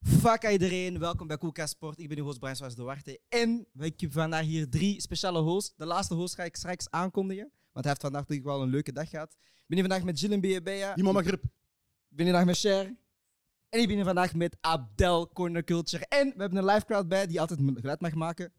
vaak aan iedereen, welkom bij Coolcast Sport. Ik ben uw host Brian Swaars de Warte en we hebben vandaag hier drie speciale hosts. De laatste host ga ik straks aankondigen, want hij heeft vandaag denk ik wel een leuke dag gehad. Ik ben hier vandaag met Gillen Beabea, ik Die mama grip. ben hier vandaag met Cher en ik ben hier vandaag met Abdel Corner Culture. En we hebben een live crowd bij die altijd geluid mag maken.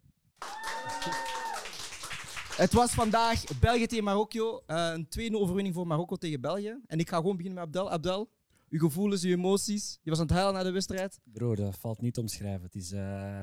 Het was vandaag België tegen Marokko, eh, een 2-0 overwinning voor Marokko tegen België. En ik ga gewoon beginnen met Abdel. Abdel, uw gevoelens, uw emoties. Je was aan het huilen na de wedstrijd. Bro, dat valt niet te omschrijven. Het is, eh,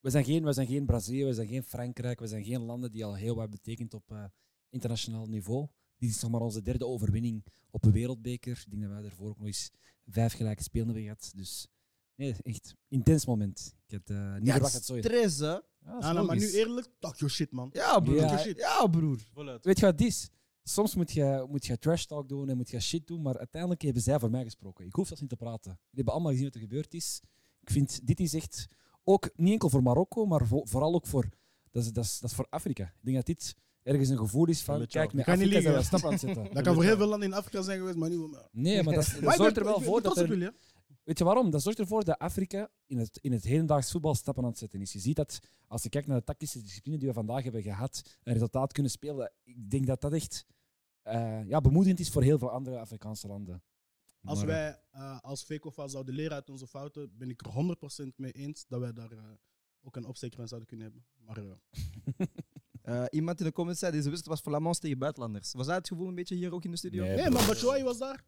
we, zijn geen, we zijn geen Brazilië, we zijn geen Frankrijk, we zijn geen landen die al heel wat betekent op eh, internationaal niveau. Dit is nog maar onze derde overwinning op een wereldbeker. Ik denk dat wij daarvoor ook nog eens vijf gelijke spelen hebben gehad. Dus nee, echt intens moment. Ik had eh, niet verwacht dat het zo is. stress, hè? Ja, Ah, nou, maar nu eerlijk, talk your shit, man. Ja, broer. Ja, Oh, Ja, broer. Weet je wat het is? Soms moet je, moet je trash talk doen en moet je shit doen, maar uiteindelijk hebben zij voor mij gesproken. Ik hoef zelfs niet te praten. Jullie hebben allemaal gezien wat er gebeurd is. Ik vind, dit is echt ook niet enkel voor Marokko, maar vo- vooral ook voor, dat is, dat, is, dat is voor Afrika. Ik denk dat dit ergens een gevoel is van, Met jou. kijk, met Ik kan niet Afrika zijn we liegen, een stap aan het zetten. Dat kan voor heel veel landen in Afrika zijn geweest, maar nu... Maar Nee, maar dat, is- dat ik ben- zorgt er wel ik ben voor dat trots op er... jullie, hè. Weet je waarom? Dat zorgt ervoor dat Afrika in het, in het hedendaags voetbal stappen aan het zetten is. Je ziet dat als je kijkt naar de tactische discipline die we vandaag hebben gehad, een resultaat kunnen spelen. Ik denk dat dat echt eh, ja, bemoedigend is voor heel veel andere Afrikaanse landen. Als Maar, eh, wij eh, als Vekofa zouden leren uit onze fouten, ben ik er 100% mee eens dat wij daar eh, ook een opsteker van zouden kunnen hebben. Maar eh, Eh, iemand in de comments zei, deze wedstrijd was Flamands tegen buitenlanders. Was dat het gevoel een beetje hier ook in de studio? Nee. nee, maar Batshuayi was daar.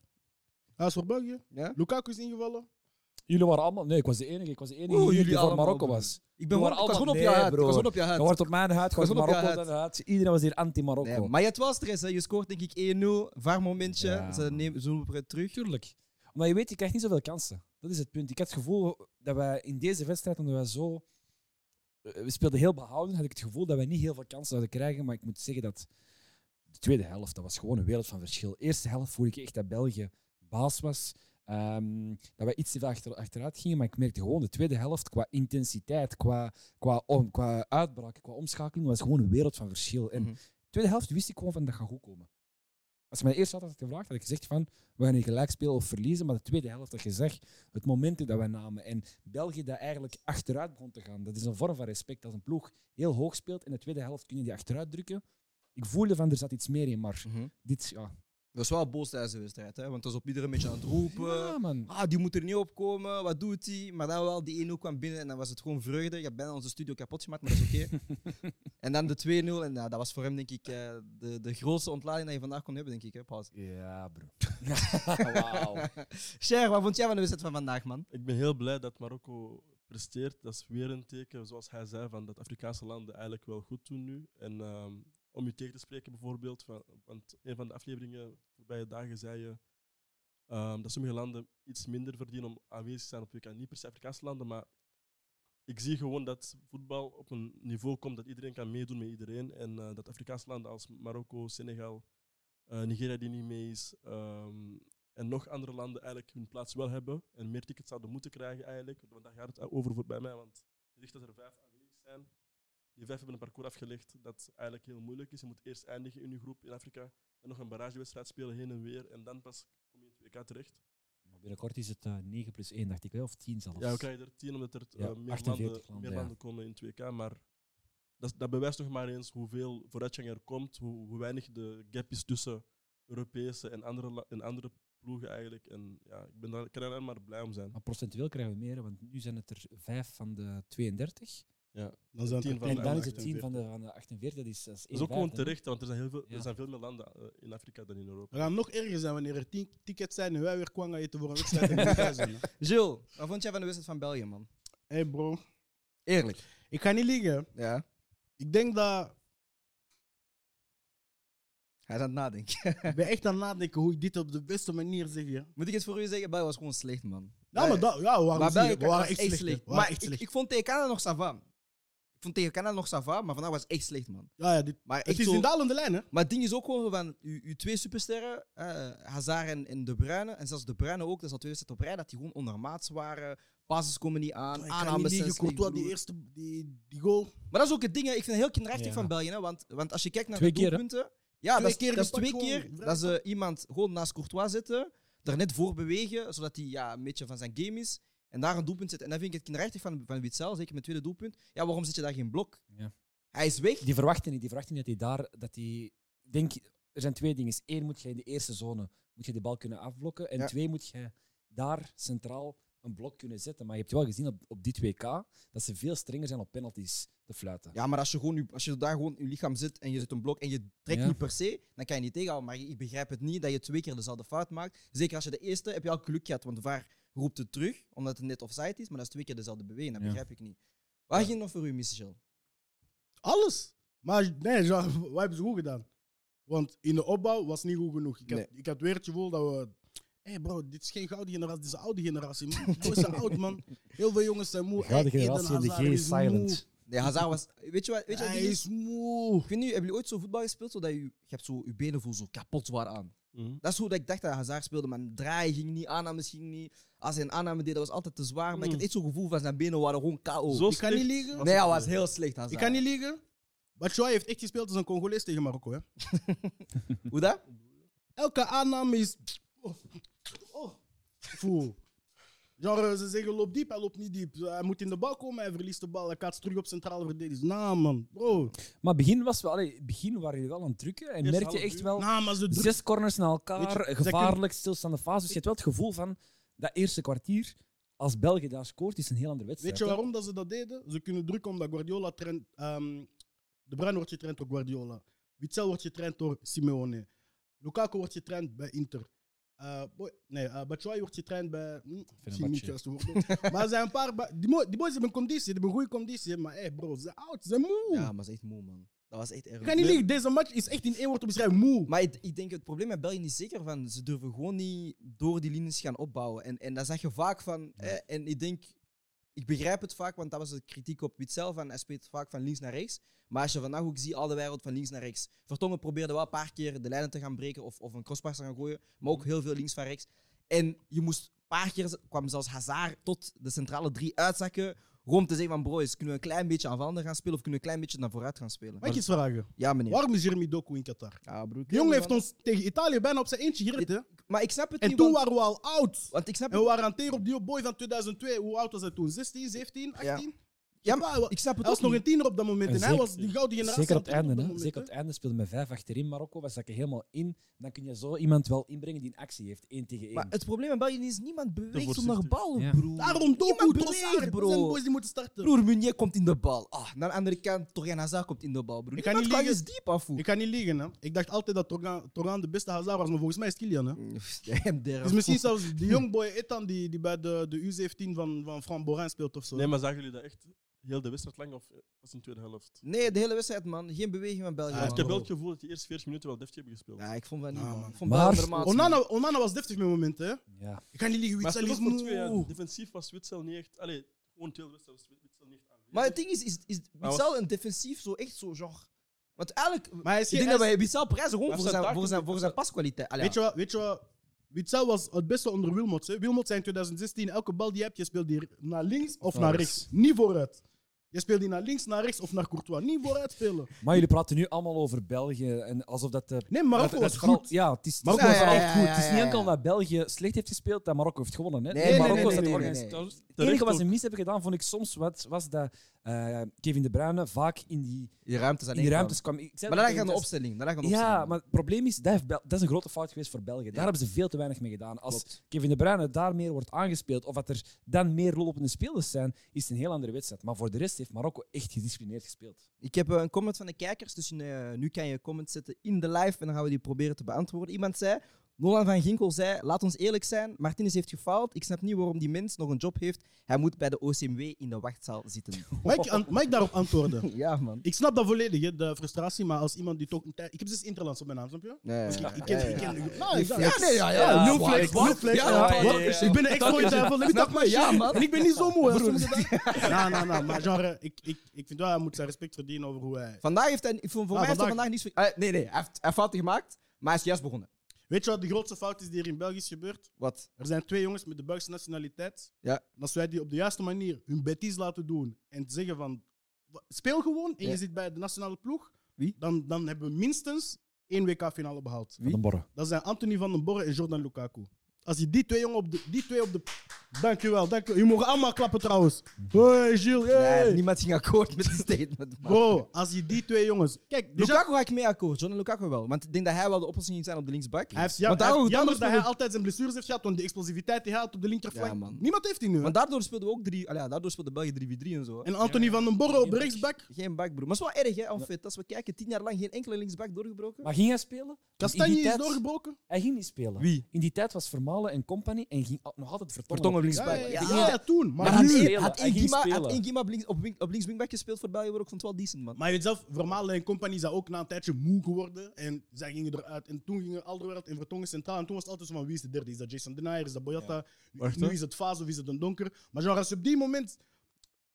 Hij is voor België. Ja? Lukaku is ingevallen. Jullie waren allemaal... Nee, ik was de enige. Ik was de enige Oeh, hier jullie die voor allemaal, Marokko broer. was. Ik ben We gewoon, waren ik was gewoon op jou allemaal- nee, uit. Ik was broer. gewoon op jou Je uit. wordt op mijn huid, je was wordt op op jouw Marokko huid. dan huid. Iedereen was hier anti-Marokko. Nee, maar je had wel stress, hè. Je scoort denk ik 1-0, vaar momentje. Ja. Ze nemen zo het terug. Tuurlijk. Omdat je weet, je krijgt niet zoveel kansen. Dat is het punt. Ik had het gevoel dat wij in deze wedstrijd, omdat wij zo... eh, We speelden heel behouden, had ik het gevoel dat wij niet heel veel kansen zouden krijgen. Maar ik moet zeggen dat de tweede helft, dat was gewoon een wereld van verschil. De eerste helft voelde ik echt dat België baas was. ehm, dat wij iets te veel achter, achteruit gingen. Maar ik merkte gewoon de tweede helft qua intensiteit, qua, qua, om, qua uitbraak, qua omschakeling, was gewoon een wereld van verschil. En Mhm. de tweede helft wist ik gewoon van dat gaat goed komen. Als je mij eerst had had gevraagd, had ik gezegd van we gaan hier gelijk spelen of verliezen. Maar de tweede helft had je zegt, het momentum dat wij namen. En België dat eigenlijk achteruit begon te gaan. Dat is een vorm van respect. Als een ploeg heel hoog speelt in de tweede helft kun je die achteruit drukken. Ik voelde van er zat iets meer in, maar dit, ja. Mhm. Dat was wel boos tijdens de wedstrijd, hè. Want dat was op iedereen een beetje aan het roepen. Ja, man. Ah, die moet er niet op komen. Wat doet hij? Maar dan wel, die 1-0 kwam binnen en dan was het gewoon vreugde. Je hebt bijna onze studio kapot gemaakt, maar dat is oké. en dan de 2-0. En ja, dat was voor hem denk ik eh, de, de grootste ontlading dat je vandaag kon hebben, denk ik, hè, Paus. Ja, bro. Wauw. Cher, wat vond jij van de wedstrijd van vandaag, man? Ik ben heel blij dat Marokko presteert. Dat is weer een teken, zoals hij zei, van dat Afrikaanse landen eigenlijk wel goed doen nu. En ehm, om je tegen te spreken bijvoorbeeld, van, want een van de afleveringen de voorbije dagen zei je ehm, dat sommige landen iets minder verdienen om aanwezig te zijn op WK. Niet per se Afrikaanse landen, maar ik zie gewoon dat voetbal op een niveau komt dat iedereen kan meedoen met iedereen. En eh, dat Afrikaanse landen als Marokko, Senegal, eh, Nigeria die niet mee is, ehm, en nog andere landen eigenlijk hun plaats wel hebben en meer tickets zouden moeten krijgen eigenlijk. Want daar gaat het eh, over voor bij mij, want je zegt dat er vijf aanwezig zijn. Die vijf hebben een parcours afgelegd dat eigenlijk heel moeilijk is. Je moet eerst eindigen in je groep in Afrika, dan nog een barragewedstrijd spelen heen en weer en dan pas kom je in het WK terecht. Maar binnenkort is het eh, 9 plus 1, dacht ik wel, of 10 zelfs. Ja, we krijgen er tien omdat er eh, Ja, meer, 48 landen, landen, meer ja. landen komen in het WK, maar dat, dat bewijst nog maar eens hoeveel vooruitgang er komt, hoe, hoe weinig de gap is tussen Europese en andere, la- en andere ploegen eigenlijk. En ja, ik ben daar, ik kan er alleen maar blij om zijn. Maar procentueel krijgen we meer, hè, want nu zijn het er 5 van de 32. Dan zijn Tien het van er en de dan is het 48. 10 van de, van de 48. Dat is, dat is, Dat is één ook gewoon vijfde, hè. terecht, want er zijn, heel veel, Ja. er zijn veel meer landen eh, in Afrika dan in Europa. We gaan nog erger zijn wanneer er tien tickets zijn en wij weer kwang gaan eten voor een wedstrijd. en niet thuis zijn, hè. Jill, wat vond jij van de wedstrijd van België, man? hey bro, Eerlijk. ik ga niet liegen. Ja. Ik denk dat Hij is aan het nadenken. ik ben echt aan het nadenken hoe ik dit op de beste manier zeg. hè. Moet ik het voor u zeggen? België was gewoon slecht, man. Eh, Nou, maar dat, ja, we waren, maar zielig, België we waren was echt slecht. hè. We waren Maar echt ik, slecht. ik vond tegen Canada nog Sava. Ik vond tegen Canada nog Sava, maar vandaag was echt slecht, man. Ja, ja, dit, Maar echt het is zo- in dalende lijn, hè? Maar het ding is ook gewoon van uw, uw twee supersterren, eh, Hazard en, en De Bruyne, en zelfs De Bruyne ook, dat is al twee wedstrijden op rij, dat die gewoon ondermaats waren. Passes komen niet aan, Ik kan niet aannames zijn liegen, slecht, Courtois, die broer. eerste die, die goal. Maar dat is ook het ding, hè. ik vind het heel kinderachtig Ja. van België. Hè, want, want als je kijkt naar Twee de keer, hè? doelpunten... ja, Twee dat is, keer dat is gepakt twee gewoon, keer vrij dat ze iemand gewoon naast Courtois zetten, daar net voor bewegen, zodat hij ja, een beetje van zijn game is. en daar een doelpunt zet. En dan vind ik het kinderachtig van, van Witzel, zeker met het tweede doelpunt. Ja, waarom zit je daar geen blok? Ja. Hij is weg. Die verwachten niet. Die verwachten niet dat hij daar... Dat hij, ik denk, er zijn twee dingen. Eén, moet je in de eerste zone moet je de bal kunnen afblokken. En Ja. twee, moet je daar centraal een blok kunnen zetten. Maar je hebt wel gezien op, op dit WK dat ze veel strenger zijn op penalties te fluiten. Ja, maar als je, gewoon, je- als je daar gewoon in je lichaam zit en je zet een blok en je trekt Ja. niet per se, dan kan je niet tegenhouden. Maar ik begrijp het niet dat je twee keer dezelfde fout maakt. Zeker als je de eerste heb je al geluk gehad, want de VAR roept het terug omdat het net offside is, maar dat is twee keer dezelfde beweging. Dat Ja. begrijp ik niet. Waar ging het nog voor u, Michel? Alles. Maar nee, ja, wat hebben ze goed gedaan? Want in de opbouw was niet goed genoeg. Ik had, ik had weer het gevoel dat we... Hé hey bro, dit is geen gouden generatie, dit is een oude generatie. Man. Die boys zijn oud, man. Heel veel jongens zijn moe. De gouden Hey, Eden generatie en de Hazard G is is moe. silent. Nee, Hazard was. Weet je wat? Weet je wat Hij die is? is moe. Ik weet niet, hebben jullie ooit zo voetbal gespeeld zodat je, je hebt zo je benen voel zo kapot zwaar aan? Mhm. Dat is hoe dat ik dacht dat Hazard speelde, maar draaien ging niet, aannames ging niet. Als hij een aanname deed, dat was altijd te zwaar. Maar ik had Mm. echt zo'n gevoel van zijn benen waren gewoon KO. Zo Ik kan niet slecht liegen. nee, hij was heel slecht Hazard. Ik kan niet liegen. Batshuayi heeft echt gespeeld als een Congolees tegen Marokko. Hè. Hoe dat? Elke aanname is... Oh. Oh. Voel. Genre, ze zeggen loop diep, hij loopt niet diep. Hij moet in de bal komen, hij verliest de bal. Hij kaatst terug op centrale verdediging. Nou man, bro. Maar begin was wel, allee, begin waren jullie wel aan het drukken en Eerst merkte je half echt uur. wel Nou, maar ze druk- zes corners na Weet je, elkaar, ze gevaarlijk, stilstaande fase. Dus je hebt wel het gevoel van dat eerste kwartier, als België daar scoort, is een heel andere wedstrijd. Weet je hè? waarom dat ze dat deden? Ze kunnen drukken omdat Guardiola traint. ehm, de Bruin wordt getraind door Guardiola. Witzel wordt getraind door Simeone. Lukaku wordt getraind bij Inter. Eh, boy- nee, eh, Batshuayi wordt getraind bij. Hm, misschien niet juist woord. maar er zijn een paar. ba- Die, mo- die boys hebben conditie, die hebben goede conditie. Maar hé, bro, ze zijn oud, ze zijn moe. Ja, maar ze is echt moe, man. Dat was echt erg. Ik ga niet liegen, deze match is echt in één woord te beschrijven. Moe. Maar ik, ik denk het probleem met België is zeker van ze durven gewoon niet door die linies gaan opbouwen. En, en dat zeg je vaak van. eh, en ik denk, ik begrijp het vaak, want dat was de kritiek op Witzel. Van, hij speelt vaak van links naar rechts. Maar als je vandaag ook ziet, al de wereld van links naar rechts. Vertongen probeerde wel een paar keer de lijnen te gaan breken of, of een crosspas te gaan gooien. Maar Mm. ook heel veel links van rechts. En je moest een paar keer, kwam zelfs Hazard tot de centrale drie uitzakken. Gewoon om te zeggen van broers, kunnen we een klein beetje aanvallender gaan spelen of kunnen we een klein beetje naar vooruit gaan spelen? Mag ik iets vragen? Ja, meneer. Waarom is Jeremy Doku in Qatar? Ja, broer, ik Die jongen weet heeft niet, ons tegen Italië bijna op zijn eentje gereden. hè? man. Maar ik snap het En niet. toen want- waren we al oud. Want ik snap, En het, we waren aan het teren op die boy van 2002. Hoe oud was hij toen? 16, 17, 18? ja, Hij maar, ik snap het was ook nog niet. een tiener op dat moment. En En, hij zeker- was die gouden generatie. Zeker op het aan einde. teren Hè? dat Zeker moment, op het einde speelde met vijf achterin Marokko. Was dat er helemaal in. Dan kun je zo iemand wel inbrengen die een actie heeft. één tegen één. Maar het probleem in België is niemand beweegt voorzichtig. zonder bal, Ja. broer. hè. Daarom Doku, Niemand Trossard, beweegt, bro. zijn bro. boys die moeten starten. Broer Meunier komt in de bal. Ah, naar de andere kant, Torjan Hazard komt in de bal, broer. Ik Ik kan kan niet kan eens liegen. diep afvoeren. Ik ga niet liegen. Hè. Ik dacht altijd dat Torgan, Torgan de beste Hazard was, maar volgens mij is Kilian. Hè. Het is misschien zelfs die jongboy Etan die, die bij de, de U17 van, van Fran Borin speelt of zo. Nee, maar zagen jullie dat echt heel de wedstrijd lang of eh, was in de tweede helft? Nee, de hele wedstrijd, man. Geen beweging van België. Ah, man. ik heb wel het gevoel dat die eerste 40 minuten wel deftig hebben gespeeld. Ja, ik vond dat niet, Ah, man. man. Ik vond Maar- België normaal. Onana, Onana was deftig met momenten. Hè. ja. Ik ga niet liegen, maar Witzel het is was voor twee, ja, moe. defensief was Witzel niet echt. Allee, gewoon heel de wedstrijd was Witzel niet echt aanwezig. Maar het ding is, is, is Maar was- Bissau een defensief zo echt zo, genre... Want eigenlijk, Maar hij is ik denk geen- dat wij Bissau prijzen gewoon Maar voor staat zijn, daar voor niet- zijn, voor zijn paskwaliteit. Allee, Weet je wat? Weet je wat? Witzel was het beste onder Wilmots. Hè? Wilmots zei in 2016, elke bal die je hebt, je speelt die naar links of naar naar rechts. rechts. Niet vooruit. Je speelt die naar links, naar rechts of naar Courtois. Niet vooruit spelen. maar jullie praten nu allemaal over België. En alsof dat. de Nee, Marokko dat- dat was vooral- goed. Ja, het is, Marokko het is was vooral ja, echt ja, goed. ja, het is niet ja, enkel ja. dat België slecht heeft gespeeld, dat Marokko heeft gewonnen. Hè? Nee, nee, Marokko nee, is dat nee, nee, organis- nee, nee. Trouwens, Het enige terecht wat ze mis hebben gedaan, vond ik soms, wat, was dat eh, Kevin De Bruyne vaak in die, Die ruimtes in alleen. die kwam. ruimtes kwam. Ik zei Maar dat dan tegen gaan de Tess- opstelling. Dan gaan de Ja, opstelling. maar het probleem is, dat, heeft Bel- dat is een grote fout geweest voor België. Daar hebben ze veel te weinig mee gedaan. Als Kevin De Bruyne daar meer wordt aangespeeld, of dat er dan meer lopende spelers zijn, is het een heel andere wedstrijd. Maar voor de rest heeft Marokko echt gedisciplineerd gespeeld. Ik heb eh, een comment van de kijkers, dus eh, nu kan je comments zetten in de live en dan gaan we die proberen te beantwoorden. Iemand zei, Nolan van Ginkel zei, laat ons eerlijk zijn, Martinez heeft gefaald. Ik snap niet waarom die mens nog een job heeft. Hij moet bij de OCMW in de wachtzaal zitten. Mag ik, an- mag ik daarop antwoorden? ja, man. Ik snap dat volledig, hè, de frustratie. Maar als iemand die toch... een tijd- Ik heb dus Interlands op mijn naam, snap je? Nee, Ik, ik ken... Ik ken nou, Ja, exact. nee, ja, ja. Ja, New zwaar, flex, wat? new flex. Ja, Wat? ja, ja, ja, ja. Ik ben eh, echt nooit daarvan. Ik Snap me, ja, man. En ik ben niet zo moe. Nou, nou, nou. Maar genre, ik, ik, ik vind wel, hij moet zijn respect verdienen over hoe hij... Vandaag heeft hij, voor, voor Ah, mij heeft hij vandaag. Nou, vandaag niets... ver- Eh, nee, nee, hij heeft, hij heeft fouten gemaakt, maar hij is juist begonnen. Weet je wat de grootste fout is die er in België is gebeurd? Wat? Er zijn twee jongens met de Belgische nationaliteit. Ja. En als wij die op de juiste manier hun betties laten doen en te zeggen van "Wa- speel gewoon en Ja. je zit bij de nationale ploeg, Wie? Dan, dan hebben we minstens één WK-finale behaald. Wie? Van den Borre. Dat zijn Anthony van den Borre en Jordan Lukaku. Als je die twee jongen op de... Die twee op de dankjewel, dankjewel. Je mogen allemaal klappen trouwens. Hey, Gilles. Hey. Nee, niemand ging akkoord met die statement. man. Bro, als je die twee jongens... Kijk, déjà- Lukaku ga ik mee akkoord, John en Lukaku wel. Want ik denk dat hij wel de oplossing moet zijn op de linksback. hij heeft, ja, want, hij heeft- daardoor, jammer daardoor dat hij speelden- altijd zijn blessures heeft gehad, want de explosiviteit die hij had op de linkerflank... Ja, man. niemand heeft die nu. hè. want daardoor speelden we ook drie, allee, ja, daardoor speelde België 3v3 en zo. hè. En Anthony van den Borre op Geen rechtsback. Geen backbroer. Maar het is wel erg, hè, Anfit. Als we kijken, tien jaar lang geen enkele linksback doorgebroken. Maar ging hij spelen? Want in Kastanje die is tijd- doorgebroken. Hij ging niet spelen. Wie? In die tijd was Vermalen en compagnie en ging al- nog altijd Vertongen. Vertongen Ja, linksback. ja, ja, Ja. ja, ja, toen. Maar, Maar hij had, nu... ging spelen, spelen. had Hij ging Ingima, had spelen. Ingima op, links, op, wing- op linkswingback gespeeld voor België, waar ik vond het wel decent, man. Maar jezelf, Vermalen en compagnie zijn ook na een tijdje moe geworden. En zij gingen eruit. En toen gingen Alderwereld en Vertongen centraal. En toen was het altijd zo van wie is de derde? Is dat Jason Denayer? Is dat Boyata? Nu- Wacht, nu hè. is het Faas of is het een Donker? Maar genre, als je op die moment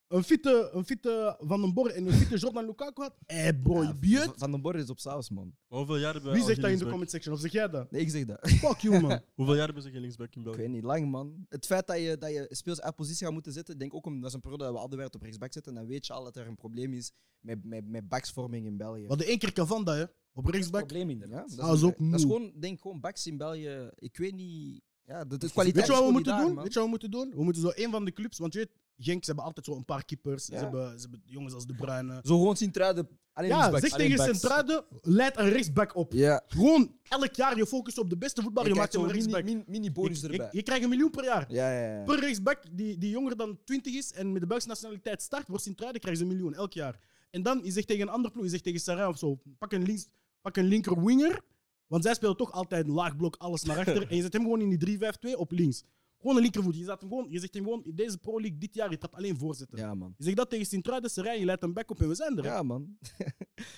een fitte, een fitte Van den Borre en een fitte Jordan Lukaku had. Eh bro, je Ja, biedt. Van den Borre is op saus, man. Maar hoeveel jaar hebben we Wie al zegt geen dat in de linksback? comment section? Of zeg jij dat? Nee, ik zeg dat. Fuck you man. Hoeveel jaar hebben ze geen linksback in Ik België? weet niet, lang man. Het feit dat je, dat je speels uit positie gaat moeten zetten, ik denk ook om, dat is een periode dat we Alderweireld op rechtsback zetten, dan weet je al dat er een probleem is met, met, met backsvorming in België. We hadden één keer Cavanda hè, op rechtsback. probleem Ja, dat inderdaad. is, Ah, is een- ook moe. dat is gewoon, denk gewoon backs in België. Ik weet niet. Ja, de, de kwaliteit Weet je is wat we gewoon moeten niet doen? daar, Weet man. je wat we moeten doen? We moeten zo één van de clubs, want je weet, Genk, ze hebben altijd zo een paar keepers. Ja. Ze, hebben, ze hebben jongens als De Bruyne. Zo gewoon sint truiden alleen Ja, linksbacks. zeg tegen Alleen backs. Centraade, leid een rechtsback op. Ja. Gewoon elk jaar je focus op de beste voetballer, je, krijgt maakt een zo'n rechtsback. mini, mini bonus Je- je- erbij. Je, krijgt een miljoen per jaar. ja, ja, ja. Per rechtsback die, die jonger dan 20 is en met de Belgische nationaliteit start, wordt Centraade, krijgt ze een miljoen elk jaar. En dan, je zegt tegen een ander ploeg, je zegt tegen Sarah of zo, pak een, links, pak een linker winger, want zij speelt toch altijd een laag blok, alles naar achter. en je zet hem gewoon in die 3-5-2 op links. Gewoon een linkervoet. Je, zet hem gewoon, je zegt hem gewoon, in deze Pro League dit jaar, je trapt alleen voorzetten. Ja, man. Je zegt dat tegen Centraade, Sarah, je leidt een back op en we zijn er. hè. Ja, man.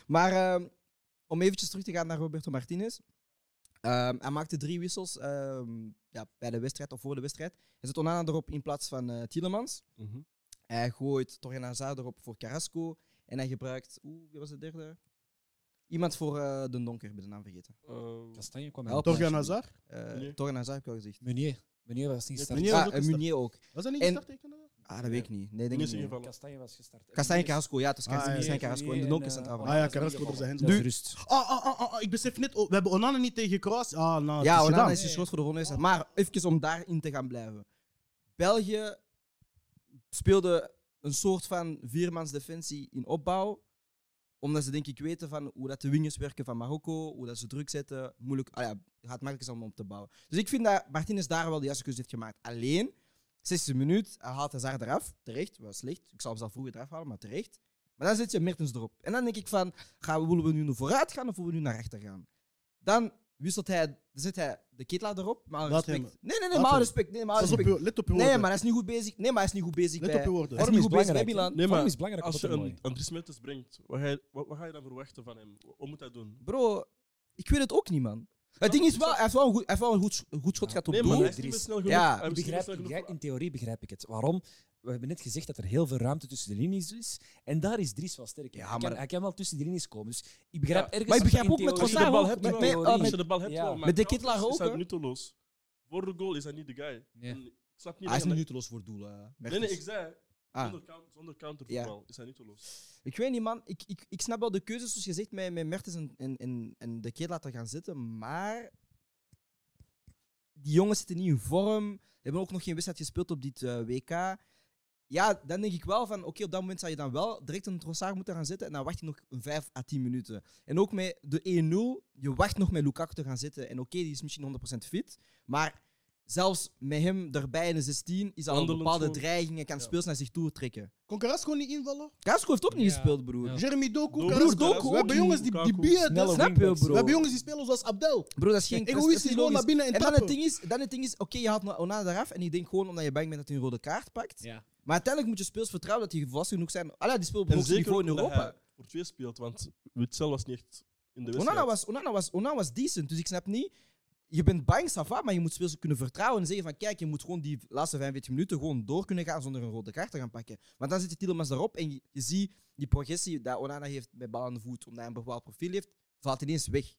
maar ehm, om eventjes terug te gaan naar Roberto Martinez. Ehm, hij maakte drie wissels ehm, ja, bij de wedstrijd of voor de wedstrijd. Hij zet Onana erop in plaats van eh Tielemans. Mhm. Hij gooit Torjan Hazard erop voor Carrasco. En hij gebruikt... Oeh, wie was de derde? Iemand voor eh, de donker, ik ben de naam vergeten. Eh, Kastanje kwam Help. helpen. Torgan Hazard? Eh Meunier. Torjan Hazard heb ik al gezegd. Meunier. Meunier was niet gestart. Meunier was ah, ook en gestart. Meunier ook. Was dat niet En- gestart tegen Canada? Ah, dat weet ik niet. Nee, denk Meunier ik is niet. ingevallen. Kastanje was gestart. Kastanje Carrasco, ja, het was Ah, ja. Kastanje Carrasco. En de donker centraal. Ah, ja, Carrasco door zijn Nu- rust. Ah, ah, ah, ah, ah, ik besef net, oh, we hebben Onana niet tegen Kroatië. Ah, nou, het Ja, is Onana gedaan. is geschorst voor de volgende wedstrijd. Maar even om daarin te gaan blijven. België speelde een soort van viermans defensie in opbouw. Omdat ze denk ik weten van hoe dat de wingers werken van Marokko, hoe dat ze druk zetten. Moeilijk, ah ja, gaat makkelijk zijn om op te bouwen. Dus ik vind dat Martinez daar wel de juiste keuze heeft gemaakt. Alleen, 16 minuut, hij haalt Hazard eraf. Terecht, was slecht. Ik zou hem zelf vroeger eraf halen, maar terecht. Maar dan zet je Mertens erop. En dan denk ik van, gaan we, willen we nu naar vooruit gaan of willen we nu naar achter gaan? Dan wisselt hij, dan zet hij de Kitla erop. Maar alle Laat respect. hem. Nee, nee, nee, Laat maar alle hem. respect. Nee, maar alle Pas op respect. je- Let op je Nee, woorden. maar hij is niet goed bezig. Nee, maar hij is niet goed bezig Let bij... op je woorden. Hij is Vorm niet is goed bezig bij belangrijk, hè? Milan. Nee, Vorm maar is belangrijk als op je het een moment. Andries Mertens brengt, wat ga, je, wat, wat ga je dan verwachten van hem? Wat, wat moet hij doen? Bro, ik weet het ook niet, man. Het ding is wel, hij heeft wel een goed, hij heeft wel een goed, sch- een goed schot gehad op Nee, maar doel. hij is niet meer snel genoeg. Ja, ik Hij is Ik niet meer begrijp, snel ik genoeg begrijp- voor- in theorie begrijp ik het. Waarom? We hebben net gezegd dat er heel veel ruimte tussen de linies is. En daar is Dries wel sterk. in. Ja, hij, maar- kan, hij kan wel tussen de linies komen. Dus ik begrijp Ja, ergens... maar ik begrijp in ook met theorie- Als je Trossard de bal ook, hebt, met- wel. met- eh, Als je met- de bal hebt, ja. wel. maar Met de trouwens Kittelaar Is ook, hè? hij nutteloos? Voor de goal is hij niet de guy. Nee. En ik snap niet Hij is dat niet nutteloos voor het doel. eh, Nee, nee, Mertens. ik zei, Ah. zonder, coun- zonder countervoetbal is hij nutteloos. Ik weet niet, man. Ik, ik, ik snap wel de keuzes, zoals je zegt, met, met Mertens en, en, en, en de keer laten gaan zitten. Maar die jongens zitten niet in vorm. Hebben ook nog geen wedstrijd gespeeld op dit eh, WK. Ja, dan denk ik wel van, oké, op dat moment zou je dan wel direct een Trossard moeten gaan zetten. En dan wacht je nog een 5 à 10 minuten. En ook met de 1-0, je wacht nog met Lukaku te gaan zitten. En oké, die is misschien 100% fit. Maar zelfs met hem erbij in de 16 is al een Wandelend bepaalde gewoon. dreiging en kan Ja. speels naar zich toe trekken. Kon Carrasco niet invallen? Casco heeft ook niet Ja. gespeeld, broer. Ja. Jeremy Doku, Doku, Carrasco. Doku ook we hebben niet. jongens die, die Lukaku. bieden. Snelle dus- Snap je, wingbacks. bro? We hebben jongens die spelen zoals Abdel. Bro, dat is geen dat is- dat is Egoïstisch, niet gewoon logisch. naar binnen en En dan het tappen. ding is, dan het ding is oké, je haalt Onana eraf en ik denk gewoon omdat je bang bent dat hij een rode kaart pakt. Ja. Maar uiteindelijk moet je speels vertrouwen dat die volwassen genoeg zijn. Alla, die speelt op het En hoogste zeker niveau in ook omdat Europa. hij voor twee speelt, want Witzel was niet echt in de wedstrijd. Onana was, Onana, was, Onana was decent, dus ik snap niet... Je bent bang, Safa, maar je moet speels kunnen vertrouwen en zeggen van kijk, je moet gewoon die laatste 45 minuten gewoon door kunnen gaan zonder een rode kaart te gaan pakken. Want dan zit je Tielemans daarop en je, je ziet die progressie dat Onana heeft met bal aan de voet, omdat hij een bepaald profiel heeft, valt ineens weg.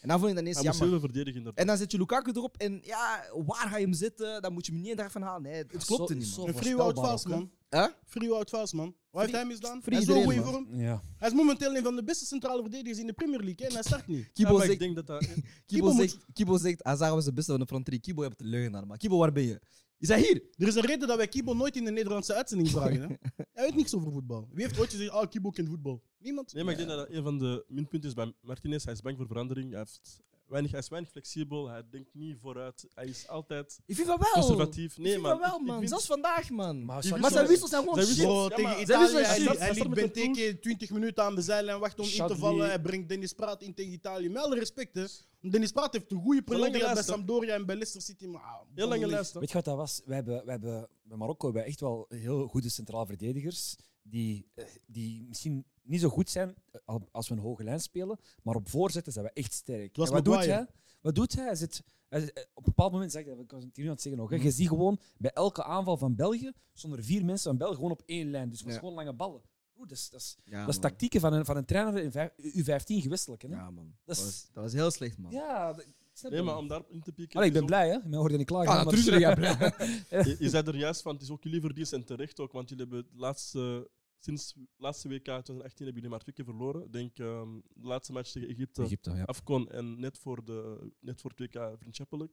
En dan vond ik dat ineens Hij moest heel jammer. veel verdedigen, inderdaad. En dan zet je Lukaku erop en ja, waar ga je hem zitten? Dan moet je hem niet daarvan halen. Nee, het klopte Zo- niet, zo man. Een free Wout voorspelbaar Vaas, ook, hè. man. Hè? Free Wout Vaas, man. Wat heeft hij misdaan? free hij is zo iedereen, goed man. vorm. Ja. Hij is momenteel een van de beste centrale verdedigers in de Premier League. hè, En hij start niet. Ja, Kibo maar ik zegt, denk dat dat... Kibo, moet- zegt, Kibo zegt, Hazard was de beste van de front drie. Kibo, je hebt een leugenaar, maar Kibo, waar ben je? Is hij hier? Er is een reden dat wij Kibo nooit in de Nederlandse uitzending vragen. Hè? Hij weet niks over voetbal. Wie heeft ooit gezegd, ah, Kibo kent voetbal? Niemand. Nee, maar ik denk dat dat een van de minpunten is bij Martinez. Hij is bang voor verandering. Hij, heeft weinig, hij is weinig flexibel. Hij denkt niet vooruit. Hij is altijd Ik vind dat wel. conservatief. ik Nee, vind man. dat wel, Ik- ik man. vind- Zelfs vandaag, man. Maar, Maar, Die Sancho- wissels- zijn wissels zijn gewoon zijn shit. wissels- Bro, Ja, maar- tegen Dat is Italië, een hij, shit. liet- hij Dat is liet met een Benteke 20 minuten aan de zijlijn wachten om in Chadli. te vallen. Hij brengt Dennis Praat in tegen Italië. Met alle respect, hè. Dennis Praat heeft een goede lange periode gehad bij lijst, hè. Sampdoria en bij Leicester City. Maar, ah, Heel lange nee. lijst. hè. Weet je wat dat was? Wij hebben, wij hebben, bij Marokko hebben we echt wel heel goede centraal verdedigers. Die, eh, die misschien niet zo goed zijn eh, al- als we een hoge lijn spelen. Maar op voorzetten zijn we echt sterk. was En wat doet Maguire. hij? Wat doet hij? hij, zit, hij zit- eh, op een bepaald moment, zeg ik dat, ik was het hier nu aan het zeggen nog. Hè, je ziet gewoon bij elke aanval van België. stonden er vier mensen van België gewoon op één lijn. Dus dat is Ja. gewoon lange ballen. Broer, dat is, dat is, Ja, dat is tactieken van een, van een trainer in vijf- U15 gewisselijk. Hè? Ja, Ja, man. Dat Dat is- was, dat was heel slecht, man. dat- snap Nee, je? maar om daarop in te pikken... Allee, ik is ben blij, hè? Mijn hoorde niet klaar. Ah, natuurlijk ben jij blij. ook- Je, je zei er juist van, het is ook jullie verdienst en terecht ook. Want jullie hebben het laatste... Sinds laatste WK 2018 hebben jullie maar twee keer verloren. Ik denk ehm, de laatste match tegen Egypte, Egypte, ja. Afcon en net voor, de, net voor het WK vriendschappelijk.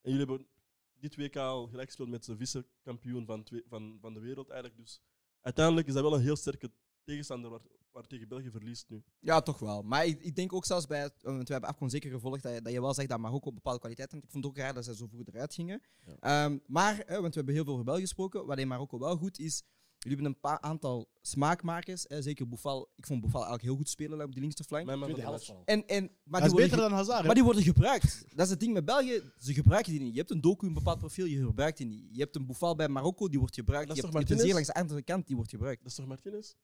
En jullie hebben dit WK al gelijk gespeeld met de vice-kampioen van, het we- van, van de wereld eigenlijk. Dus uiteindelijk is dat wel een heel sterke tegenstander waar, waar tegen België verliest nu. Ja, toch wel. Maar ik, ik denk ook zelfs bij, het- want we hebben Afcon zeker gevolgd, dat je, dat je wel zegt dat Marokko op bepaalde kwaliteiten had. Ik vond het ook raar dat ze zo vroeg eruit gingen. Ehm, maar, hè, want we hebben heel veel over België gesproken, wat in Marokko wel goed is, jullie hebben een paar aantal smaakmakers. Hè, zeker Boufal. Ik vond Boufal eigenlijk heel goed spelen op die linkse flank. Mijn man van de de helft match. van al. En, en, maar die Hij is worden beter ge- dan Hazard. Maar hè. die worden gebruikt. Dat is het ding met België. Ze gebruiken die niet. Je hebt een docu, een bepaald profiel, je gebruikt die niet. Je hebt een Boufal bij Marokko, die wordt gebruikt. Dat je is hebt, toch je hebt een zeer Martinez? langs de andere kant, die wordt gebruikt. Dat is toch Martinez?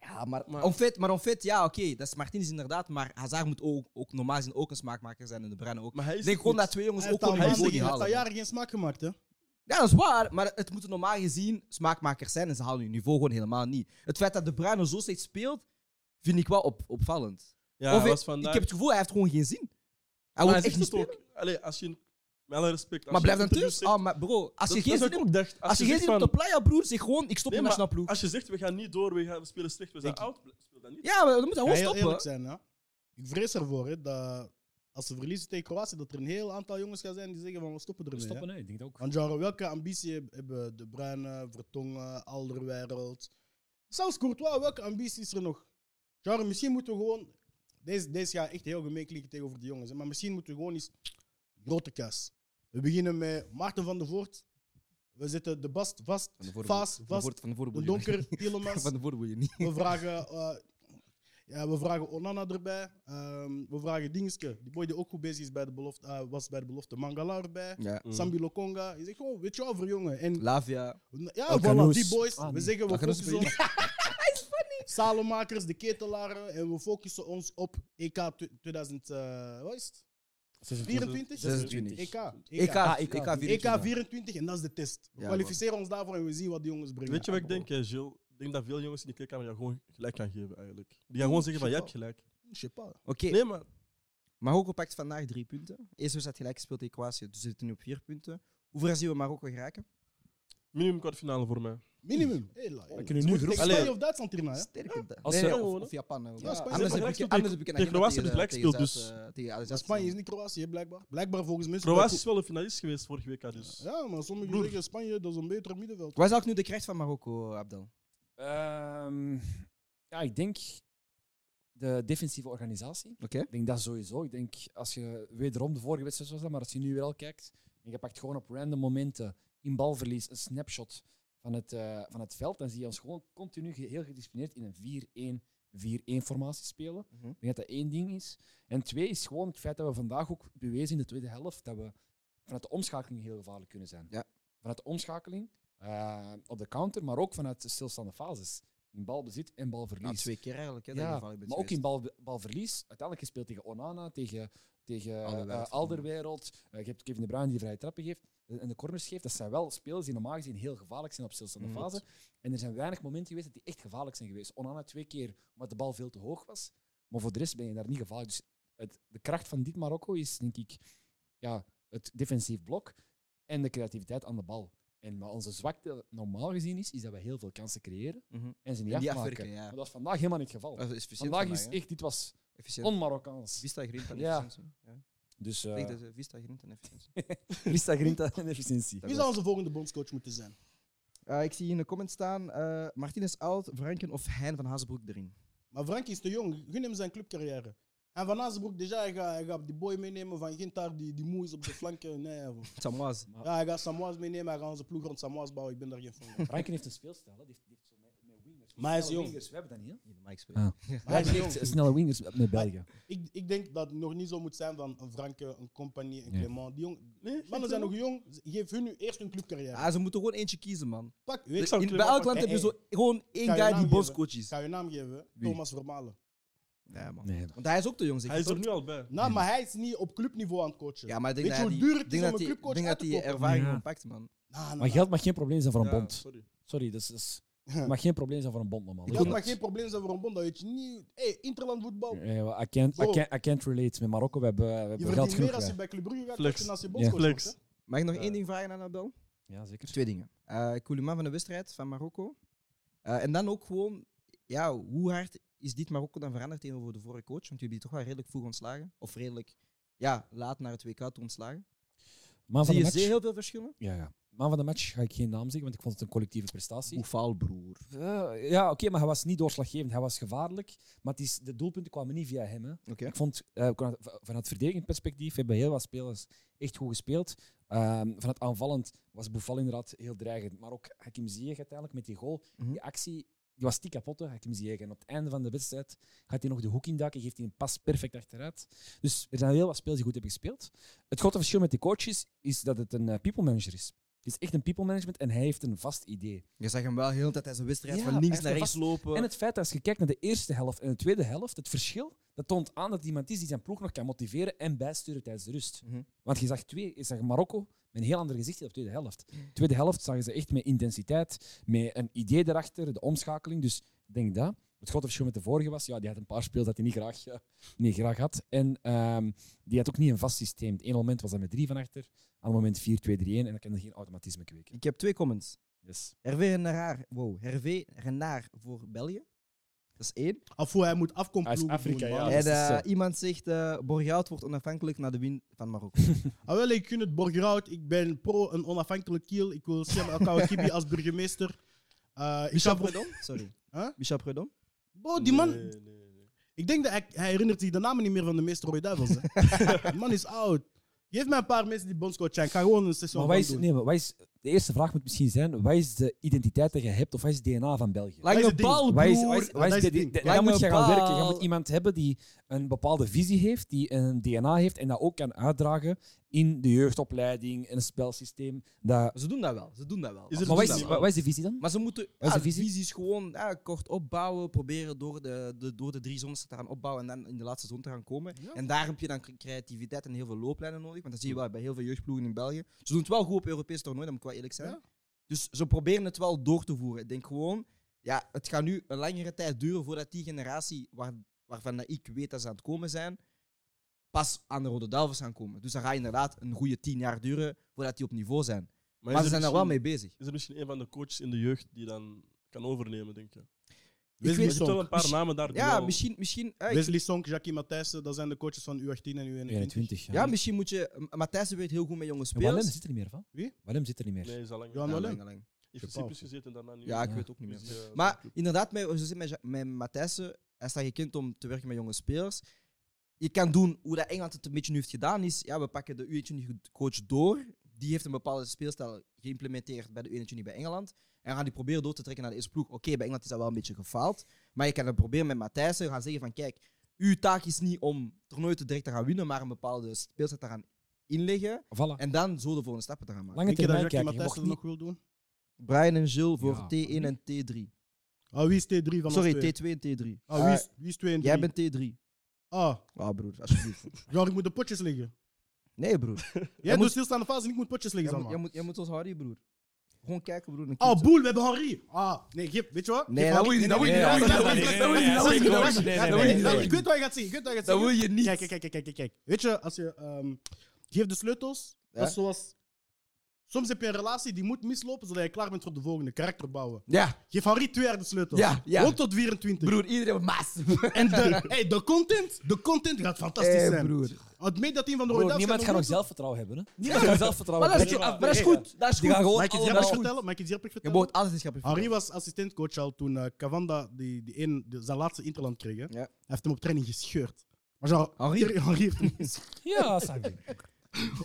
Ja, maar, Maar- maar... En fait, maar en fait, ja, oké, dat is Martinez inderdaad, maar Hazard moet ook, ook normaal gezien ook een smaakmaker zijn en de Bruyne ook. Maar hij Ik is denk het gewoon niet. dat twee jongens Hij ook heeft wel al een maanden niveau maanden- die hij halen. heeft al Ja, jaren geen smaak gemaakt, hè. dat is waar, maar het moeten normaal gezien smaakmakers zijn en ze halen hun niveau gewoon helemaal niet. Het feit dat de Bruyne zo slecht speelt, vind ik wel op, opvallend. Ja, of hij hij- was vandaag... Ik heb het gevoel, hij heeft gewoon geen zin. Hij Maar wil hij Ah, echt zegt niet het spelen. ook. Allee, als je... Met alle respect. als Maar je blijf dan interviews thuis. zegt- Ah, maar bro, als Dat- je dat geen is wat zin ik hebt- ook dacht. als je geen zegt zin hebt op van- de playa, broer, zeg gewoon, ik stop Nee, met maar Ah. nationaal ploeg. Als je zegt, we gaan niet door, we, gaan, we spelen slecht, we zijn oud, speel dat niet. Ja, maar dan moet hij Ja, gewoon heel eerlijk stoppen. zijn, hè. Ik vrees ervoor, hè, dat als ze verliezen tegen Kroatië, dat er een heel aantal jongens gaan zijn die zeggen van, we stoppen ermee. hè. Stoppen, nee, ik denk dat ook. Want genre, welke ambitie heb- hebben De Bruyne, Vertongen, Alderwereld? Zelfs Courtois, welke ambitie is er nog? Genre, misschien moeten we gewoon... Deze, deze gaat echt heel gemeen klinken tegenover die jongens. hè, Maar misschien moeten we gewoon eens... Grote kaas. We beginnen met Maarten van der Voort. We zetten de bast vast, Van de voorboel- vast, van de voor- vast. Van de voorboel- De donker, Tielemans. Van de voorboel je niet. We vragen, eh, ja, we vragen Onana erbij. Ehm, we vragen Dingske, die boy die ook goed bezig is bij de belofte, eh, was bij de belofte. Mangala erbij. Ja. Mm. Sambi Lokonga. Je zegt gewoon, weet je wel, voor jongen. En Lavia. ja, El voilà, Khanouz. die boys. Ah, we nee. zeggen, we El Khanouz focussen ons... Salomakers, de ketelaren. En we focussen ons op E EK tw- 2000... eh, wat is het? E 24? 26. EK. E EK, EK. Ah, EK, EK EK 24. 24 en dat is de test. We Ja, kwalificeren ons daarvoor en we zien wat die jongens brengen. Weet je wat ik denk, hè, Gilles? Ik denk dat veel jongens in die kleedkamer jou gewoon gelijk gaan geven, eigenlijk. Die gaan gewoon zeggen van, jij hebt gelijk. Je sais pas. Oké, Nee, maar Marokko pakt vandaag drie punten. Eerst was het gelijk gespeeld tegen Kroatië, dus we zitten nu op vier punten. Hoe ver zien we Marokko geraken? minimum kwartfinale voor mij. Minimum. Hela, kunnen nu groep- Tegen Allee. Spanje of Duitsland hierna, hè? Sterker dan. Als Nee, ze- nee, of, gewoon, of Japan. hè. Ja, Spanje anders heb heeft gelijk ik, gespeeld anders heb ik een tegen agenda Kroatië, tegen- hebben ze gelijk tegen gespeeld, Zuid- eh, tegen Zuid- Spanje is niet Kroatië, hè, blijkbaar. Blijkbaar volgens mensen. Kroatië is wel een finalist geweest vorige week, hè, dus... Ja, maar sommigen Broer. zeggen Spanje, dat is een beter middenveld. Wat is eigenlijk nu de kracht van Marokko, eh, Abdel? Ehm, ja, ik denk de defensieve organisatie. Oké. Ik denk dat sowieso. Ik denk als je wederom de vorige wedstrijd was dat, maar als je nu wel kijkt en je pakt gewoon op random momenten in balverlies een snapshot van het, eh, van het veld, dan zie je ons gewoon continu ge- heel gedisciplineerd in een 4-1-4-1 formatie spelen. Mhm. Ik denk dat dat één ding is. En twee is gewoon het feit dat we vandaag ook bewezen in de tweede helft dat we vanuit de omschakeling heel gevaarlijk kunnen zijn. Ja. Vanuit de omschakeling eh, op de counter, maar ook vanuit de stilstaande fases. In balbezit en Nou, balverlies. twee keer eigenlijk. Hè, dat je ja, gevaarlijk bent maar ook in geweest. bal, balverlies. Uiteindelijk gespeeld tegen Onana, tegen, tegen Alderweireld. Alderwereld. Alderwereld. Eh, je hebt Kevin De Bruyne die vrije trappen geeft eh, en de corners geeft. Dat zijn wel spelers die normaal gezien heel gevaarlijk zijn op stilstaande Mhm. fase. En er zijn weinig momenten geweest dat die echt gevaarlijk zijn geweest. Onana twee keer omdat de bal veel te hoog was. Maar voor de rest ben je daar niet gevaarlijk. Dus het, de kracht van dit Marokko is, denk ik, ja, het defensief blok en de creativiteit aan de bal. En maar onze zwakte normaal gezien is, is dat we heel veel kansen creëren Mhm. en ze niet En die afmaken. afwerken, ja. Maar dat is vandaag helemaal niet het geval. Dat is Eh, efficiënt. vandaag is vandaag, hè. echt, dit was efficiënt. on-Marokkaans. Vista Grinta en Ja. efficiëntie. Ja. Dus Ik denk eh dat ze Vista Grinta en efficiëntie. Vista Grinta en efficiëntie. Dat Wie zou onze volgende bondscoach moeten zijn? Eh, ik zie hier in de comments staan: eh Martinez oud, Franken of Hein van Hazebroek erin. Maar Frankie is te jong. Gun hem zijn clubcarrière. En Van Azenbroek, déjà, hij gaat, hij gaat die boy meenemen van Gintaar, die, die moe is op de flanken. Nee, bro. Samoas. ja, hij gaat Samoas meenemen, hij gaat onze ploeg rond Samoas bouwen. Ik ben daar geen fan van. Rankin heeft een speelstijl, hè. die heeft, die heeft zo met, met wingers. Maar hij is Snelle jong. Wingers. We hebben dat niet, hè? In de mic Ah. spreken. Maar hij is We hebben jong. echt snelle wingers met België. Ik, ik denk dat het nog niet zo moet zijn van een Franke, een Compagnie, een Ja. Clement. Die jong, Nee, mannen zijn nog jong, ze- geef hun nu eerst een clubcarrière. Ah, ze moeten gewoon eentje kiezen, man. Pak, In- weet je, zou bij Clement elk land pakken. heb je zo gewoon één Kan guy je naam die geven? bondscoach ik is. ga je naam geven, hè? Wie? Thomas Vermalen. Ja, man. Nee. Want hij is ook te jong, zeg Hij je is er toch? nu al bij. Nou, maar hij is niet op clubniveau aan het coachen. Ja, maar ik denk Weet dat je hij die- hoe duur het denk is om dat die- een clubcoach denk uit dat te die kopen? ervaring Ja. gewoon pakt, man. Nou, nou, Maar nou. geld mag geen probleem zijn voor een Ja, bond. Sorry. Sorry, dat is, dat is- het mag geen probleem zijn voor een bond, normaal. Dat mag geen probleem zijn voor een bond. Dat weet je niet. Hey, Interland voetbal. Eh, well, I, can't, I, Zo. can't, I can't relate. Met Marokko, we hebben, we Oh. Je hebben geld verdient meer genoeg. als je wij. bij Club Brugge gaat Flex. coachen dan als je Ja. bondscoach Flex. wordt, hè? Mag ik nog Ja. één ding vragen aan Abel? Ja, zeker. Twee dingen. Eh Kouliman van de wedstrijd van Marokko. Eh, en dan ook gewoon, ja, hoe hard is dit Marokko dan veranderd tegenover de vorige coach? Want jullie hebben die toch wel redelijk vroeg ontslagen. Of redelijk, ja, laat naar het WK toe ontslagen. Man Zie van, de je match, zeer heel veel verschillen? ja, ja. man van de match ga ik geen naam zeggen, want ik vond het een collectieve prestatie. Oefal, broer. Eh, ja, oké, maar hij was niet doorslaggevend. Hij was gevaarlijk. Maar het is, de doelpunten kwamen niet via hem. Hè. Oké. Ik vond, eh, vanuit- vanuit verdedigend perspectief hebben heel wat spelers echt goed gespeeld. Ehm vanuit aanvallend was Boeval inderdaad heel dreigend. Maar ook Hakim Ziyech uiteindelijk met die goal. Mhm. Die actie die was tik kapot, hè, Hakim Ziyech. En op het einde van de wedstrijd gaat hij nog de hoek induiken. Geeft hij een pas perfect achteruit. Dus er zijn heel wat spelers die goed hebben gespeeld. Het grote verschil met die coaches is dat het een eh, people manager is. Het is echt een people management en hij heeft een vast idee. Je zag hem wel heel de tijd hij zijn wedstrijd Ja, van links echt naar rechts vast- lopen. En het feit dat als je kijkt naar de eerste helft en de tweede helft, het verschil, dat toont aan dat het iemand is die zijn ploeg nog kan motiveren en bijsturen tijdens de rust. Mhm. Want je zag, twee, je zag Marokko met een heel ander gezicht op de tweede helft. De tweede helft zagen ze echt met intensiteit, met een idee erachter, de omschakeling. Dus ik denk dat. Het grote verschil met de vorige was, ja, die had een paar speels dat hij niet graag, eh, niet graag had. En ehm, die had ook niet een vast systeem. Het ene moment was dat met drie van achter, ander moment 4-2-3-1 en dan kan er geen automatisme kweken. Ik heb twee comments. Yes. Hervé Renard, wow, Hervé Renard voor België. Dat is één. Of hoe hij moet afkomen. Hij is Afrika, Ah, ja. en dat is, eh, eh, iemand zegt, eh Borgaut wordt onafhankelijk na de win van Marokko. Ah, wel, ik gun het Borgerhout. Ik ben pro een onafhankelijk kiel. Ik wil Siem Akouakibi als burgemeester. Eh, ik ga Michel voor... Predom? Sorry. Huh? Michel Predom? Bro, die man... Nee, nee, nee. Ik denk dat hij, hij herinnert zich de namen niet meer van de meeste Roy Duivels. hè. die man is oud. Geef mij een paar mensen die bondscoach zijn. Ik ga gewoon een sessie Maar van wat is, doen. nee, maar wat is, de eerste vraag moet misschien zijn: wat is de identiteit dat je hebt of wat is het DNA van België? Lang is een het ding? bal, Wat is, broer. wat is- wat is dat is het de- ding. de- de- Lange daar moet je gaan werken. Je paal. moet iemand hebben die een bepaalde visie heeft, die een DNA heeft en dat ook kan uitdragen in de jeugdopleiding en een spelsysteem. Dat... Ze doen dat wel, ze doen dat wel. Is Ze er Maar doen wat dat is, wel. wat, wat is de visie dan? Maar ze moeten Wat is ja, de visie? visies gewoon ja, kort opbouwen, proberen door de, de, door de drie zones te gaan opbouwen en dan in de laatste zone te gaan komen. En daar heb je dan cre- creativiteit en heel veel looplijnen nodig, want dat zie je wel bij heel veel jeugdploegen in België. Ze doen het wel goed op Europees toernooi, dat moet ik wel eerlijk zijn. Ja. Dus ze proberen het wel door te voeren. Ik denk gewoon, ja, het gaat nu een langere tijd duren voordat die generatie waar, waarvan dat ik weet dat ze aan het komen zijn, pas aan de Rode Duivels gaan komen. Dus dan gaat inderdaad een goede tien jaar duren voordat die op niveau zijn. Maar, is ze er zijn daar misschien- wel mee bezig. Is er misschien een van de coaches in de jeugd die dan kan overnemen, denk je? Ik Je weet- ziet wel een paar Misschien- namen daar. die Ja, wel- misschien. misschien eh, ik- Wesley Song, Jackie Matthijssen, dat zijn de coaches van U18 en U21. 21. ja, misschien moet je. M- Matthijs weet heel goed met jonge En Wallem spelers. zit er niet meer van. Wie? Wallem zit er niet meer. Nee, is al lang. Ja, Ja, Van lang, Wallem? lang. Heeft Gepaald. Cyprus gezeten daarna niet. Ja, ik Ja. weet het ook niet Dus, meer. eh, Maar inderdaad, met, zoals met, Ja- met Matthijssen, hij staat gekend om te werken met jonge spelers. Je kan doen hoe dat Engeland het een beetje nu heeft gedaan, is ja, we pakken de U21-coach door. Die heeft een bepaalde speelstijl geïmplementeerd bij de U21 bij Engeland. En gaan die proberen door te trekken naar de eerste ploeg. Oké, bij Engeland is dat wel een beetje gefaald. Maar je kan het proberen met Matthijssen. Gaan zeggen van, kijk, uw taak is niet om toernooien te direct te gaan winnen, maar een bepaalde speelstijl te gaan inleggen. Voilà. En dan zo de volgende stappen te gaan maken. Lange Denk je dat termijn Jackie kijken. Je Matthijssen mocht dat nog wil niet... doen? Brian en Jill voor Ja, T1 en waarom T3. Ah, wie is T3 van Sorry, ons twee? T2 en T3. Ah, wie, is, wie is 2 en 3? Jij bent T3. Ah, Ah, broer, alsjeblieft. ja, ik moet de potjes liggen. Nee, broer. Jij moet- doet stilstaande fase en ik moet potjes liggen, Jij zeg moet, jij maar. moet, jij moet ons houden, broer. Gewoon kijken, broer. een keer Oh, zo. boel, we hebben Henri. Ah, nee, Gip, weet je wat? Nee, Geef dat Henri- wil je- dat wil je nee, niet, dat nee, wil nee, je nee, niet, nee, dat wil je nee, niet, dat wil je nee, niet, nee, dat nee, wil je nee, niet, nee, dat wil je Ik weet wat je gaat zien, ik weet wat je gaat zien. Dat wil je niet. Kijk, kijk, kijk, kijk, kijk, kijk. Weet je, als je ehm, geeft de sleutels, dat is zoals... Soms heb je een relatie die moet mislopen zodat je klaar bent voor de volgende. Karakter bouwen. Ja, Geef Henri twee jaar de sleutels. Ja, ja. 1 tot 24. broer, iedereen maas. En de, hey, de content, de content gaat fantastisch Hey, zijn. Eh, broer. Het meent dat een van de Broer, Rooida's... niemand gaat nog zelfvertrouwen hebben. Hè? Niemand gaat zelfvertrouwen Maar dat is, hebben. maar dat is goed. Dat is Die gaan goed. gewoon Mag ik iets allemaal- grappigs vertellen? Mag ik iets grappigs Je vertellen? mocht alles eens grappig Henri was assistentcoach al toen eh, Cavanda die, die een, die- zijn laatste interland kreeg. hè. Ja. Hij heeft hem op training gescheurd. Maar zo, Henri? Thierry Henri heeft hem Ja, Sammy.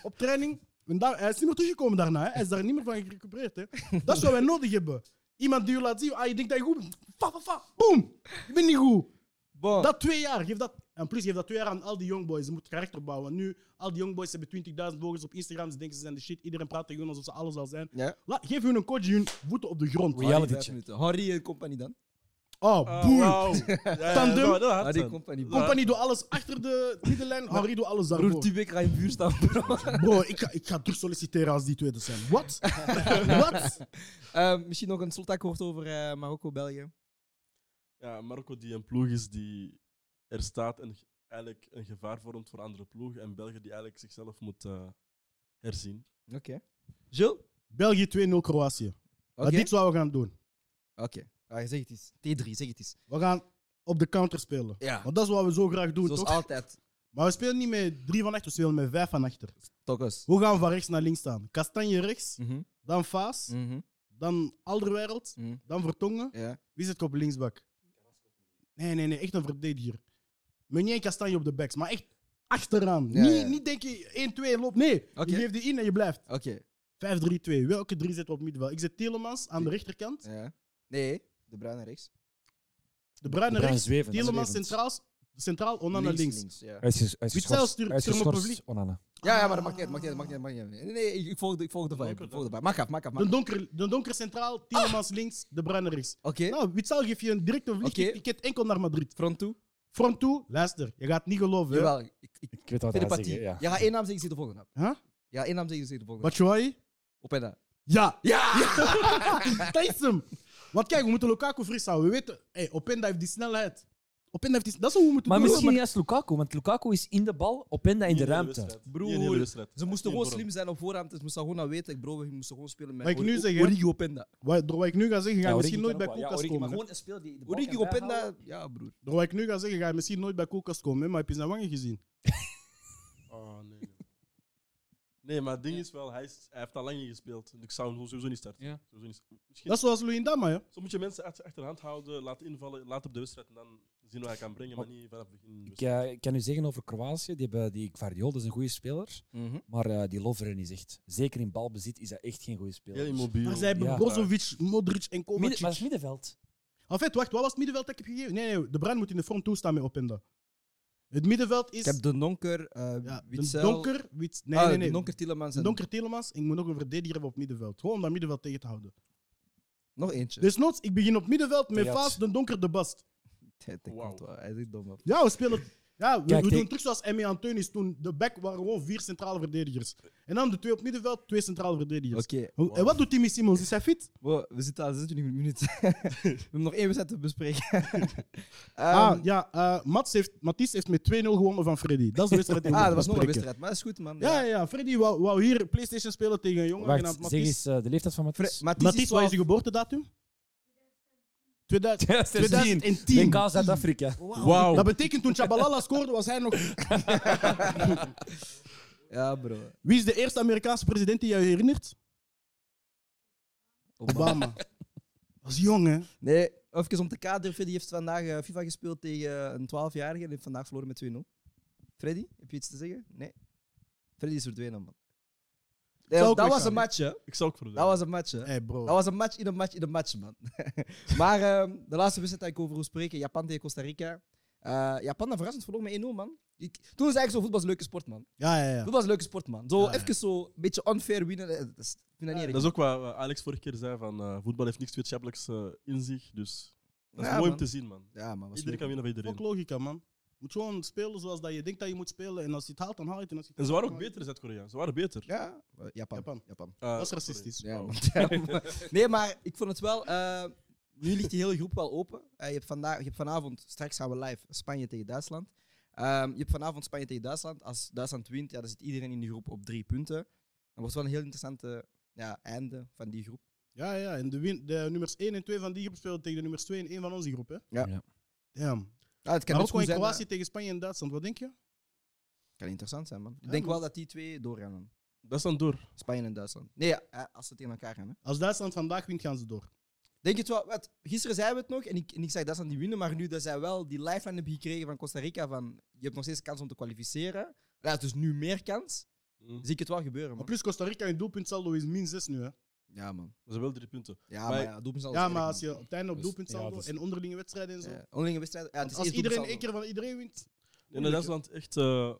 op training. En daar, hij is niet meer teruggekomen daarna. Hè. Hij is daar niet meer van gerecupereerd. Hè. Dat is wat wij nodig hebben. Iemand die je laat zien. Ah, je denkt dat je goed bent. Fa, fa, fa. Boom. Je bent niet goed. Bon. Dat twee jaar. Geef dat, en plus, geef dat twee jaar aan al die jongboys. Ze moeten karakter bouwen. Nu, al die jongboys hebben 20.000 volgers op Instagram. Ze denken ze zijn de shit. Iedereen praat tegen hun alsof ze alles al zijn. Ja. La- geef hun een coach die hun voeten op de grond. Reality Harry, vijf check. minuten. Harry en compagnie dan. Oh, Ah, boom. Tandem. Harry en compagnie. Ja. Compagnie doet alles achter de middenlijn. Henri doet alles Broer, daarvoor. Tubik ga je buur staan, bro. Bro, ik ga, ik ga terug solliciteren als die tweede zijn. Wat? Wat? Eh, misschien nog een slotakkoord over eh, Marokko, België. Ja, Marokko die een ploeg is die er staat en ge- eigenlijk een gevaar vormt voor andere ploegen. En België die eigenlijk zichzelf moet eh, herzien. Oké. Jules? België 2-0 Kroatië. Oké. Dat is wat we gaan doen. Oké. Ah, zeg het eens. T3, zeg het eens. We gaan op de counter spelen. Ja. Want dat is wat we zo graag doen, Zoals toch? altijd. Maar we spelen niet met drie van achter, we spelen met vijf van achter. Tokkes. Hoe gaan we van rechts naar links staan? Kastanje rechts, Mhm. dan Faas, Mhm. dan Alderwereld, Mhm. dan Vertongen. Ja. Wie zit er op linksbak? Nee, nee, nee, echt een verdediger. Meunier en Kastanje op de backs, maar echt achteraan. Ja, niet, ja. niet denk je 1, 2 en loop. Nee, Oké. je geeft die in en je blijft. Oké. 5-3-2. Welke drie zitten we op middenveld? Ik zet Telemans aan de rechterkant, Ja. Nee, de bruine rechts. de Bruine Bruin rechts, zweven. Telemans centraal, centraal Onana Links, links. links, ja. Hij is Witzel stuurt- stuurt hem op uitgeschorst. Onana. ja, ja, maar dat maakt niet uit. Maakt niet uit, maakt niet uit, maakt niet uit. Nee, nee, ik, ik volg de, ik volg de vibe. Ik volg de vibe. Maak af, maak af, maak De af. donker, de donker centraal, Telemans links, de Bruine rechts. Ah! Oké. Nou, Witzel geeft je een directe vlieg. Oké. Ik Ticket enkel naar Madrid. Front toe. Front toe, luister, je gaat het niet geloven. hè. Jawel. Ik, ik, Ik weet wat hij gaat telepathie. zeggen. Ja. Je gaat één naam zeggen, zit de volgende. Huh? Ja, één naam zeggen, zit de volgende. Batshuayi? Op en aan. Ja, Ja! dat is hem. Want kijk, we moeten Lukaku fris houden. We weten, hey, Openda heeft die snelheid. Openda heeft die s- Dat is hoe we moeten Maar doen. misschien juist Lukaku, want Lukaku is in de bal, Openda in de ruimte. Broer, Ze moesten gewoon slim zijn op voorhand. Ze moesten gewoon dat weten. Bro, we moesten gewoon spelen met Wat ik nu Ori- zeg, hè? Origi Openda. Wat, door wat ik nu ga zeggen, ga je misschien nooit bij Kokas Koelkast komen. Maar hè. gewoon een speel die de bal Origi kan bijhouden. Openda, ja broer. Door wat ik nu ga zeggen, ga je misschien nooit bij Koelkast komen. hè, Maar heb je zijn wangen gezien? Oh, nee. nee. Nee, maar het ding is wel, hij, is, hij heeft al lang niet gespeeld. Dus ik zou hem sowieso niet starten. Ja. Sowieso niet, misschien, Dat is zoals Luindama, ja. Zo moet je mensen achter- achterhand houden, laten invallen, laat op de wedstrijd en dan zien wat hij kan brengen, maar niet vanaf het begin. Ik eh, ik kan u zeggen over Kroatië, die hebben die Guardiol, dat is een goede speler. Mhm. Maar eh, die Lovren is echt, zeker in balbezit, is dat echt geen goede speler. Heel immobiel. Maar zij hebben Ja. Brozovic, Modric en Midden- maar Kovacic. het is middenveld. En fait, wacht, wat was het middenveld dat ik heb gegeven? Nee, nee, de Bruin moet in de front toestaan met Openda. Het middenveld is... Ik heb de Donker, eh ja, de Witzel. donker, wit, nee, Ah, nee, de nee. Donker Tielemans en Donker Telemans, ik moet nog een verdediger hebben op middenveld. Gewoon om dat middenveld tegen te houden. nog eentje. Dus noods, ik begin op middenveld met Terjats. Vaas, de Donker, de Bast. Hij hij Wauw. komt wel. Hij is echt dom. man. Ja, we spelen. Ja, we, Kijk, we kijk. doen terug zoals Emmy Antonis toen. De back waren gewoon vier centrale verdedigers. En dan de twee op middenveld, twee centrale verdedigers. Oké, Hoe- En wat doet Timmy Simons? Is hij fit? wow, we zitten aan 26 minuten. we hebben nog één wedstrijd te bespreken. ah, Ehm, ja. eh Mats heeft, Matisse heeft met 2-0 gewonnen van Freddy. Dat is de wedstrijd. die we ah, dat was nog een bespreken. wedstrijd, maar dat is goed, man. Ja, ja, ja. Freddy wou, wou hier PlayStation spelen tegen een jongen genaamd Wacht, zeg Matisse. eens eh, de leeftijd van Fre- Matthijs. Matisse Matisse, is wat is wel- de geboortedatum? 2000 2010. 2010. WK Zuid-Afrika. Wauw. Dat betekent toen Chabalala scoorde, was hij nog. Ja, bro. Wie is de eerste Amerikaanse president die je herinnert? Obama. Obama. Dat is jong, hè? Nee, even om te kaderen. Freddy heeft vandaag eh, FIFA gespeeld tegen een 12-jarige en heeft vandaag verloren met 2-0. Freddy, heb je iets te zeggen? Nee. Freddy is verdwenen, man. Nee, Zou ook dat was weggaan, een match, hè. Ik zou ook voor de- Dat was een match, hè. Hé, hey bro. Dat was een match in een match in een match, man. maar ehm, de laatste wedstrijd dat ik over wil spreken, Japan tegen Costa Rica. Eh, Japan dat verrassend verloren met 1-0, man. Ik, toen is eigenlijk zo, voetbal is een leuke sport, man. Ja, ja, ja. Voetbal is een leuke sport, man. Zo Ja, ja. even zo een beetje unfair winnen, eh, dat is, ik vind dat niet Dat is ook wat eh, Alex vorige keer zei, van eh, voetbal heeft niks wetenschappelijks eh, in zich, dus dat is Ja, mooi man. om te zien, man. Ja, man. was Iedereen kan leuk. winnen van iedereen. Ook logica, man. moet gewoon spelen zoals dat je denkt dat je moet spelen. En als je het haalt, dan haal je het. En, als je het En ze waren ook haalt, dan haal je beter, Zuid-Korea. Ze waren beter. Ja, eh, Japan. Japan. Japan. Eh, Dat is sorry. racistisch. Ja, Wauw. want- ja, maar- nee, maar ik vond het wel. eh, nu ligt die hele groep wel open. Eh, je, hebt vandaag, je hebt vanavond, straks gaan we live, Spanje tegen Duitsland. Ehm, je hebt vanavond Spanje tegen Duitsland. Als Duitsland wint, ja, dan zit iedereen in die groep op drie punten. Dat wordt wel een heel interessante ja, einde van die groep. het. Ja, ja. En de, win, de nummers 1 en 2 van die groep spelen tegen de nummers 2 en 1 van onze groep. Hè? Ja. Ja. Damn. Ah, het kan net Marokko goed en zijn, Kroatië maar- tegen Spanje en Duitsland, wat denk je? kan interessant zijn, man. Ik Ja, denk man. wel dat die twee doorgaan. dan. Dat is dan door. Spanje en Duitsland. Nee, ja, eh, als ze tegen elkaar gaan. Hè. Als Duitsland vandaag wint, gaan ze door. Denk je het wel? Wat, gisteren zeiden we het nog en ik, en ik zag Duitsland die winnen, maar nu dat zij wel die lifeline hebben gekregen van Costa Rica, van je hebt nog steeds kans om te kwalificeren. Ja, dus nu meer kans. Mm. Zie ik het wel gebeuren, Maar man. plus Costa Rica in doelpuntsaldo is min 6 nu. Hè? Ja, man. Ze hebben wel drie punten. Ja, Maar- maar, ja, doelpunt zal Ja, altijd maar werken, als je op het einde op Dus- doelpuntsaldo ja, dus- en onderlinge wedstrijden en man. zo. Ja, onderlinge wedstrijd. Ja, het is als eerst iedereen één doelpunt keer van iedereen wint. En dat Duitsland echt eh,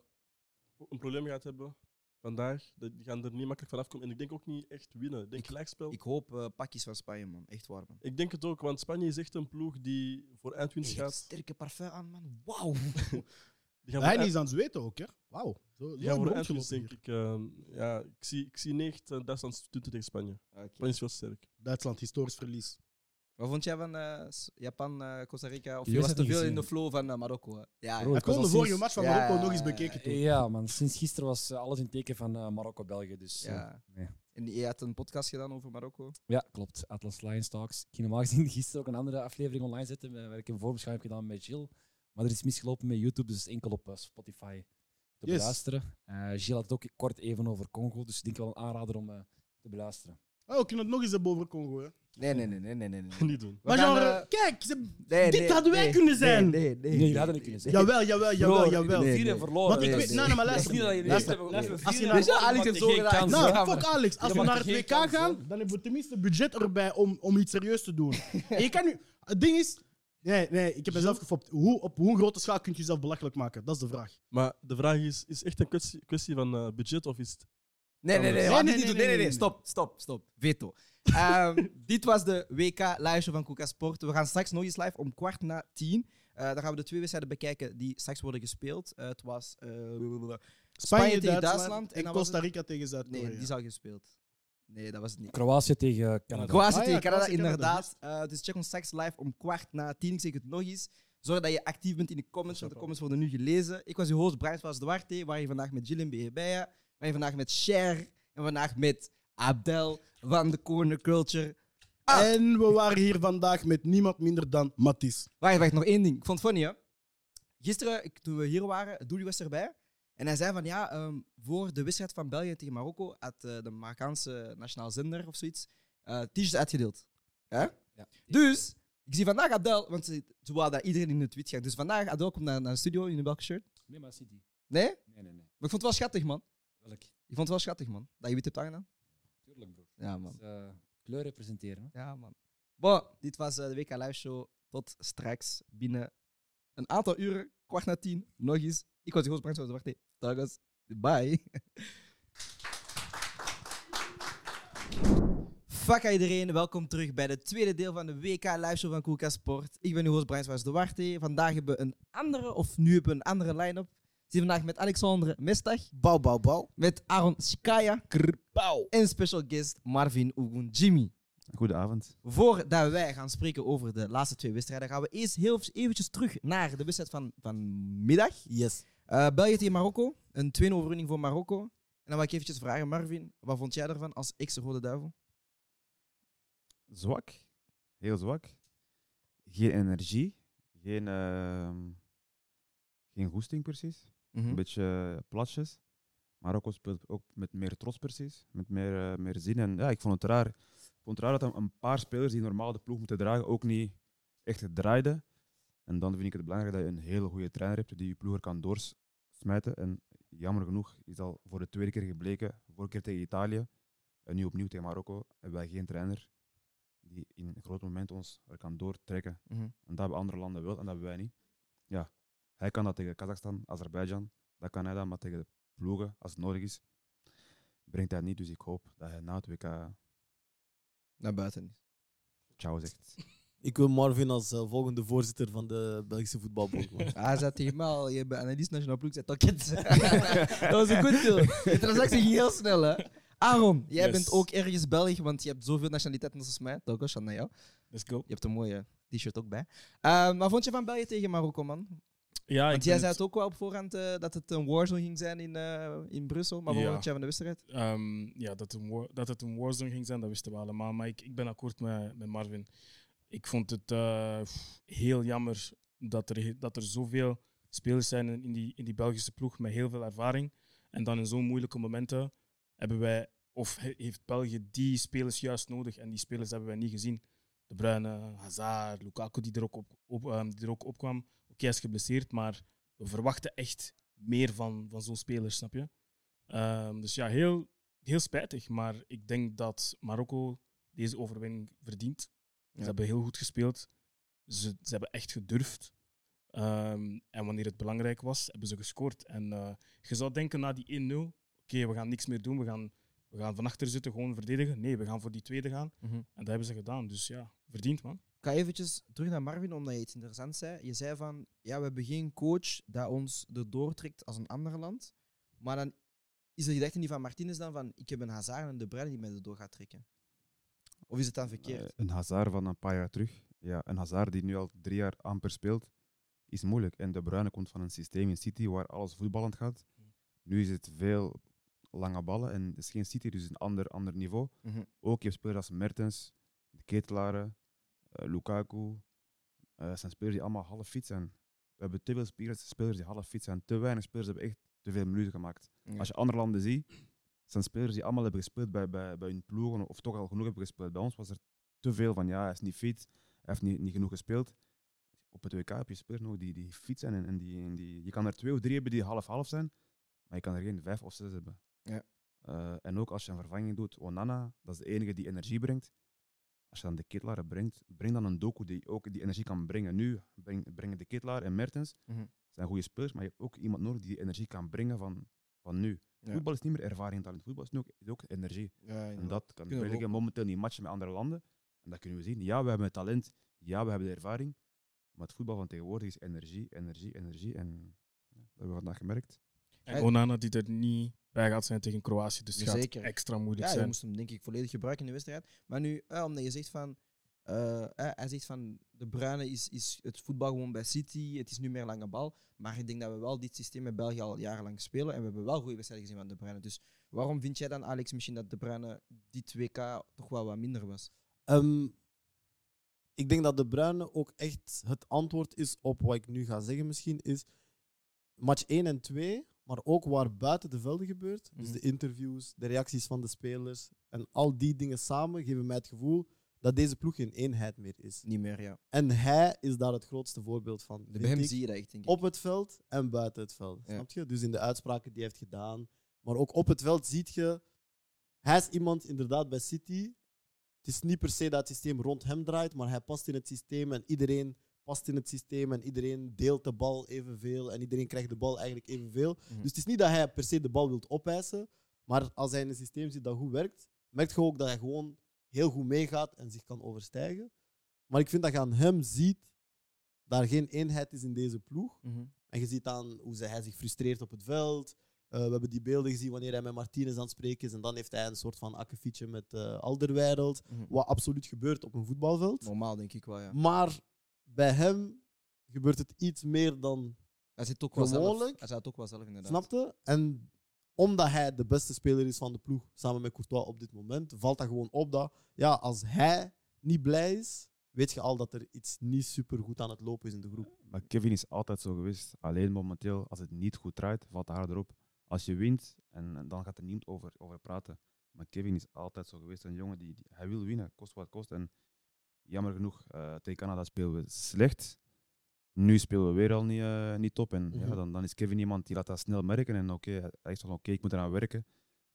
een probleem gaat hebben vandaag. Dat- Die gaan er niet makkelijk vanaf komen. En ik denk ook niet echt winnen. Ik denk gelijkspel. saldo. Ik hoop eh, pakjes van Spanje, man. Echt waar, man. Ik denk het ook, want Spanje is echt een ploeg die voor eindwinst Echt gaat. sterke parfum aan, man. Wauw. Die gaan voor Hij eind- is aan het zweten ook, hè? Wauw. Zo, zo die gaan voor rondgelopen eindwinst, hier. denk ik. eh, ja, ik zie, ik zie niet echt eh, Duitsland punten tegen Spanje. Spanje is wel sterk. Duitsland, historisch Oh, verlies. Wat vond jij van eh, S- Japan, eh, Costa Rica? Of Die je was wedstrijd te niet veel in gezien. de flow van eh, Marokko? hè? Ja, Bro, ja. Hij ik was kon de al vorige sinds- match van Ja, Marokko nog eens bekeken toen. Ja, man. Sinds gisteren was eh, alles in teken van eh, Marokko-België. Dus, eh, Ja. nee. En je had een podcast gedaan over Marokko. Ja, klopt. Atlas Lions Talks. Ik ging normaal gezien gisteren ook een andere aflevering online zetten, eh, waar ik een voorbeschouwing heb gedaan met Gilles. Maar er is misgelopen met YouTube, dus enkel op eh, Spotify te Yes. beluisteren. Eh Gilles had het ook kort even over Congo, dus ik denk wel een aanrader om eh, te beluisteren. Oh, we kunnen het nog eens hebben over Congo, hè? Nee, nee, nee, nee, nee. nee, nee. niet doen. We Maar gaan, genre, eh, kijk, ze- nee, dit nee, hadden wij nee, kunnen zijn. Nee, nee, nee. Nee, jullie hadden niet kunnen zijn. jawel, jawel, jawel, jawel. nee, Vier nee. en verloren. Want ik nee, weet, nee. nou, nou, maar luister. Misschien dat jullie Luister, niet luister. hebben- Als je vier naar- en verloren, Alex heeft maakt zo geen gedaan. kans, Nou, ja, fuck maar- Alex. Als Ja, we maar naar geen het WK kans, gaan, dan hebben we tenminste budget erbij om, om iets serieus te doen. En je kan nu... Het ding is... Nee, nee, ik heb mezelf gefopt. Hoe, op hoe grote schaal kun je jezelf belachelijk maken? Dat is de vraag. Maar de vraag is, is echt een kwestie, kwestie van eh, budget of is het... Nee, nee, nee. Nee, laat nee, dit niet nee, doen. nee, Nee, nee, nee. nee. Stop, stop, stop. Veto. Ehm, dit was de WK-live van Coca Sport. We gaan straks nog eens live om kwart na tien. Eh, dan gaan we de twee wedstrijden bekijken die straks worden gespeeld. Eh, het was... eh, Oh, Spanje tegen Duitsland en en dan was Costa Rica tegen nee, Zuid-Korea. die is al gespeeld. Nee, dat was het niet. Kroatië tegen Canada. Kroatië Ah ja, tegen Canada, Kroatië, Canada, inderdaad. Eh, dus check ons straks live om kwart na tien. Ik zeg het nog eens. Zorg dat je actief bent in de comments, want de comments worden nu gelezen. Ik was uw host, Brian Vaz Duarte. We waren hier vandaag met Jillian Behebeya. We waren hier vandaag met Cher. En vandaag met Abdel van de Corner Culture. Ah. En we waren hier vandaag met niemand minder dan Matisse. Wacht, wacht, nog één ding. Ik vond het funny, hè. Gisteren, ik, toen we hier waren, Doelie was erbij. En hij zei van, ja, ehm, voor de wedstrijd van België tegen Marokko had eh, de Marokkaanse nationaal zender of zoiets eh t-shirts uitgedeeld. Hè? Ja. Dus, ik zie vandaag Adel, want ze, ze wou dat iedereen in de tweet gaat. Dus vandaag, Adel komt naar, naar de studio in een welke shirt? Nee, maar City. Nee? Maar Nee, nee, nee. ik vond het wel schattig, man. Welk? Ik vond het wel schattig, man. Dat je wit hebt aangedaan. Tuurlijk, broer. Ja, Dus, man. eh, kleur representeren. hè. Ja, man. Bon, dit was eh, de WK Live Show. Tot straks, binnen een aantal uren, kwart na tien, nog eens. Ik was de host, dus Brent van Zwarte. Dagens, bye. Fuck aan iedereen, welkom terug bij het tweede deel van de WK Live Show van Koelka Sport. Ik ben uw host, Brian Swaars Duarte. Vandaag hebben we een andere, of nu hebben we een andere line-up. We zijn vandaag met Alexandre Mestag. Bouw, bouw, bouw. Met Aaron Skaya. Bouw. En special guest Marvin Ogun Jimmy. Goedenavond. Voordat wij gaan spreken over de laatste twee wedstrijden, gaan we eerst heel even- eventjes terug naar de wedstrijd van vanmiddag. Yes. Eh België tegen Marokko. Een 2-0 overwinning voor Marokko. En dan wil ik eventjes vragen, Marvin, wat vond jij ervan als ex-Rode Duivel? Zwak. Heel zwak. Geen energie. Geen, ehm, geen goesting precies. Een Mhm. beetje eh, platjes. Marokko speelt ook met meer trots precies. Met meer, eh, meer zin. En ja, ik vond het raar. Ik vond het raar dat een- een paar spelers die normaal de ploeg moeten dragen ook niet echt draaiden. En dan vind ik het belangrijk dat je een hele goede trainer hebt die je ploeger kan doorsmijten. En jammer genoeg is al voor de tweede keer gebleken. Vorige keer tegen Italië en nu opnieuw tegen Marokko hebben wij geen trainer die in een groot moment ons er kan doortrekken. Mhm. En dat hebben andere landen wel en dat hebben wij niet. Ja, hij kan dat tegen Kazachstan, Azerbeidzjan, dat kan hij dan, maar tegen de ploegen, als het nodig is, brengt hij het niet. Dus ik hoop dat hij na het WK Naar buiten. ciao zegt. Ik wil Marvin als eh, volgende voorzitter van de Belgische voetbalbond. man. Ah, Hij zei tegen mij al, je bent analist nationaal ploeg, zet dat kind. dat was een goed deal. De transactie ging heel snel, hè. Aaron, jij Yes. bent ook ergens Belg, want je hebt zoveel nationaliteiten als mij. Dat was aan jou. Let's go. Je hebt een mooie t-shirt ook bij. Eh, maar vond je van België tegen Marokko, man? Ah, Ja, ik Want jij ben zei het- het ook wel op voorhand eh, dat het een warzone ging zijn in, eh, in Brussel. Maar wat Ja. vond jij van de wedstrijd? Ehm, ja, dat, een war- dat het een warzone ging zijn, dat wisten we allemaal. Maar ik, ik ben akkoord met, met Marvin. Ik vond het eh, pff, heel jammer dat er, he- dat er zoveel spelers zijn in die, in die Belgische ploeg met heel veel ervaring. En dan in zo'n moeilijke momenten hebben wij, of he- heeft België die spelers juist nodig. En die spelers hebben wij niet gezien. De Bruyne, Hazard, Lukaku die er ook op, op, ehm, die er ook op kwam. Oké, hij is geblesseerd, maar we verwachten echt meer van, van zo'n spelers, snap je? Ehm, dus ja, heel, heel spijtig. Maar ik denk dat Marokko deze overwinning verdient. Ja. Ze hebben heel goed gespeeld. Ze, ze hebben echt gedurfd. Ehm, en wanneer het belangrijk was, hebben ze gescoord. En eh, je zou denken na die 1-0, oké, we gaan niks meer doen. We gaan, we gaan van achter zitten, gewoon verdedigen. Nee, we gaan voor die tweede gaan. Mhm. En dat hebben ze gedaan. Dus ja, verdiend man. Ik ga eventjes terug naar Marvin, omdat je iets interessants zei. Je zei van, ja, we hebben geen coach dat ons erdoor trekt als een ander land. Maar dan is de gedachte niet van Martinez dan van, ik heb een Hazard en De Bruyne die mij erdoor gaat trekken. Of is het dan verkeerd? Eh, Een Hazard van een paar jaar terug. Ja, een Hazard die nu al drie jaar amper speelt, is moeilijk. En De Bruyne komt van een systeem in City waar alles voetballend gaat. Mhm. Nu is het veel lange ballen en het is geen City, dus een ander, ander niveau. Mhm. Ook je hebt spelers als Mertens, de Ketelaren, eh, Lukaku. Eh, dat zijn spelers die allemaal half fit zijn. We hebben te veel spelers, spelers die half fit zijn. Te weinig spelers hebben echt te veel minuten gemaakt. Ja. Als je andere landen ziet, zijn spelers die allemaal hebben gespeeld bij, bij, bij hun ploegen of toch al genoeg hebben gespeeld. Bij ons was er te veel van, ja, hij is niet fit, hij heeft niet, niet genoeg gespeeld. Op het WK heb je spelers nog die, die fit zijn en, en die, en die... Je kan er twee of drie hebben die half-half zijn, maar je kan er geen vijf of zes hebben. Ja. Eh, en ook als je een vervanging doet, Onana, dat is de enige die energie brengt. Als je dan de Kittelaar brengt, breng dan een Doku die ook die energie kan brengen. Nu breng- brengen de Kittelaar en Mertens, Mhm. zijn goede spelers, maar je hebt ook iemand nodig die die energie kan brengen van, van nu. Ja. Voetbal is niet meer ervaring en talent, voetbal is nu ook, is ook energie. En dat kan Kunnen we België momenteel niet matchen met andere landen. En dat kunnen we zien. Ja, we hebben het talent. Ja, we hebben de ervaring. Maar het voetbal van tegenwoordig is energie, energie, energie. En ja, dat hebben we vandaag gemerkt. En Hey. Onana die er niet bij gaat zijn tegen Kroatië. Dus het Ja, gaat zeker. extra moeilijk Ja, je zijn. moest hem denk ik volledig gebruiken in de wedstrijd. Maar nu, eh, omdat je zegt van... eh, eh, hij zegt van, de Bruyne is, is het voetbal gewoon bij City, het is nu meer lange bal. Maar ik denk dat we wel dit systeem met België al jarenlang spelen. En we hebben wel goede wedstrijden gezien van de Bruyne. Dus waarom vind jij dan, Alex, misschien dat de Bruyne dit WK toch wel wat minder was? Ehm, ik denk dat De Bruyne ook echt het antwoord is op wat ik nu ga zeggen misschien, is match 1 en 2, maar ook waar buiten de velden gebeurt. Dus Mhm. de interviews, de reacties van de spelers en al die dingen samen geven mij het gevoel dat deze ploeg geen eenheid meer is. Niet meer, ja. En hij is daar het grootste voorbeeld van. vind Bij hem ik. zie je dat echt, denk ik. Op het veld en buiten het veld. Ja. Snap je? Dus in de uitspraken die hij heeft gedaan. Maar ook op het veld ziet je. Hij is iemand inderdaad bij City. Het is niet per se dat het systeem rond hem draait, maar hij past in het systeem en iedereen past in het systeem en iedereen deelt de bal evenveel en iedereen krijgt de bal eigenlijk evenveel. Mhm. Dus het is niet dat hij per se de bal wilt opeisen, maar als hij in een systeem zit dat goed werkt, merkt je ook dat hij gewoon heel goed meegaat en zich kan overstijgen. Maar ik vind dat je aan hem ziet dat er geen eenheid is in deze ploeg. Mhm. En je ziet aan hoe ze- hij zich frustreert op het veld. Eh, we hebben die beelden gezien wanneer hij met Martinez aan het spreken is. En dan heeft hij een soort van akkefietje met eh Alderweireld. Mhm. Wat absoluut gebeurt op een voetbalveld. Normaal, denk ik wel, ja. Maar bij hem gebeurt het iets meer dan Hij zit ook wel zelf. Gewoonlijk- Hij zat ook wel zelf, inderdaad. Snapte? En omdat hij de beste speler is van de ploeg, samen met Courtois op dit moment, valt dat gewoon op dat, ja, als hij niet blij is, weet je al dat er iets niet super goed aan het lopen is in de groep. Maar Kevin is altijd zo geweest. Alleen momenteel, als het niet goed draait, valt hij harder op. Als je wint, en, en dan gaat er niemand over, over praten. Maar Kevin is altijd zo geweest. Een jongen die, die- hij wil winnen, kost wat kost. En jammer genoeg, eh, tegen Canada spelen we slecht. Nu spelen we weer al niet, eh, niet top. En ja, Mhm. dan, dan is Kevin iemand die laat dat snel merken. En oké, hij- hij is van oké, ik moet eraan werken.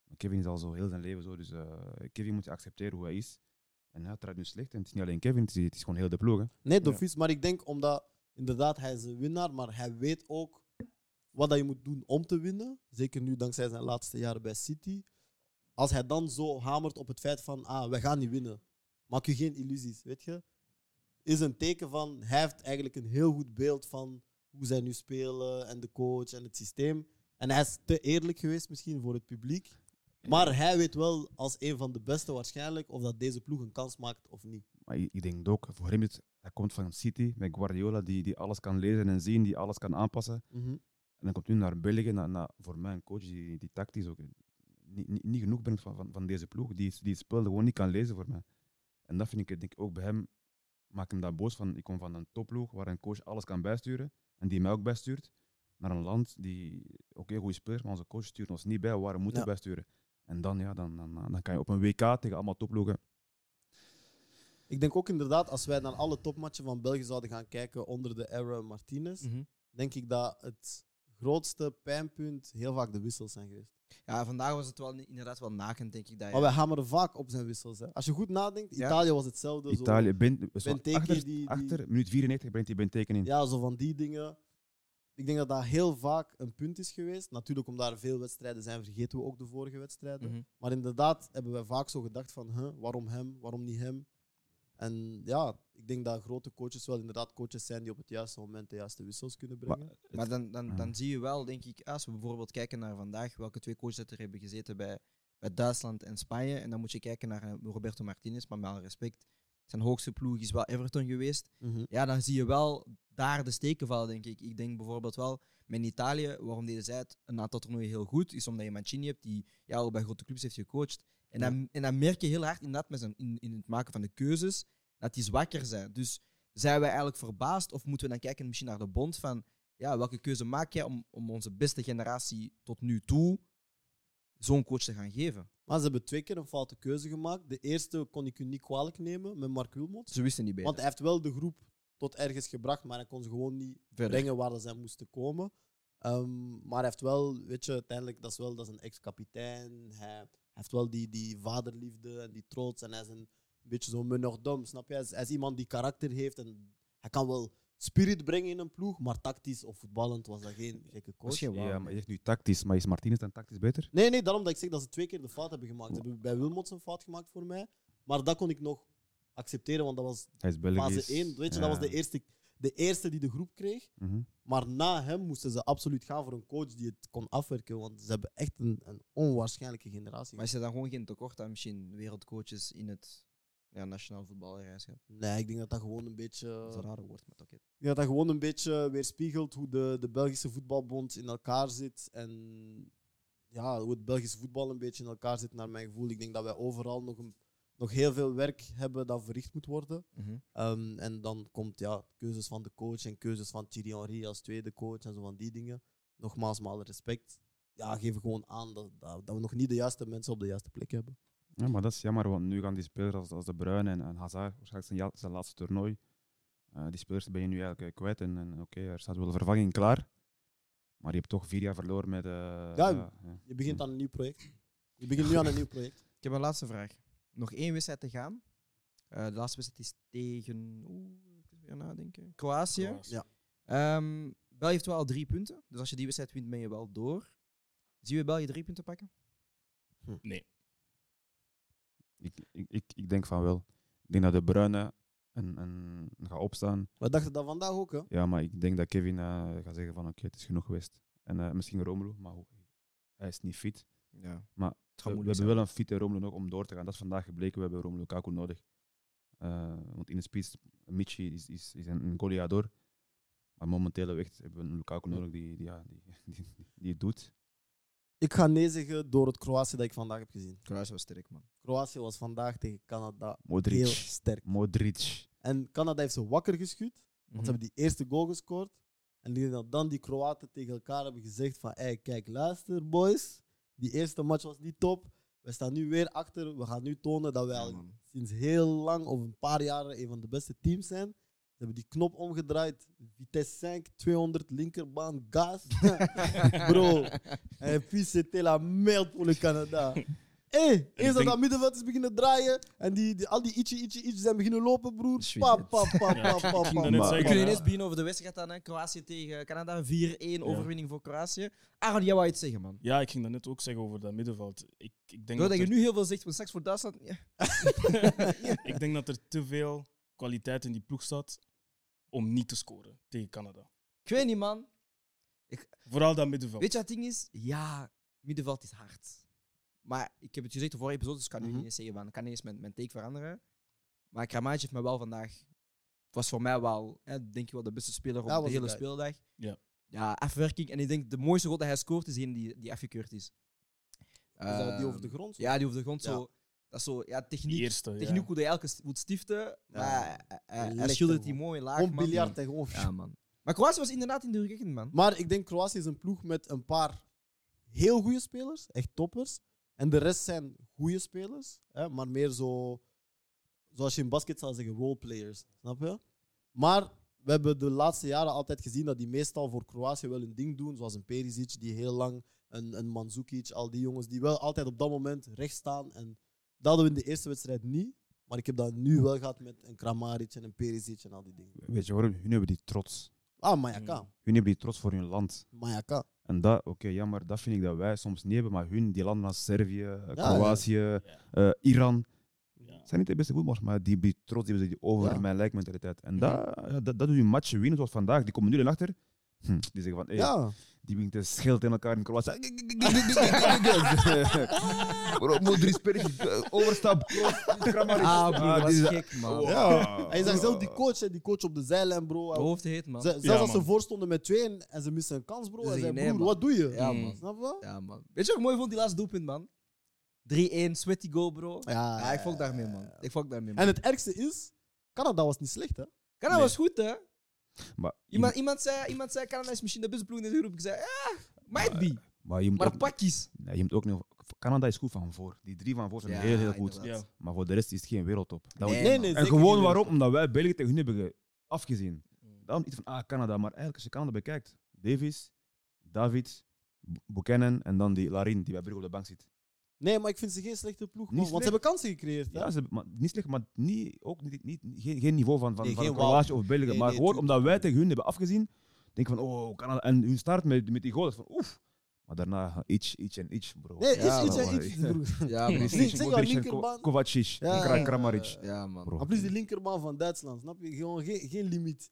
Maar Kevin is al zo heel zijn leven zo. Dus eh, Kevin moet je accepteren hoe hij is. En ja, het draait nu slecht. En het is niet alleen Kevin, het is, het is gewoon heel de ploeg. hè. Nee, Dofies, maar ik denk omdat, inderdaad, hij is een winnaar, maar hij weet ook wat dat je moet doen om te winnen. Zeker nu dankzij zijn laatste jaren bij City. Als hij dan zo hamert op het feit van, ah, we gaan niet winnen. Maak je geen illusies, weet je. is een teken van hij heeft eigenlijk een heel goed beeld van hoe zij nu spelen en de coach en het systeem. En hij is te eerlijk geweest misschien voor het publiek. Maar hij weet wel als een van de beste waarschijnlijk of dat deze ploeg een kans maakt of niet. Maar ik, ik denk ook, voor hem is het- hij komt van City met Guardiola, die, die alles kan lezen en zien, die alles kan aanpassen. En dan komt nu naar België, naar, naar, voor mij een coach die, die tactisch ook niet, niet, niet genoeg brengt van, van, van deze ploeg. Die, die het spel gewoon niet kan lezen voor mij. En dat vind ik denk ik ook bij hem, maakt hem dat boos van. Ik kom van een topploeg waar een coach alles kan bijsturen en die mij ook bijstuurt. Naar een land die, oké, goede spelers, maar onze coach stuurt ons niet bij waar we moeten Ja. bijsturen. En dan, ja, dan, dan, dan kan je op een WK tegen allemaal topploegen. Ik denk ook inderdaad, als wij naar alle topmatchen van België zouden gaan kijken onder de era Martinez, Mhm. denk ik dat het grootste pijnpunt heel vaak de wissels zijn geweest. Ja, vandaag was het wel ni- inderdaad wel nakend, denk ik. Dat je- Maar wij hameren vaak op zijn wissels. Hè. Als je goed nadenkt, Ja. Italië was hetzelfde. zo. Italië, ben, zo Benteke achter, die- die- achter minuut 94 brengt hij Benteken in. Ja, zo van die dingen. Ik denk dat dat heel vaak een punt is geweest. Natuurlijk, omdat er veel wedstrijden zijn, vergeten we ook de vorige wedstrijden. Mhm. Maar inderdaad hebben wij vaak zo gedacht van, huh, waarom hem, waarom niet hem? En ja, ik denk dat grote coaches wel inderdaad coaches zijn die op het juiste moment de juiste wissels kunnen Maar- brengen. Maar dan, dan, Ja. dan zie je wel, denk ik, als we bijvoorbeeld kijken naar vandaag, welke twee coaches dat er hebben gezeten bij, bij Duitsland en Spanje. En dan moet je kijken naar eh, Roberto Martinez, maar met alle respect, zijn hoogste ploeg is wel Everton geweest. Mhm. Ja, dan zie je wel daar de steken vallen, denk ik. Ik denk bijvoorbeeld wel, met Italië, waarom deden zij het een aantal toernooien heel goed, is omdat je Mancini hebt die ja, al bij grote clubs heeft gecoacht. En, dan, en dan merk je heel hard inderdaad met zijn, in, in het maken van de keuzes, dat die zwakker zijn. Dus zijn wij eigenlijk verbaasd of moeten we dan kijken misschien naar de bond van ja, welke keuze maak jij om, om onze beste generatie tot nu toe zo'n coach te gaan geven? Maar ze hebben twee keer een foute keuze gemaakt. De eerste kon ik u niet kwalijk nemen met Mark Wilmot. Ze wisten niet beter. Want hij heeft wel de groep tot ergens gebracht, maar hij kon ze gewoon niet Verder. brengen waar dat zij moesten komen. Ehm, maar hij heeft wel, weet je, uiteindelijk, dat is wel dat is een ex-kapitein. Hij heeft wel die, die vaderliefde en die trots. En hij is een beetje zo'n menordom, snap je? Hij is, hij is iemand die karakter heeft en hij kan wel spirit brengen in een ploeg, maar tactisch of voetballend was dat geen gekke coach. Misschien wel. Ja, maar je zegt nu tactisch, maar is Martinez dan tactisch beter? Nee, nee, daarom dat ik zeg dat ze twee keer de fout hebben gemaakt. Ze hebben bij Wilmots een fout gemaakt voor mij, maar dat kon ik nog accepteren, want dat was Hij is Belgisch. fase 1. Weet je, dat was de eerste, de eerste die de groep kreeg. Mhm. Maar na hem moesten ze absoluut gaan voor een coach die het kon afwerken. Want ze hebben echt een, een onwaarschijnlijke generatie. Maar is er dan gewoon geen tekort aan misschien wereldcoaches in het ja, nationaal voetbalreischap? nee, ik denk dat dat gewoon een beetje. Dat is een raar woord, maar oké. Ik denk dat dat gewoon een beetje weerspiegelt hoe de, de Belgische voetbalbond in elkaar zit. En ja, hoe het Belgische voetbal een beetje in elkaar zit, naar mijn gevoel. Ik denk dat wij overal nog, een, nog heel veel werk hebben dat verricht moet worden. Mhm. Ehm, en dan komt ja, keuzes van de coach en keuzes van Thierry Henry als tweede coach en zo van die dingen. Nogmaals, maar alle respect. Ja, geven gewoon aan dat, dat, dat we nog niet de juiste mensen op de juiste plek hebben. Ja, maar dat is jammer, want nu gaan die spelers als, als De Bruyne en, en Hazard, waarschijnlijk zijn, ja- zijn laatste toernooi, eh, die spelers ben je nu eigenlijk eh, kwijt. En, en oké, er staat wel een vervanging klaar, maar je hebt toch vier jaar verloren met... eh, ja, ja. Je begint aan een nieuw project. Je begint nu aan een nieuw project. Ik heb een laatste vraag. Nog één wedstrijd te gaan. Eh, de laatste wedstrijd is tegen. Oeh, ik moet weer nadenken. Kroatië. Ja. Ehm, België heeft wel al drie punten. Dus als je die wedstrijd wint, ben je wel door. Zien we België drie punten pakken? Nee. Ik, ik, ik, ik denk van wel. Ik denk dat De Bruyne een, een, gaat opstaan. We dachten dat vandaag ook, hè? Ja, maar ik denk dat Kevin eh, gaat zeggen van oké, het is genoeg geweest. En eh, misschien Romelu, maar hoe- hij is niet fit. Ja. Maar het We, gaat we moeilijk hebben zijn. wel een fitte Romelu nog om door te gaan. Dat is vandaag gebleken. We hebben Romelu Lukaku nodig. Eh, want in de spits, Michi is, is, is een, een goleador. Maar momenteel echt hebben we een Lukaku nodig die, die, ja, die, die, die het doet. Ik ga nee zeggen door het Kroatië dat ik vandaag heb gezien. Kroatië was sterk, man. Kroatië was vandaag tegen Canada heel Modric. sterk. Modric. En Canada heeft ze wakker geschud. Mhm. Want ze hebben die eerste goal gescoord. En die, dat dan die Kroaten tegen elkaar hebben gezegd van... Hey, kijk, luister boys. Die eerste match was niet top. We staan nu weer achter. We gaan nu tonen dat wij Ja, al man. sinds heel lang of een paar jaren een van de beste teams zijn. Ze hebben die knop omgedraaid. Vitesse 5, 200, linkerbaan, gas. Bro, en puis c'était la merde voor le Canada. Hé, hey, ik eerst dat denk- dat middenveld is beginnen draaien en die, die, al die ietsje, ietsje, ietsje zijn beginnen lopen, broer. Shit. Pap, pap, pap, Ja, pap, pap, ik pap. ging We Maar- daarnet zeggen, kunnen hè. ineens beginnen over de wedstrijd dan. Hè. Kroatië tegen Canada. 4-1 overwinning voor Kroatië. Aaron, jij wou iets zeggen, man. Ja, ik ging daarnet ook zeggen over dat middenveld. Ik, ik, denk Doordat dat je er, nu heel veel zegt, maar straks voor Duitsland... Ja. ik denk dat er te veel kwaliteit in die ploeg staat om niet te scoren tegen Canada. Ik weet niet, man. Vooral dat middenveld. Weet je wat het ding is? Ja, middenveld is hard. Maar ik heb het gezegd de vorige episode, dus ik kan nu Mhm. niet eens zeggen, van, ik kan niet eens mijn, mijn take veranderen. Maar Kramage heeft me wel vandaag... was voor mij wel, hè, denk ik wel, de beste speler op Dat de was hele het, hè. speeldag. Ja. Ja, afwerking. En ik denk, de mooiste goal dat hij scoort, is die die, die afgekeurd is. Is dat die Ehm, over de grond? Ja, die over de grond. Ja. Zo, dat is zo, ja, Die techniek. eerste. Techniek Ja. hoe hij elke st- moet stiften. Maar hij- hij, hij Lekker, schildert die man. mooi laag, Gewoon man. biljart en gewoon. Ja, man. Maar Kroatië was inderdaad in de ruggen, man. Maar ik denk Kroatië is een ploeg met een paar heel goede spelers, echt toppers. En de rest zijn goede spelers, hè, maar meer zo, zoals je in basket zou zeggen, roleplayers. Snap je? Maar we hebben de laatste jaren altijd gezien dat die meestal voor Kroatië wel een ding doen. Zoals een Perisic, die heel lang, een, een Mandzukic, al die jongens die wel altijd op dat moment recht staan. En dat hadden we in de eerste wedstrijd niet. Maar ik heb dat nu wel gehad met een Kramaric en een Perisic en al die dingen. Weet je waarom? Hun hebben die trots. Ah, Mayaka. Hun hebben die trots voor hun land. Mayaka. En dat, oké, jammer, dat vind ik dat wij soms niet hebben. Maar hun, die landen als Servië, eh, ja. Kroatië, Ja. eh, Iran, Ja. zijn niet de beste voetballers, maar die, die trots, die hebben die over Ja. mijn lijkmentaliteit. En dat, ja, dat, dat doe je matchen winnen zoals vandaag. Die komen nu erachter. Hm, die zeggen van, hey, Ja. die winkt een schild in elkaar in Kroatië. Bro, Modric, Perisic, eh, overstap, cross, Kramaric. Ah. Ah, broer, dat die is is- gek, man. Wow. Ja. En je zag zelf die coach, hè, die coach op de zijlijn, bro. De hoofd heet, man. Ze- zelfs Ja, als ze man. voorstonden met tweeën en ze missen een kans, bro. Ze En zei, zeggen, nee, broer, man. wat doe je? Ja, Mm. man. Snap je? Ja, man. Weet je wat ik mooi vond, die laatste doelpunt, man? 3-1, sweaty goal, bro. Ja, Ja, ik volg daarmee, man. Ik volg daarmee, man. En het ergste is, Canada was niet slecht, hè? Canada Nee. was goed, hè? Maar, Iemand, iemand, zei, iemand zei, Canada is misschien de beste ploeg in de groep. Ik zei, ja, might be. maar je moet Maar ook- pakjes. Nee, je moet ook niet. Canada is goed van voor. Die drie van voor zijn Ja, heel, heel goed. inderdaad. Maar voor de rest is het geen wereldtop. Dat Nee, wordt- man. En zeker gewoon niet. Mm. waarom? Omdat wij België tegen hun hebben ge- afgezien. Daarom iets van ah, Canada. Maar eigenlijk, als je Canada bekijkt, Davis, David, B- Buchanan en dan die Larin die bij Brugge op de bank zit. Nee, maar ik vind ze geen slechte ploeg, man. Niet Want ze slecht. hebben kansen gecreëerd, hè? Ja, ze, hebben- maar, niet slecht, maar niet, ook niet, niet, geen, geen niveau van, van, Nee, van geen Kroatië of België. Nee, maar nee, gewoon tuurlijk. omdat wij tegen hun hebben afgezien, denk ik van oh, Canada. En hun start met, met die goal, dat is van oef. Maar daarna iets, iets en iets, bro. Nee, iets, Ja, iets man. en iets, broer. Ja, man. Zeg- zeg maar, Modric en linkerbaan. Ko- Kovacic, Ja, en Kra- ja. Kramaric. Ja, man. Bro. Maar plus die linkerbaan van Duitsland, snap je? Gewoon geen, geen limiet.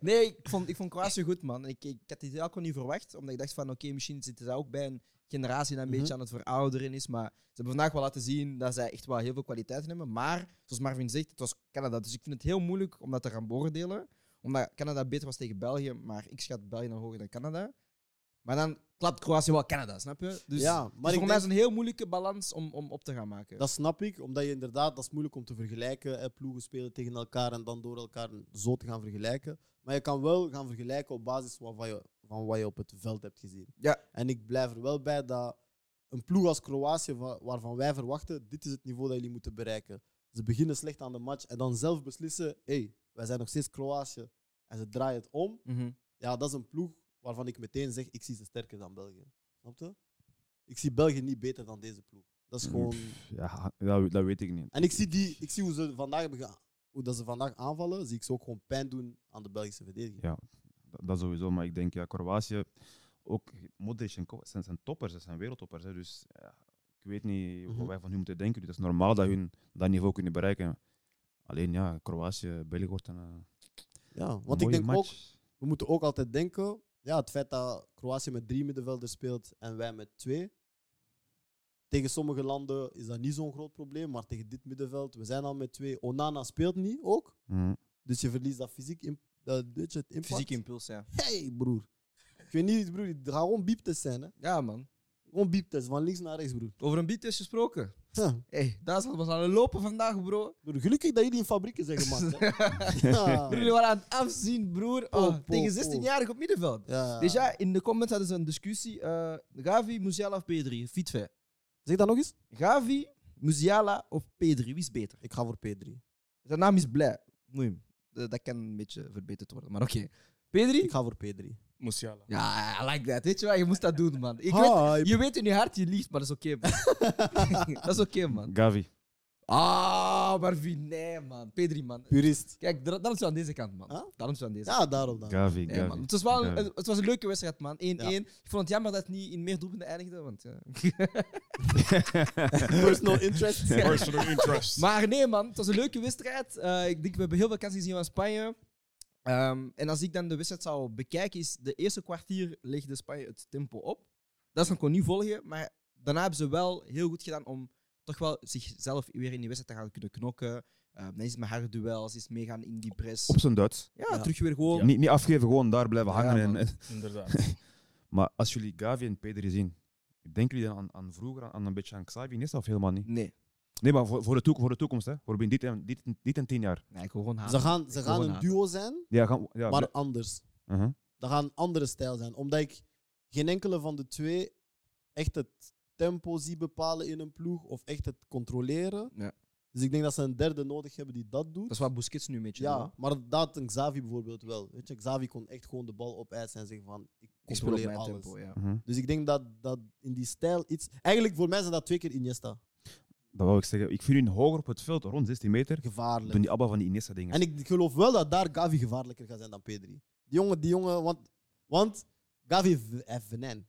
Nee, ik vond, ik vond Kroatië goed, man. Ik, ik had dit ook niet verwacht, omdat ik dacht van, oké, misschien zit daar ook bij een generatie dat een Mhm. beetje aan het verouderen is. Maar ze hebben vandaag wel laten zien dat zij echt wel heel veel kwaliteiten hebben. Maar, zoals Marvin zegt, het was Canada. Dus ik vind het heel moeilijk om dat te gaan beoordelen. Omdat Canada beter was tegen België, maar ik schat België dan hoger dan Canada. Maar dan klapt Kroatië wel Canada, snap je? Dus ja, maar maar ik voor mij is denk- een heel moeilijke balans om, om op te gaan maken. Dat snap ik, omdat je inderdaad, dat is moeilijk om te vergelijken. Hè, ploegen spelen tegen elkaar en dan door elkaar zo te gaan vergelijken. Maar je kan wel gaan vergelijken op basis van wat je, van wat je op het veld hebt gezien. Ja. En ik blijf er wel bij dat een ploeg als Kroatië, wa- waarvan wij verwachten, dit is het niveau dat jullie moeten bereiken. Ze beginnen slecht aan de match en dan zelf beslissen, hé, hey, wij zijn nog steeds Kroatië. En ze draaien het om. Mhm. Ja, dat is een ploeg waarvan ik meteen zeg, ik zie ze sterker dan België. Snap je? Ik zie België niet beter dan deze ploeg. Dat is Hmm. Mm, gewoon... pff, Ja, dat, dat weet ik niet. En ik zie, die, ik zie hoe, ze vandaag hebben ge- hoe dat ze vandaag aanvallen, zie ik ze ook gewoon pijn doen aan de Belgische verdediging. Ja. Dat, dat sowieso, maar ik denk, ja, Kroatië, ook Modric en Kovac zijn, zijn toppers, dat zijn wereldtoppers. Hè, dus ja, ik weet niet Mhm. wat wij van hun moeten denken. Dus het is normaal dat hun dat niveau kunnen bereiken. Alleen ja, Kroatië, België wordt een, eh, Ja, want ik mooie denk ook, match. we moeten ook altijd denken, ja, het feit dat Kroatië met drie middenvelders speelt en wij met twee. Tegen sommige landen is dat niet zo'n groot probleem, maar tegen dit middenveld, we zijn al met twee. Onana speelt niet ook, Mhm. dus je verliest dat fysiek imp- dat, weet je, het impact. Fysieke impuls, ja. Hey, broer. Ik weet niet, broer, het gaat gewoon bieptes zijn, hè. Ja, man. Gewoon bieptes, van links naar rechts, broer. Over een beat is gesproken. Huh. hey, Duitsland was aan het lopen vandaag, bro. Broer, Gelukkig dat jullie in fabrieken zijn gemaakt, hè. Ja. Broer, jullie waren aan het afzien, broer. Oh, Oh, po, tegen 16-jarig op middenveld. Ja. Dus ja, in de comments hadden ze een discussie. eh, Gavi, Musiala of P3? Fietve. Zeg dat nog eens. Gavi, Musiala of P3? Wie is beter? Ik ga voor P3. Zijn naam is Blij. Moeim. Eh, Dat kan een beetje verbeterd worden, maar oké. Ik P3? ga voor P3. Musiala. Ja, I like that. Weet je wat? Je moest dat doen, man. Ik weet, Hi. je weet in je hart, je liegt, maar dat is oké, man. dat is oké, man. Gavi. Ah, Marvin, nee, man. P3, man. Purist. Kijk, daar- daarom zijn we aan deze kant, man. Huh? Daarom zijn we aan deze Ja, daarom dan. Gavi, Nee, man. Gavi. Het, was wel een, Gavi. het was een leuke wedstrijd, man. 1-1. Ik vond het jammer dat het niet in meer doelpunten eindigde. Want, ja. Personal interest. Personal interest. Maar nee, man. Het was een leuke wedstrijd. Eh, ik denk, we hebben heel veel kansen gezien van Spanje. Ehm, en als ik dan de wedstrijd zou bekijken, is de eerste kwartier legde Spanje het tempo op. Dat is nog kon niet volgen, maar daarna hebben ze wel heel goed gedaan om toch wel zichzelf weer in die wedstrijd te gaan kunnen knokken. Eh, dan is het met harde duels, is meegaan in die press. Op zijn Duits. Ja, Ja. terug weer gewoon. Niet, niet afgeven, gewoon daar blijven Ja, hangen. en- man. en, Inderdaad. Maar als jullie Gavi en Pedri zien, denken jullie dan aan, aan vroeger, aan, aan een beetje aan Xavi Iniesta of helemaal niet? Nee. Nee, maar voor, voor, de, toek- voor de toekomst, hè? voor binnen dit en, dit, en- dit en tien jaar. nee, ik wil gewoon haten. Ze gaan, ze Ik gaan wil een haten. duo zijn, Ja, gaan, we- ja, maar bl- anders. Uh-huh. Dat gaan een andere stijl zijn. Omdat ik geen enkele van de twee echt het tempo zie bepalen in een ploeg of echt het controleren. Ja. Dus ik denk dat ze een derde nodig hebben die dat doet. Dat is wat Busquets nu een beetje doet, ja, hè. maar dat een Xavi bijvoorbeeld wel. Weet je, Xavi kon echt gewoon de bal opeisen en zeggen van Ik speel ik op controleer mijn alles. tempo, ja. mhm. Dus ik denk dat, dat in die stijl iets. Eigenlijk voor mij zijn dat twee keer Iniesta. Dat wou ik zeggen. Ik vind hun hoger op het veld, rond 16 meter, Gevaarlijk. doen die Abba van die Iniesta dingen. En ik geloof wel dat daar Gavi gevaarlijker gaat zijn dan Pedri. Die jongen, die jongen, want, want Gavi heeft- heeft venijn. Hij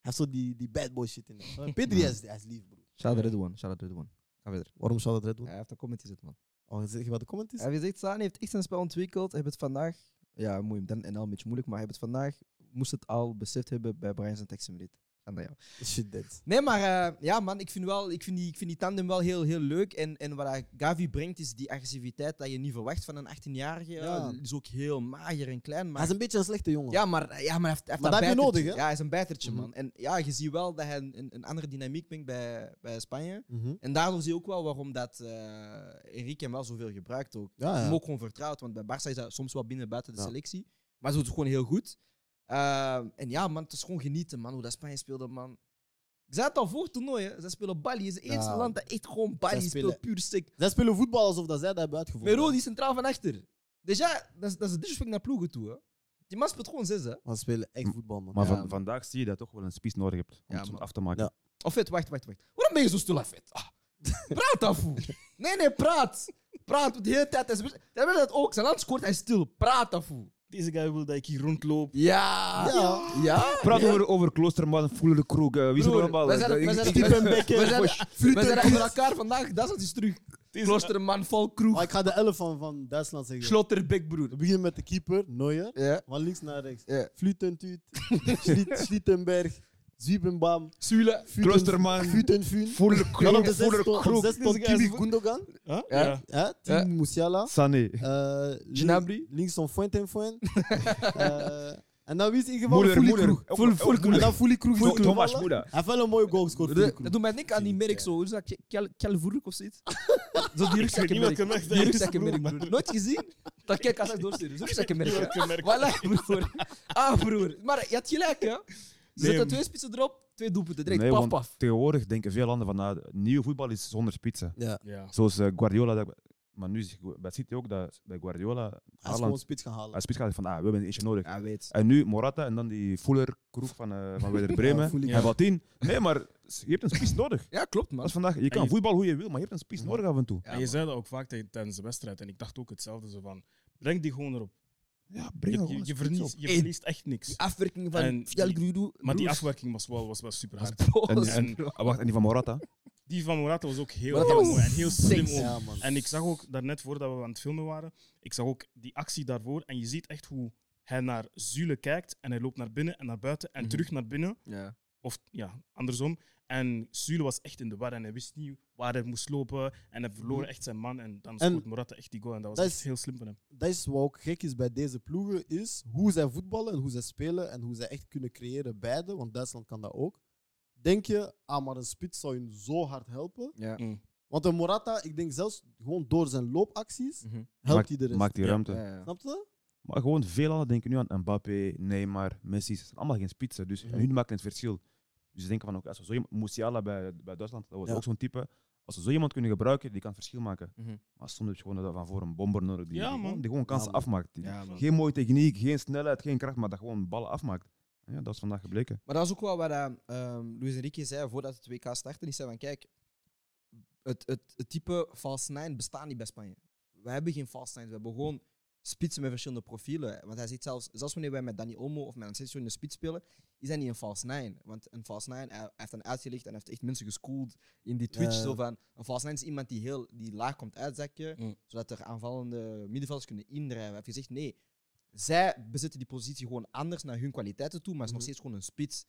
heeft zo die, die bad boy shit in hem. Pedri hij is, hij is lief, bro. Shout out Redouan, shout out Redouan. Ga verder. Waarom zou dat red doen? Hij heeft een comment gezet, man. Oh, zeg je wat de comment is? Hij heeft gezegd, Sani heeft echt zijn spel ontwikkeld. Hij heeft het vandaag... Ja, moeilijk, dan en al een beetje moeilijk, maar hij heeft het vandaag... Moest het al beseft hebben bij Brian zijn tekstsimulate. Aan jou. Shit, dead. Nee, maar eh, ja, man, ik vind, wel, ik vind, die, ik vind die tandem wel heel, heel leuk. En, en wat hij- Gavi brengt, is die agressiviteit dat je niet verwacht van een 18-jarige. Ja. Die is ook heel mager en klein. Maar Hij is een beetje een slechte jongen. Ja, maar, ja, maar hij heeft, hij heeft Maar dat dat heb je bijtertje. nodig, hè? Ja, hij is een bijtertje, Mhm. man. En ja, je ziet wel dat hij een, een- een andere dynamiek brengt bij, bij Spanje. Mhm. En daardoor zie je ook wel waarom dat eh Enrique hem wel zoveel gebruikt ook. Ah, Ja, ja. Hem ook gewoon vertrouwd, want bij Barça is dat soms wel binnen buiten de Ja. selectie. Maar ze doet het gewoon heel goed. Ehm, en ja, man, het is gewoon genieten, man, hoe dat Spanje speelde, man. Ik zei het al voor het toernooi, hè. Ze spelen Bali. Het is het Ja. eerste land dat echt gewoon Bali Zij speelt, spelen- puur stik. Zij spelen voetbal alsof dat zij dat hebben uitgevonden. Mero, die is centraal van achter. Dus ja, dat is, dat is een disrespect naar ploegen toe, hè. Die man speelt gewoon zes, hè. Maar ze spelen echt voetbal, man. maar Ja, van- man. vandaag zie je dat toch wel een spies nodig hebt om Ja, het zo man. af te maken. Ja. Of vet, wacht, wacht, wacht. Waarom ben je zo stil, vet? Ah. Praat afvoer. Nee, nee, praat. Praat de hele tijd. Dat hebben dat ook. Zijn land scoort hij stil. Praat afvoer. Deze guy wil dat ik hier rondloop. Ja. Ja. Ja. Praat over, over Kloosterman, Voelenkroeg, eh, wie is er Broer, allemaal? wij zijn- Eh, wij zijn- ik- ik- wij- Bekken, We zijn, we zijn Fluten. onder elkaar vandaag. Dat is het is terug. Kloosterman, Valkroeg, Maar ik ga de elf van, van Duitsland zeggen. Slotterbeek, broer. We beginnen met de keeper, Neuer. Ja. Van links naar rechts. Ja. Flutentuut, Schliet- Schlittenberg, Zwiebenbaum, Zule. Kloosterman, Futenfun. Dan op de zes stond, op Voelenkroeg, zes stond Deze guy is Kiwi vo- Gundogan. Huh? Ja. Ja. Hè? Team Ja. Musiala. Sané, eh, Gnabry. links- Links van Fuentenfuen. Eh, En dan wie is in ieder geval Moeder, Fuli Moeder, Kroeg. En dan Fuli Kroeg. is Tho- ook Thomas gevallen. Moeder. Hij heeft wel een mooie goal gescoord. Fuli Dat Kroeg. doet mij denken aan die merk zo. Hoe is dat? Kel- Kelvoerk of zoiets? Zo die Ik weet niet rugzakkenmerk. welke merk Die dat is, rugzakkenmerk, broer, broer. Nooit gezien? Dat kijk als ik doorsturen. Zo'n rugzakkenmerk, hè. Welke merk? Voilà, broer. Ah, broer. Maar je had gelijk, hè? Ze Nee, zetten man. twee spitsen erop, twee doelpunten. Direct, Nee, paf, want paf. Tegenwoordig denken veel landen van, ah, nieuw voetbal is zonder spitsen. Ja, Ja. Zoals eh, Guardiola. Dat, maar nu is bij City ook dat bij Guardiola. hij is gewoon Haaland spits gaan halen. als spits gaat van ah, we hebben eentje nodig. Ja, weet. En nu Morata en dan die Fuller kroeg van, eh van Werder Ja, Bremen. voel ik. Hij valt in. Nee, maar je hebt een spits nodig. Ja, klopt, Dat man. is vandaag. Je kan je- voetbal hoe je wil, maar je hebt een spits Mhm. nodig af en toe. Ja, en je man. zei dat ook vaak tij- tijdens de wedstrijd. En ik dacht ook hetzelfde. Zo van, breng die gewoon erop. Ja, Je, breng je- je, verliest, verliest. je Hey. verliest echt niks. Die afwerking van En Fjall die- Grudu. Maar die broers. afwerking was wel, was wel super Dat hard. is boos, En- en- bro. Ah, wacht, en die van Morata. Die van Morata was ook heel, Maar dat heel was mooi en heel slim. sick. ook. Ja, man. En ik zag ook daarnet voordat we aan het filmen waren, ik zag ook die actie daarvoor. En je ziet echt hoe hij naar Zule kijkt en hij loopt naar binnen en naar buiten en Mhm. terug naar binnen. Ja. Of ja, andersom. En Zule was echt in de war en hij wist niet waar hij moest lopen. En hij verloor echt zijn man. En dan En- scoort Morata echt die goal. En dat was Dat echt is- heel slim van hem. dat is wat ook gek is bij deze ploegen, is hoe zij voetballen en hoe zij spelen en hoe zij echt kunnen creëren beide, want Duitsland kan dat ook. Denk je, ah, maar een spits zou hun zo hard helpen. Ja. Mm. Want een Morata, ik denk zelfs gewoon door zijn loopacties, Mhm. helpt Maakt- hij de rest. Maakt die Ja. ruimte. Ja, ja. Snap je? Maar gewoon veel landen denken nu aan Mbappé, Neymar, Messi. Ze zijn allemaal geen spitsen. Dus Mhm. hun maken het verschil. Dus ze denken van, oké, als we zo iemand, Musiala bij, bij Duitsland, dat was Ja. ook zo'n type. Als ze zo iemand kunnen gebruiken, die kan het verschil maken. Mhm. Maar soms heb je gewoon dat van voor een bomber nodig die, Ja, die, man. gewoon, die gewoon kansen man. afmaakt. Die- Ja, man. Geen mooie techniek, geen snelheid, geen kracht, maar dat gewoon ballen afmaakt. Ja, dat is vandaag gebleken. ehm, Maar dat is ook wel wat eh, ehm, Luis Enrique zei voordat het WK startte. Die zei van, kijk, het, het, het type false nine bestaat niet bij Spanje. Wij hebben geen false nines. We hebben gewoon spitsen met verschillende profielen. Want hij ziet zelfs, zelfs wanneer wij met Dani Olmo of met Asensio in de spits spelen, is hij niet een false nine. Want een false nine, hij hij heeft dan uitgelegd en hij heeft echt mensen geschoold in die Twitch. Ja. Zo van, een false nine is iemand die, heel, die laag komt uitzakken, Mm. zodat er aanvallende middenvelders kunnen indrijven. Hij heeft gezegd, nee, zij bezitten die positie gewoon anders naar hun kwaliteiten toe, maar het is nog steeds gewoon een spits.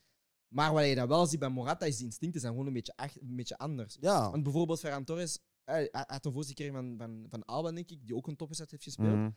Maar wat je dan wel ziet bij Morata is die instincten zijn gewoon een beetje, ach- een beetje anders. Ja. Want bijvoorbeeld Ferran Torres, hij hij- hij had een voorzet gekregen van, van, van Alba, denk ik, die ook een topwedstrijd heeft gespeeld. Mhm.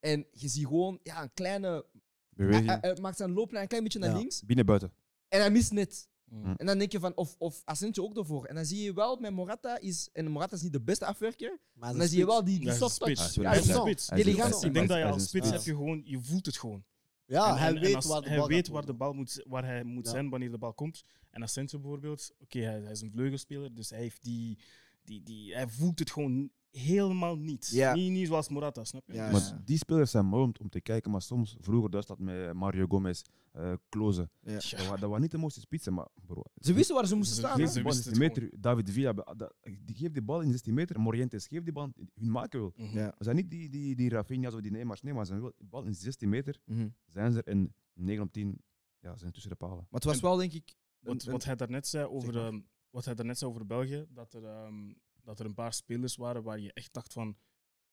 En je ziet gewoon ja, een kleine. Hij, hij- Beweging. hij maakt zijn looplijn een klein beetje naar Ja. links. Binnen, buiten. En hij mist net. Mm. En dan denk je van, of, of Asensio ook ervoor. En dan zie je wel, met Morata is, en Morata is niet de beste afwerker, Maar maar dan zie je wel die, Ja, die hij is een soft touch. spits. Ja, Hij is een zo. spits. Hij is een- Elegantie. hij is een- Ik denk dat hij je is als een- spits ja. heb je gewoon, je voelt het gewoon. Ja, Ah, En- hij en- en weet als- waar de hij bal weet gaat waar de worden. bal moet, waar hij moet Ja. zijn wanneer de bal komt. En Asensio bijvoorbeeld, oké, hij, hij is een vleugelspeler, dus hij, heeft die, die, die, hij voelt het gewoon helemaal niet. Ja. Niet, niet zoals Morata, snap je? Ja, Dus- ja. Maar die spelers zijn mooi om, om te kijken, maar soms, vroeger Duitsland met Mario Gomez, eh Kloze, Ja. dat, wa- dat waren niet de mooiste spitsen, maar bro. Ze wisten waar ze moesten Ze staan. Geef hè? de wisten- bal in het 16 meter, David Villa, be- dat- die geeft die bal in 16 meter, Morientes geeft die bal, hun maken wel. Mhm. Ja. We zijn niet die, die, die Rafinha's of die Neymar's, nee, maar ze zijn wel, die bal in 16 meter Mhm. zijn ze er en 9 op 10 ja, zijn tussen de palen. Maar het was En- wel, denk ik. een- Wat, een- wat, hij daarnet zei over, maar. ehm, wat hij daarnet zei over België, dat er, ehm, dat er een paar spelers waren waar je echt dacht van,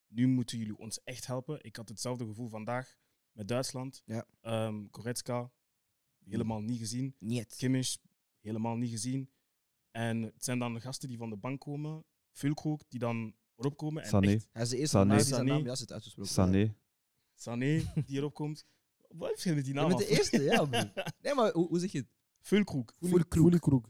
nu moeten jullie ons echt helpen. Ik had hetzelfde gevoel vandaag met Duitsland. Ja. Ehm, Goretzka, helemaal niet gezien. niet. Kimmich helemaal niet gezien. En het zijn dan de gasten die van de bank komen, Fulkhoek, die dan erop komen. En Sané. echt Hij is de eerste Sané. naam die zijn Sané. naam juist heeft uitgesproken. Sané, Sané die erop komt. Wat heeft hij met die Je naam? bent de af? eerste, ja. broer. Nee, maar hoe, hoe zeg je het? Fulkhoek. Voelekroek.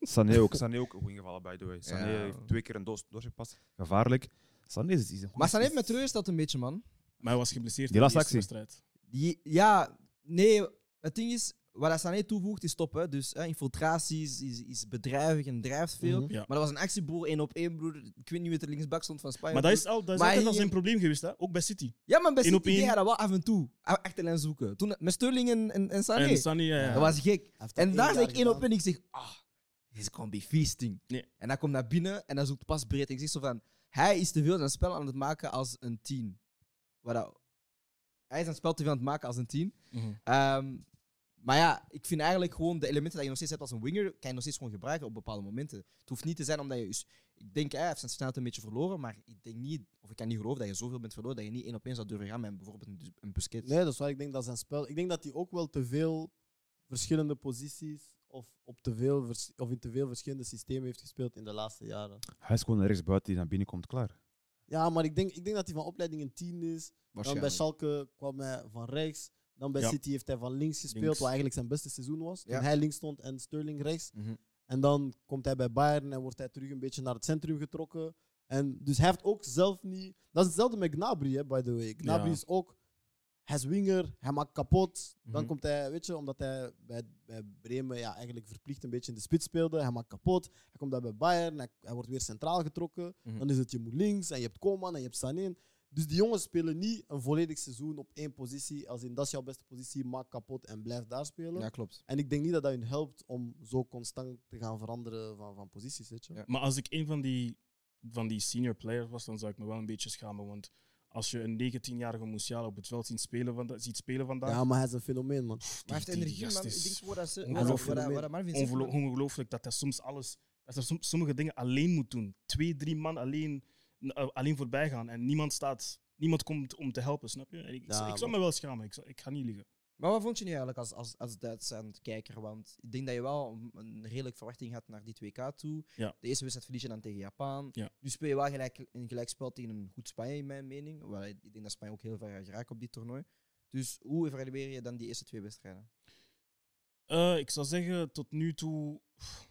Sané ook, Sané ook goed ingevallen, by the way. Sané Ja. heeft twee keer een doos doorgepast, gevaarlijk. Sané is, is een goede Maar Sané heeft spits. met rust dat een beetje, man. Maar hij was geblesseerd Die in de laatste eerste actie. wedstrijd. Die, ja, nee, het ding is, wat hij Sané toevoegt is top. Hè? Dus hè, infiltratie is, is, is bedrijvig en drijft veel. Ja. Maar dat was een actiebroer, één op één, broer. Ik weet niet wie er linksbak stond van Spanje. Maar dat is, al, dat is Maar altijd al hier- zijn probleem geweest, hè? ook bij City. Ja, maar bij één City op één. deed hij dat wel af en toe. A- Achterlijn zoeken. Toen, met Sterling en, en, en Sané. En Sané, eh, ja, ja. Dat was gek. En daar zeg ik één op in. en ik zeg, ah, dit is gewoon be feasting. Nee. En hij komt naar binnen en hij zoekt pas breed. En ik zeg zo van, hij is te veel zijn spel aan het maken als een tien. Wat dat- hij is zijn spel te veel aan het maken als een tien. Mhm. Ehm, maar ja, ik vind eigenlijk gewoon de elementen dat je nog steeds hebt als een winger, kan je nog steeds gewoon gebruiken op bepaalde momenten. Het hoeft niet te zijn omdat je... is- Ik denk, hij heeft zijn snelheid een beetje verloren, maar ik denk niet, of ik kan niet geloven dat je zoveel bent verloren, dat je niet één op één zou durven gaan met bijvoorbeeld een, een busket. Nee, dat is waar. Ik denk dat zijn spel. Ik denk dat hij ook wel te veel verschillende posities of, op te veel vers- of in te veel verschillende systemen heeft gespeeld in de laatste jaren. Hij is gewoon een rechtsbuiten die naar binnen komt, klaar. Ja, maar ik denk, ik denk dat hij van opleiding een 10 is. Dan bij Schalke kwam hij van rechts. Dan bij Ja. City heeft hij van links gespeeld, Links. wat eigenlijk zijn beste seizoen was. Ja. Toen hij links stond en Sterling rechts. Mhm. En dan komt hij bij Bayern en wordt hij terug een beetje naar het centrum getrokken. En dus hij heeft ook zelf niet... Dat is hetzelfde met Gnabry, hè, by the way. Gnabry Ja. is ook... Hij is winger, hij maakt kapot. Mhm. Dan komt hij, weet je, omdat hij bij, bij Bremen ja, eigenlijk verplicht een beetje in de spits speelde. Hij maakt kapot. Hij komt daar bij Bayern, hij, hij wordt weer centraal getrokken. Mhm. Dan is het je moet links en je hebt Koeman en je hebt Sané. Dus die jongens spelen niet een volledig seizoen op één positie. Als in dat is jouw beste positie, maak kapot en blijf daar spelen. Ja, klopt. En ik denk niet dat dat hun helpt om zo constant te gaan veranderen van, van posities, weet je. Ja. Maar als ik een van die, van die senior players was, dan zou ik me wel een beetje schamen. Want als je een 19-jarige Musiala op het veld ziet spelen, vanda- ziet spelen vandaag, Ja, maar hij is een fenomeen, man. pff, die- Maar hij heeft die- die energie, gast man. Ik is- denk gewoon dat ze... ongelooflijk. Wat, wat, wat, wat Marvin zegt, Ongeloo- man. ongelooflijk dat hij soms alles, dat hij som- sommige dingen alleen moet doen. Twee, drie man alleen, eh, alleen voorbij gaan en niemand staat, niemand komt om te helpen, snap je? En ik, Ja, ik zou me wel schamen, ik, zou- ik ga niet liegen. Maar wat vond je nu eigenlijk als, als, als Duits aan het kijker? Want ik denk dat je wel een- een redelijk verwachting had naar die 2K toe. Ja. De eerste wedstrijd verlies je dan tegen Japan. Ja. Nu speel je wel gelijk, een gelijkspel tegen een goed Spanje, in mijn mening. Wel, ik denk dat Spanje ook heel ver gaat geraken op dit toernooi. Dus hoe evalueer je dan die eerste twee wedstrijden? Eh, ik zou zeggen, tot nu toe, pff,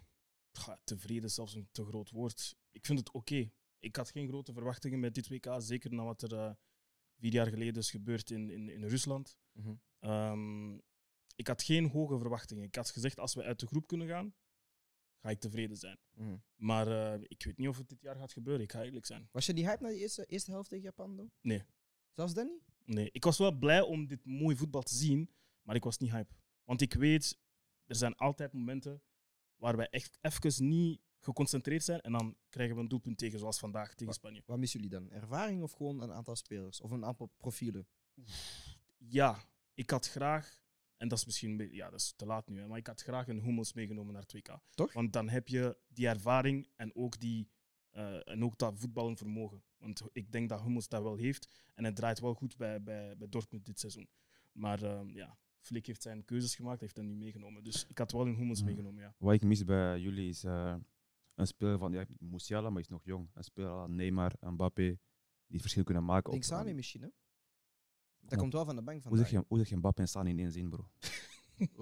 ja, tevreden is zelfs een te groot woord. Ik vind het oké. Ik had geen grote verwachtingen met dit WK, zeker na wat er eh, vier jaar geleden is gebeurd in, in, in Rusland. Mhm. Ehm, ik had geen hoge verwachtingen. Ik had gezegd, als we uit de groep kunnen gaan, ga ik tevreden zijn. Mhm. Maar eh, ik weet niet of het dit jaar gaat gebeuren. Ik ga eerlijk zijn. Was je die hype na die eerste, eerste helft tegen Japan? Dan? Nee. Zelfs dan niet? Nee, ik was wel blij om dit mooie voetbal te zien, maar ik was niet hype. Want ik weet, er zijn altijd momenten waar wij echt even niet geconcentreerd zijn. En dan krijgen we een doelpunt tegen, zoals vandaag tegen Spanje. Wat missen jullie dan? Ervaring of gewoon een aantal spelers? Of een aantal profielen? Ja, ik had graag, en dat is misschien een beetje- ja, dat is te laat nu, hè, maar ik had graag een Hummels meegenomen naar 2K. Toch? Want dan heb je die ervaring en ook, die, eh, en ook dat voetballen vermogen. Want ik denk dat Hummels dat wel heeft. En het draait wel goed bij, bij, bij Dortmund dit seizoen. Maar ehm, ja, Flick heeft zijn keuzes gemaakt, heeft hem niet meegenomen. Dus ik had wel een Hummels Ja. meegenomen, ja. Wat ik mis bij jullie is eh, een speler van ja, Musiala, maar is nog jong. Een speler als Neymar, Mbappé, die het verschil kunnen maken. Denk op- Sani misschien, hè? Dat Ja. komt wel van de bank hoe, vandaag. zeg je, hoe zeg je Mbappé en Sani in één zin, bro?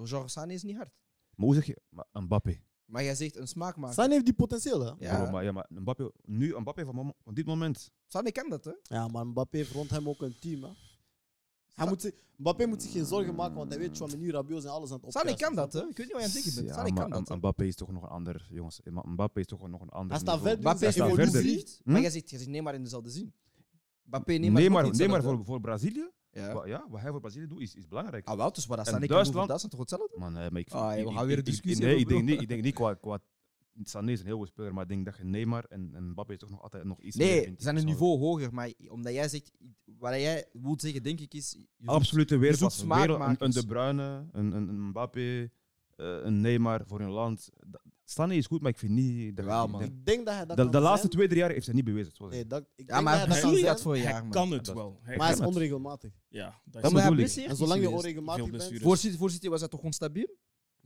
Genre Sani is niet hard. Maar hoe zeg je maar Mbappé? Maar jij zegt een smaakmaker. Sane heeft die potentieel, hè? Ja, Bro, maar, ja, maar Mbappé, nu Mbappé van, mom- van dit moment. Sani kan dat, hè? Ja, maar Mbappé heeft rond hem ook een team, hè? Hij moet zich, Mbappé moet zich geen zorgen maken, want hij weet, Chouameni, Rabiot zijn alles aan het opkuisen. Sani kan dat, hè? Ik weet niet wat je aan het denken bent. Ja, Sani kan maar dat. hè. M- Mbappé is toch nog een ander, jongens. M- Mbappé is toch nog een ander. Hij staat niveau. verder. Mbappé Hij is staat een verder. verliefd, Hm? maar jij zegt, jij zegt Neymar in dezelfde zin. Mbappé, Neymar, Nee, ook maar, niet nee, maar hetzelfde. voor, voor Brazilië, Ja. wa- ja, wat hij voor Brazilië doet, is, is belangrijk. Ah wel, dus wat dat En Sani kan doen voor Duitsland- Duitsland, toch hetzelfde? Maar nee, maar ik Ah, ik- joh, we ik- gaan weer een ik- ik- discussie Nee, ik hebben, denk bro. niet, ik denk niet qua, qua... Sané is een heel goed speler, maar ik denk dat je Neymar en, en Mbappé is toch nog altijd nog iets meer Nee, vindt, ze zijn een persoonlijk. niveau hoger, maar omdat jij zegt, wat jij wilt zeggen, denk ik, is... je zoekt- Absolute Je zoekt wereldklasse. Wereld, een, een smaakmakers. De Bruyne, een, een, een Mbappé, eh, een Neymar voor hun land. Da- Sané is goed, maar ik vind niet... Dat Jawel, ik man. denk- Ik denk dat hij dat De, kan de laatste zijn. twee, drie jaar heeft hij niet bewezen. zoals ik- Nee, dat, ik Ja, denk maar dat hij hij dat kan heeft zijn, dat voor je Hij jaar, man. kan het Dat- wel. Hij maar hij kan het. is onregelmatig. Ja, dat Dat is moet- Omdat hij bedoel ik. blesseerd En is zolang je geweest. veel onregelmatig bent... blessures. Voor City, voor City was dat toch onstabiel?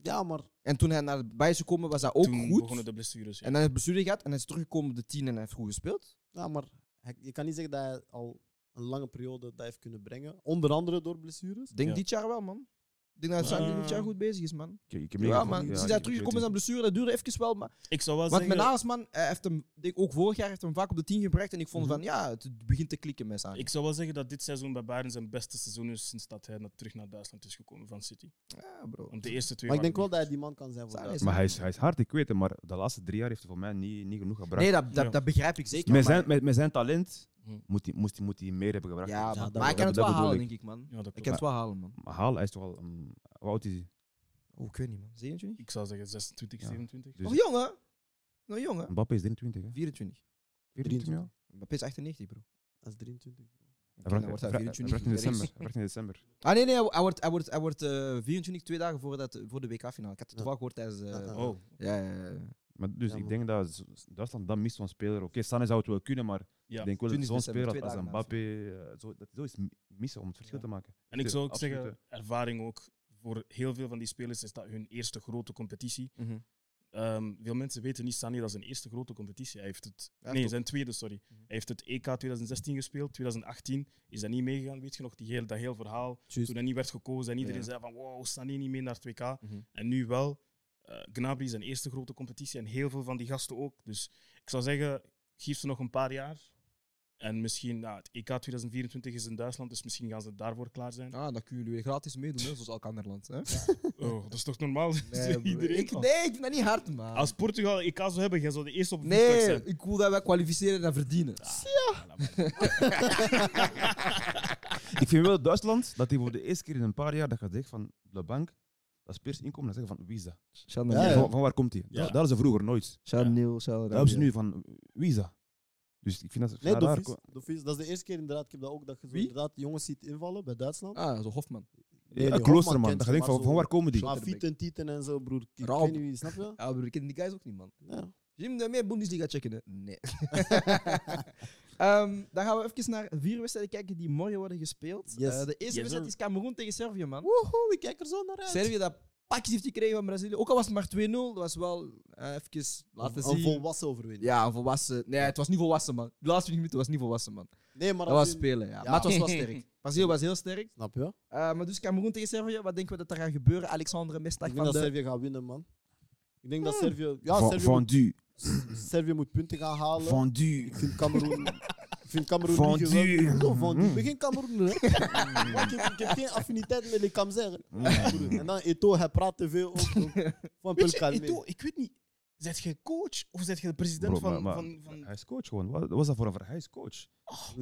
Ja, maar En toen hij naar Bayern is gekomen, was dat ook Toen goed. begonnen de blessures, ja. En dan heeft bestuurder gehad en hij is teruggekomen op de 10 en hij heeft goed gespeeld. Ja, maar hij- je kan niet zeggen dat hij al een lange periode dat heeft kunnen brengen. Onder andere door blessures. Ik denk Ja. dit jaar wel, man. Ik denk dat Sandy dit jaar Eh. goed bezig is, man. Ik- ik heb niet Ja, gevoel- man. ja, Sinds ik- hij ik weet teruggekomen is aan niet. blessure, dat duurde even wel. Maar, Ik zou wel want zeggen... met Nagelsman, hij eh, heeft hem, denk ik, ook vorig jaar, heeft hem vaak op de 10 gebracht. En ik vond Mhm. van, ja, het begint te klikken met Sandy. Ik zou wel zeggen dat dit seizoen bij Bayern zijn beste seizoen is sinds dat hij na- terug naar Duitsland is gekomen van City. Ja, bro. Want de eerste twee Maar waren ik denk wel niet dat hij die man kan zijn voor Sane Duitsland. Maar hij is, hij is hard, ik weet het, maar de laatste drie jaar heeft hij voor mij niet, niet genoeg gebracht. Nee, dat, dat, Ja. dat begrijp ik zeker. met, maar- zijn, met, met zijn talent Hm. moet hij, moest hij, moet hij meer hebben gebracht. Ja, Ja, maar, dat- maar hij kan het dat wel bedoel halen, ik. denk ik, man. goed. Ja, dat Hij klopt. kan het wel halen, man. Maar Haal, hij is toch al... Um, hoe oud is hij? Oh, ik weet niet, Oh, Nou, man. 27? Ik zou zeggen 26, Ja. 27. Dus- Hm. Nog jong, hè? Nog jong, hè? Mbappé is 23, hè? 24. 24 al? Mbappé is 98, bro. Hij is 23. Hij vraagt- Dan wordt hij hij vraagt- hij 24. vraagt in Dat is- december. Hij vraagt in december. Ah, nee, nee. Hij wordt, hij wordt, hij wordt eh, 24, twee dagen voor, dat, voor de WK-finale. Ik had het Ja. toevallig gehoord tijdens... eh, Ja, ja. Oh, ja, ja, ja. Maar dus Ja, ik man. denk dat Z- Duitsland dat mist van speler. Oké, Sané zou het wel kunnen, maar ja. ik denk wel dat 20 zo'n december, speler twee als als dagen na Mbappé eh, zo, dat zoiets mi- missen om het verschil Ja. te maken. En ik zou ook Absoluut, zeggen, ervaring ook. Voor heel veel van die spelers is dat hun eerste grote competitie. Mhm. Ehm, veel mensen weten niet, Sané, dat is zijn eerste grote competitie. Hij heeft het, Ja, nee, toch. Mhm. zijn tweede, sorry. Hij heeft het E EK 2016 gespeeld, 2018 is hij niet meegegaan. Weet je nog, die heel, dat heel verhaal Juist. toen hij niet werd gekozen en iedereen Ja. zei van wow, Sané niet mee naar 2K. Mhm. En nu wel. Eh Gnabry zijn eerste grote competitie en heel veel van die gasten ook. Dus ik zou zeggen, geef ze nog een paar jaar. En misschien, nou, het EK 2024 is in Duitsland, dus misschien gaan ze daarvoor klaar zijn. Ah, dan kunnen jullie weer gratis meedoen, hè, zoals Alkanderland. Hè? Oh, dat is toch normaal? Nee, Iedereen ik, al. nee, ik vind dat niet hard, man. Als Portugal EK zou hebben, jij zou de eerste op het vliegtuig nee, zijn. ik wil dat wij kwalificeren en verdienen. Ik vind wel Duitsland dat hij voor de eerste keer in een paar jaar dat gaat zeggen van op de bank, dat spelers inkomen en zeggen van wie is dat? Chanel. Ja, ja. Van, van waar komt hij? Ja. Dat, dat is ze vroeger nooit. Chanel, Dat hebben ze nu van eh, wie is dat? Dus ik vind dat Nee, raar Dofies, ko- Dofies, Dat is de eerste keer inderdaad. Ik heb dat ook dat je zo Wie? inderdaad jongens ziet invallen bij Duitsland. Ah, zo Hofman. Ja, nee, een Hofman kloosterman. kent Dat je ze, denkt maar van, van zo- waar komen die? Maar Schlaf- fiet en tieten en zo, broer. Ik Raab. weet niet wie, snap je? Ja, broer, ik ken die guys ook niet, man. Ja. Jim, wil je meer Bundesliga checken? Hè? Nee. Ehm, dan gaan we even naar vier wedstrijden kijken die morgen worden gespeeld. Yes. Eh, de eerste Yes, wedstrijd sir. is Cameroen tegen Servië, man. Woehoe, Oh, ik kijk er zo naar uit. Servië dat pakjes heeft gekregen van Brazilië. Ook al was het maar 2-0, dat was wel eh, even laten een zien. volwassen overwinning. ja, een volwassen. Nee, het was niet volwassen, man. De laatste 20 minuten was niet volwassen, man. Nee, maar Dat was in- spelen, ja. Ja. Maar het was wel sterk. Brazilië was heel sterk. Snap je? Eh, maar dus Cameroen tegen Servië, wat denken we dat er gaat gebeuren? Alexandre Mestak Ik denk van dat de... Servië gaat winnen, man. Ik denk dat Servië... Ja, Van- Servië, Vendu. moet, Servië moet punten gaan halen. Vendu. Ik vind Cameroen... ik vind Cameroen Van niet Duur. geweldig. Zo, Van Duur. Ik Mm. ben geen Cameroen, hè. Want ik, ik heb geen affiniteit met de Kamzer. En dan Eto, hij praat te veel ook. Van Weet Pel je, Calmé. Eto'o, ik weet niet. Zet je coach of zet je de president Bro, van, maar- maar- van, van... Hij is coach gewoon. Wat was dat voor een ver? Hij is coach.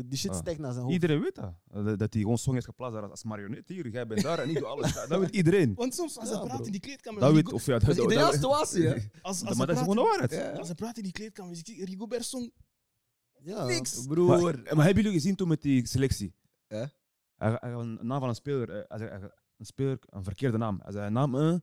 Die shit Ah. steekt naar zijn hoofd. Iedereen weet dat. Eh, dat- Dat hij gewoon song heeft geplaatst daar als marionet. Hier, jij bent daar en ik doe alles. Dat dat weet iedereen. Want soms als Ja, hij praat bro. in die kleedkamer... Dat weet, Rigo- of ja, Dat dat, is de dat- juiste was hij, hè? als, als, maar dat hij is praat, gewoon de waarheid. als hij praat in die kleedkamer, is die Rigobert Song... Ja. Niks. Maar, Broer. maar hebben jullie gezien toen met die selectie? Ja. Hij, hij gaf een naam van een speler, eh, hij zei- hij gaf een speler, een verkeerde naam. Hij zei een naam, eh,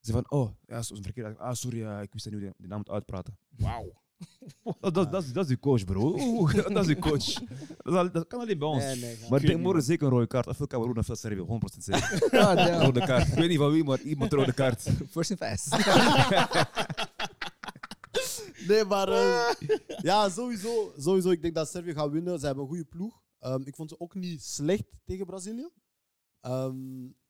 ze van, oh, ja, zo- een verkeerde. Ah, sorry, ja, ik wist niet hoe die, die naam moet uitpraten. Wauw. Dat, dat, dat, is- dat is die coach, bro. Oeh, dat is die coach. Dat, is al- dat kan alleen bij ons. Nee, nee, ga- Maar ik denk niet, morgen zeker een rode kaart. Of Cameroen of dat Servië, 100% zeker. Ah, damn. rode kaart. Ik weet niet van wie, maar iemand rode kaart. First and fast. Nee, maar eh, ja, sowieso, sowieso. Ik denk dat Servië gaat winnen. Ze hebben een goede ploeg. Ehm, ik vond ze ook niet slecht tegen Brazilië. Ehm,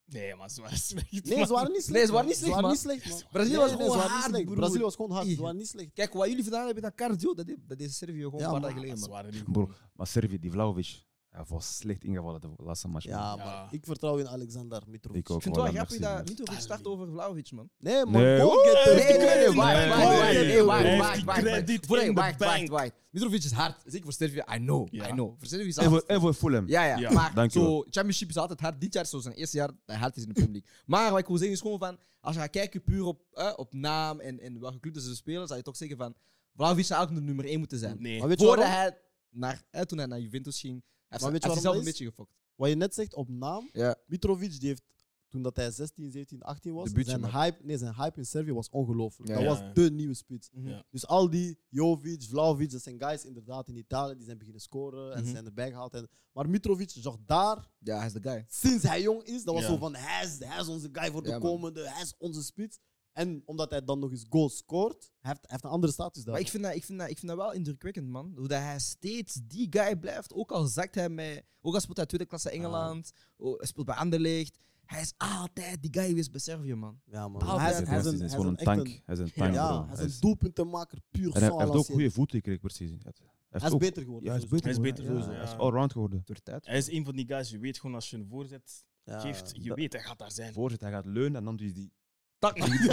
Nee, maar ze waren slecht. nee, ze waren niet slecht. Nee, ze waren man. niet slecht, Ze waren man. niet slecht, man. Brazilië Nee, was nee, ze gewoon waren niet hard, slecht. broer. Brazilië was gewoon hard. Ze Ih. waren niet slecht. Kijk, wat jullie gedaan hebben aan cardio, dat deed, dat deed Servië gewoon Ja, een paar maar dagen Maar geleden, Ze man. waren niet Bro, goed. maar Servië, die Vlaovic, hij was slecht ingevallen de laatste match. Ja, Ja. maar ik vertrouw in Alexander Mitrovic. Ik ook. Ik vind het wel Voilà, grappig merci, dat man. Mitrovic start over Vlaovic, man. Nee, man. Nee. Don't Nee, get the nee, nee, credit, nee, man. wacht, nee, wacht, wacht, nee, nee, wacht, nee, wacht, die wacht, credit wacht. Voorheen, in de wacht, wacht, bank. wacht. Mitrovic is hard, zeker voor Servië. I know, Ja. I know. Voor Servië is En voor, hard. en voor Fulham. Ja, ja. Ja. Maar Dank je zo, wel. championship is altijd hard. Dit jaar is zo zijn eerste jaar dat hij hard is in de Premier League. Maar wat ik wil zeggen is gewoon van... Als je gaat kijken puur op, eh, op naam en, en welke club dat ze spelen, zou je toch zeggen van... Vlaovic zou eigenlijk de nummer 1 moeten zijn. Nee. Maar weet je Voordat waarom? hij naar, eh, toen hij naar Juventus ging, hij Maar heeft weet je hij heeft waarom zichzelf een dat is? beetje gefokt. Wat je net zegt op naam. Ja. Mitrovic die heeft toen dat hij 16, 17, 18 was, Debuutje zijn maken. hype, nee, zijn hype in Servië was ongelooflijk. Ja. dat Ja. was de nieuwe spits. Mhm. Ja. Dus al die Jovic, Vlaovic, dat zijn guys inderdaad in Italië, die zijn beginnen scoren en Mhm. zijn erbij gehaald. En, maar Mitrovic zag daar, Ja, hij is de guy. sinds hij jong is, dat was Ja. zo van, hij is, hij is onze guy voor de Ja, man. komende, hij is onze spits. En omdat hij dan nog eens goals scoort, hij heeft, hij heeft een andere status daar. Maar ik vind, dat, ik, vind dat, ik vind dat wel indrukwekkend, man. Hoe dat hij steeds die guy blijft. Ook al zakt hij mij. Ook al speelt hij tweede klasse Engeland. oh, hij speelt bij Anderlecht. Hij is altijd die guy geweest bij Servië, man. ja, man. Ah, hij, hij is- is- Hij hij is, is een, hij is hij is gewoon een echt tank. Hij is een tank, ja, bro. hij Hij is is- een doelpuntenmaker, puur en hij hij heeft ook sans goede voeten gekregen, precies. Hij heeft Hij is ook- beter geworden. Ja, hij is sowieso. beter Hij is beter geworden, ja. sowieso, Hij is ja. allround geworden. Door tijd. Hij is een van die guys, je weet gewoon als je een voorzet Ja. geeft, je weet, hij gaat daar zijn. Voorzet, hij gaat leunen en dan doet hij die... Tak nog. Wow,